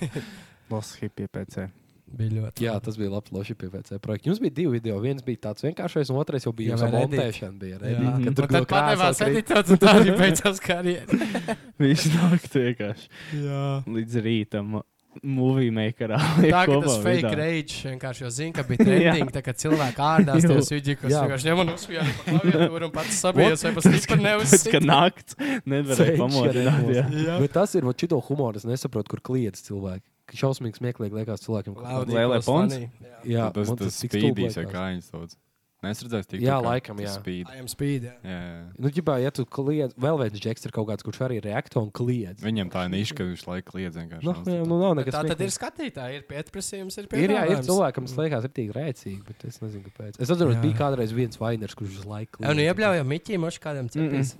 S3: Loss hip iepēcē.
S1: Bija ļoti.
S2: Jā, tas bija labs loši PVC projekts. Jums bija divi video. Viens bija tāds vienkāršais, un otrais jau bija
S1: Jā,
S2: jūsu
S1: vai Reddit?
S2: montēšana. Bija
S1: Jā,
S2: Reddit, kad
S1: un
S2: tur
S1: tad
S2: no krāsās
S1: padevās
S2: Reddit.
S1: editot, un tā arī beidzās karjeras.
S3: Viņš nāk vienkārši
S1: Jā.
S3: līdz rītam. Movie makerā.
S1: Tā kā tas fake rage vienkārši jau zina, ka bija trending, tā kā cilvēki ārdās
S3: Jū.
S1: tos vidīkos,
S2: Jā.
S1: vienkārši ņem un uzvijā pa klaviatūru un pats sabijās, vai pats vispār
S3: Pēc tam, kad
S1: neuzsīt.
S3: naktis
S2: Ceļš
S3: nevarēja pamodināt.
S2: ar
S3: jā.
S2: emocijām. Bet tas ir šito humoru, es nesaprotu, kur kliedz cilvēki. Ka Šausmīgs smieklīgi liekas cilvēkiem, ka
S1: Laudīgos
S3: Lele Pons?
S1: fanī.
S2: Jā,
S8: Nu, Tas,
S2: man
S8: tas
S2: tik stulbi
S8: spīdīs, ja
S2: liekas.
S8: kā viņš sauc. Nē, Es redzēju, tik
S2: Jā, laikam, jā.
S8: Spīd.
S1: I am speed, jā.
S8: Jā, jā.
S2: Nu, ģibā, ja tu kliedz, vēl viens džeks ir kaut kāds, kurš arī reakto un kliedz.
S8: Viņam tā ir niša, ka viņš laikam kliedz vienkārši.
S2: Nu, jā, nu, nav nekas
S1: Tā tad ir
S2: smieklīgs.
S1: skatītāji, ir pieprasījums, ir
S2: Ir, jā, ir
S1: piedāvājums.
S2: cilvēkam, kas liekas, ir tik rēcīgi, bet es nezinu, kāpēc. Es atceros,
S1: Jā.
S2: bija kādreiz viens vainers, kurš uz laiku.
S1: Jā, nu iebļaujam Miķīm, moši kādam cepīs.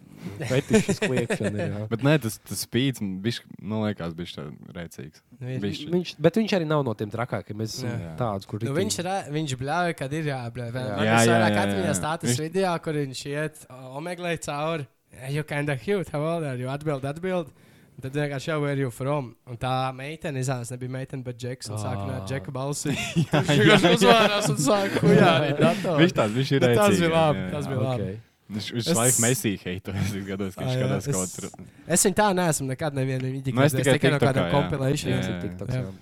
S2: Fetišs kliekšana, jā.
S8: Bet nē, tas, tas spīd, bišķi, man liekas, bija tāds rēcīgs.
S1: Nu, ir.
S8: Bišķi.
S2: Viņš, bet viņš arī nav no tiem trakākiem. Mēs esam
S8: Jā.
S2: tādi, kur
S1: Nu,
S2: riktīgi-
S1: viņš ir viņš bļāvis, kad ir jābļāvis.
S2: Jā.
S1: Man
S8: Jā,
S1: tas
S8: jā,
S1: vairāk
S8: jā, jā,
S1: atmiņā
S8: jā.
S1: stāstus
S8: Viņš-
S1: video, kur viņš iet omeglē cauri. You kinda cute, how old are you? Atbild, atbild. Un Tad vienkārši jau ir jūs from. Un tā meitene izrādās, nebija meitene, bet džeks. Un sākumā no
S8: Ah.
S2: Ā.
S1: džeka balsi. Viņš vienkārši uzvārās un sāka kujārīt datoru.
S8: Viņš tāds, viņš ir
S1: Bet tas
S8: rēcīgs.
S1: bija labi, tas bija labi.
S2: okay.
S8: Viņš, viņš
S1: Es-
S8: es... laikam mesīja heitu. Es gados, ka
S2: Ah,
S1: Ā,
S8: viņš
S1: jā,
S8: skatās kaut
S1: es-
S8: kur.
S1: Es viņu tā neesmu nekad nevienu īņķi.
S8: Nu, es tikai
S1: tikai no
S8: TikTokā,
S1: kādām
S8: jā.
S1: kompilēšanām.
S8: Jā,
S2: Viens ir
S8: jā, jā.
S2: TikToks.
S1: Jā.
S2: jā.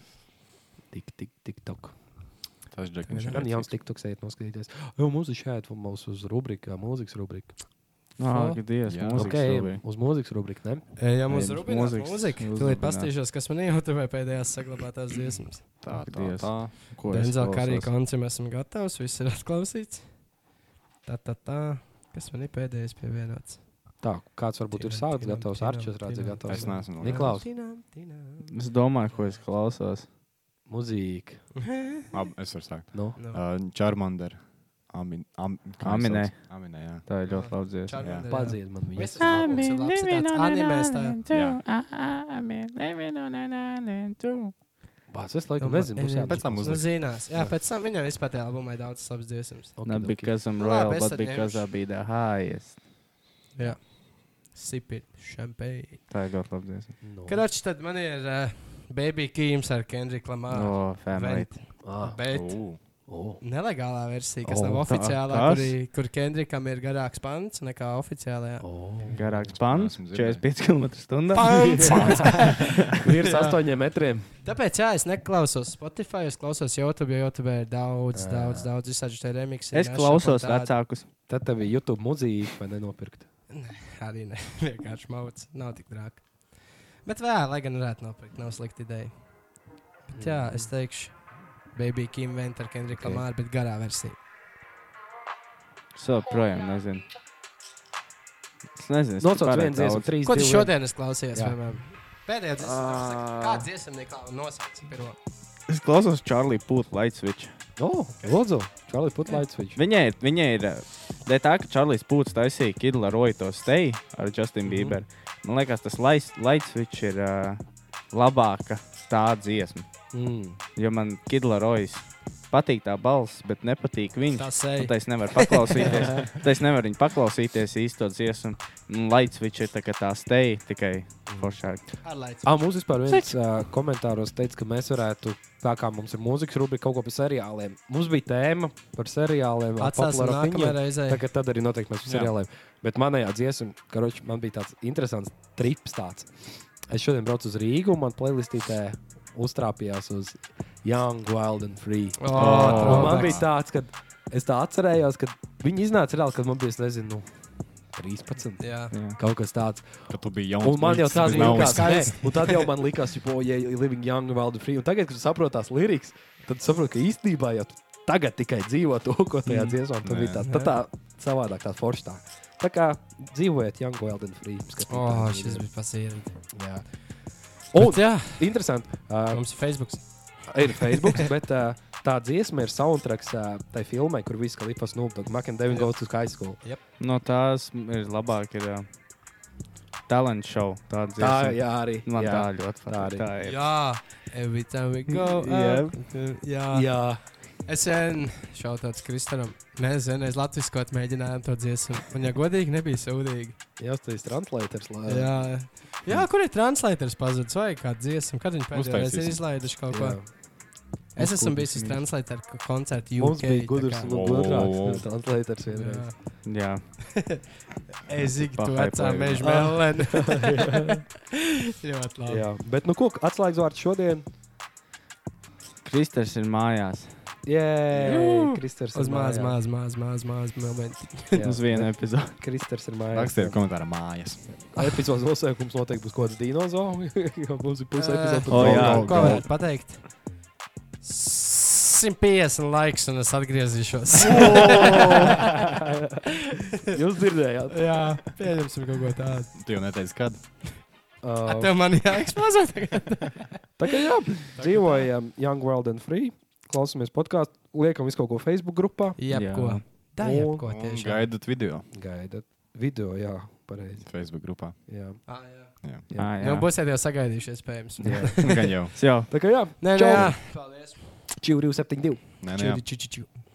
S2: Tik, tik, tik, tok.
S8: Tas Džek, viņš ir
S2: Gan jauns
S8: rēcīgs.
S2: TikToks, ejiet noskatīties. Jo mums ir šeit mūsu uz rubrika, mūzikas rubrika.
S3: Nā, ka Dievs,
S8: Jā.
S3: mūzikas
S2: Ok, ejam
S3: lobby.
S2: uz mūzikas rubriku, ne?
S1: Ejam uz
S3: Ejam uz
S1: Rubīnas
S3: mūzikas,
S1: mūziku.
S3: uz
S1: Tūlīt
S3: Rubināt.
S1: pastīšos, kas man iehutavē pēdējās saglabātās dziesmas.
S8: Tā,
S3: Ak,
S8: tā,
S3: Dievs.
S8: tā.
S3: Ko es
S1: Denzela
S3: klausos?
S1: Karika koncim esmu gatavs, viss ir atklausīts. Tā, tā, tā. Kas man ir pēdējais pievienots?
S2: Tā, kāds varbūt ir
S1: Tinam,
S2: sācis
S1: tinam,
S2: gatavs,
S1: tinam,
S2: Arčus rādzi
S1: tinam.
S2: gatavs.
S8: Es neesmu. vēl-
S2: Niklaus,
S1: Tinām, tinām.
S3: Es domāju, ko es klausos.
S2: mūzika.
S8: Labi, es varu sākt.
S2: Nu,
S1: Nu,
S8: Čarmander. Amin, am, kā viņš
S3: Aminē.
S8: sauc? Aminē, jā.
S3: Tā ir ļoti laba dziesma.
S1: Charmander, jā.
S2: padzied man viņu.
S1: Viss albums ir labs, ir tāds animēs tā.
S8: Jā.
S2: Bāc, es laikam nezinu, būs
S1: jā,
S8: pēc
S2: jābūt.
S8: tam
S1: nu,
S8: uzliks.
S1: Zinās. Jā, pēc tam viņam vispār tajā albumā ir daudz labs dziesmas.
S2: Ok,
S3: Not
S2: ok.
S3: because I'm
S1: Nu,
S3: royal,
S1: labi, es
S3: but
S1: tad
S3: because
S1: ņemšu.
S3: I'll be the highest.
S1: Jā. Sipit, šampēji.
S3: Tā ir ļoti laba dziesma.
S2: Nu,
S1: Karači, tad man ir uh, Baby Kīms ar Kendrick Lamar.
S3: Oh, family.
S1: Vent.
S2: ā,
S1: Bet
S8: Ū,
S2: o,
S1: nelegālā versija, kas
S2: O,
S1: nav
S2: Oh, tā,
S1: oficiālā,
S3: kas?
S1: kur, i- kur Kendrickam ir garāks pants nekā oficiālajā.
S2: o.
S3: Garāks pants,
S8: Neesmu dzirdējis.
S3: 45 km/h.
S2: Vīrs astoņiem metriem.
S1: Tāpēc jā, es neklausos Spotify, es klausos YouTube, jo YouTube ir daudz,
S2: Jā.
S1: daudz, daudz visādi šie remixi.
S3: Es klausos vecākus.
S2: Tad tev ir YouTube mūzika, vai nenopirkt?
S1: Arī ne, vienkārši mauts, nav tik drāk. Bet vēl, lai gan varētu nopirkt, nav slikta ideja. Bet jā, es teikšu, Baby Kim Venter, Kendrick
S2: Mm. Ok.
S1: okay. Lamar, bet garā versija.
S3: Es joprojām nezinu. Es nezinu. es
S2: Nosauc
S3: pārāk
S2: viens dziesmu,
S3: daudz.
S2: trīs.
S1: Ko tu
S2: divi,
S1: šodien esi klausies,
S2: Jā. Ah.
S1: piemēram? Pēdējā dziesma, kāds dziesma neklāva nosauc pirmo?
S3: Es klausos Čārlī Pūta Lightswitch.
S2: O, Lūdzu, Čārlis Putlaids.
S3: Viņai, viņai ir eh, ne tā, ka Čārlis Pūts taisīja Kidla Roito steju ar Justinu Bieberu. Man liekas, tas Lights- Lightswitch ir uh, labāka tā dziesma.
S2: Mm.
S3: Jo man Kidla Rojas patīk tā balss, bet nepatīk viņa.
S1: Tā seja.
S3: Tā es nevaru paklausīties. Tā es nevaru viņu paklausīties īstot dziesmu. Lightswitch ir tā kā tā steja, tikai foršāk.
S1: Ar laicu.
S2: Ah, mums vispār viens uh, komentāros teica, ka mēs varētu, tā kā mums ir mūzikas rubrika, kaut ko par seriāliem. Mums bija tēma par seriāliem, vēl
S1: Atstāsim
S2: populāru
S1: nākamajai
S2: opinion.
S1: reizei.
S2: Tā kā tad arī noteikti mēs par
S8: Jā.
S2: seriāliem. Bet manējā dziesmā, karoči, man bija tāds interesants trips. Tāds. Es šodien braucu uz Rīgu, un man playlistītē uztrāpījās uz Young, Wild and Free.
S1: O,
S2: Un man
S1: throwback.
S2: bija tāds, ka es tā atcerējos, ka viņi iznāca reāli, kad man bija, es nezinu, 13.
S1: Jā.
S2: Kaut kas tāds.
S8: Ka tu biji jauns.
S2: Un man jau
S8: puisis,
S2: tāds
S8: bez
S2: likās,
S8: naudas.
S2: ka tas ir. Tad jau man likās, ka, oh, yeah, living young, wild and free. Un tagad, kad tu saproti tās lirikas, tad saproti, ka īstenībā jau tu tagad tikai dzīvo to, ko tajā dziesmā tur
S8: Nē.
S2: bija. Tā, tā, tā savādāk, tā forštā. Tā kā dzīvojiet young, wild and free. skatītāji.
S1: O, Ah, Oh, šis bija pasīvi.
S2: Jā.
S1: O,
S2: Un
S1: jā,
S2: interesanti, uh,
S1: mums ir Facebook.
S2: ir Facebook, bet uh, tā dziesma ir soundtracks uh, tai filmai, kur viss klipas nūpta. Mac and Devin
S1: Jā.
S2: goes to high school.
S3: No tās ir labāk. Ir, uh, talent show. Tā,
S2: Tā jā, arī.
S3: Man
S2: jā.
S3: jā. tā ļoti
S2: tā arī.
S3: patīk. Tā ir.
S1: Jā, every time we go.
S3: Jā.
S1: Out, jā. jā.
S2: Jā,
S1: Es sen šautauts Kristānam. Mēs vienreiz latviešu kaut mēģinājām to dziesmu. Un, ja godīgi, nebija sūdīgi.
S2: jāuztais translators. Lai...
S1: Jā, jā kur ir translators pazudis vai kāda dziesma? Kad viņi pēdējo reizi ir
S8: Uztaisīsim.
S1: izlaiduši kaut ko?
S2: Jā.
S1: Es esmu bijis uz translatoru ko- koncertu UK.
S2: Mums bija
S1: tā
S2: gudrs
S1: kā-
S2: un
S8: Wow, wow, wow.
S2: gudrāks translators vienreiz.
S1: Jā.
S3: Jā.
S1: Ej, zig, tu
S3: Pahype
S1: vecā
S3: lai
S1: meža
S2: vēl.
S1: melnē. Ļoti labi.
S2: Jā, bet nu, ko atslēgas vārds šodien?
S3: Kristers ir mājās.
S2: Jā,
S1: Jū!
S2: Kristers.
S1: Uz
S2: ir
S1: maz,
S2: mājās.
S1: maz, maz, maz, maz momentu.
S2: Jā.
S3: Uz vienu epizodi.
S2: Kristers ir mājās.
S8: Rakstiet komentāru mājas.
S2: Epizodes nosaukums noteikti būs kaut kāds dinozaurs. Jo mums ir puse epizodes
S3: O, jā.
S2: par
S1: Ko- Ko varētu pateikt? 150 laiks, un es atgriezīšos.
S2: to. Jūs dzirdējāt?
S1: Jā, pieņemsim kaut ko tādu.
S8: Tu jau neteici, kad.
S1: Ar
S2: Uh,
S1: tevi man jāekspozē tagad.
S2: tā kā jā, dzīvojam Young Wild and Free. Klausāmies podkāstu, liekam visu kaut ko Facebook grupā.
S1: Jebko.
S3: Jā.
S1: Tā
S2: Un-
S1: jebko
S8: Un
S1: tiešām.
S8: Gaidot video
S2: Gaida video, jā, pareizi.
S8: Facebook grupā.
S2: Jā.
S1: Ah, jā.
S2: Jā.
S3: Ah,
S1: Nu,
S3: jā.
S1: būsiet jau sagaidījušies, iespējams.
S2: Jā.
S8: Gan jau.
S3: Jau.
S2: Tā kā jā,
S1: Nē, nē,
S2: Čau. nu
S1: jā. Paldies.
S2: Čivri 72.
S8: Nē, nē, jā.
S1: Čau, čau, čau.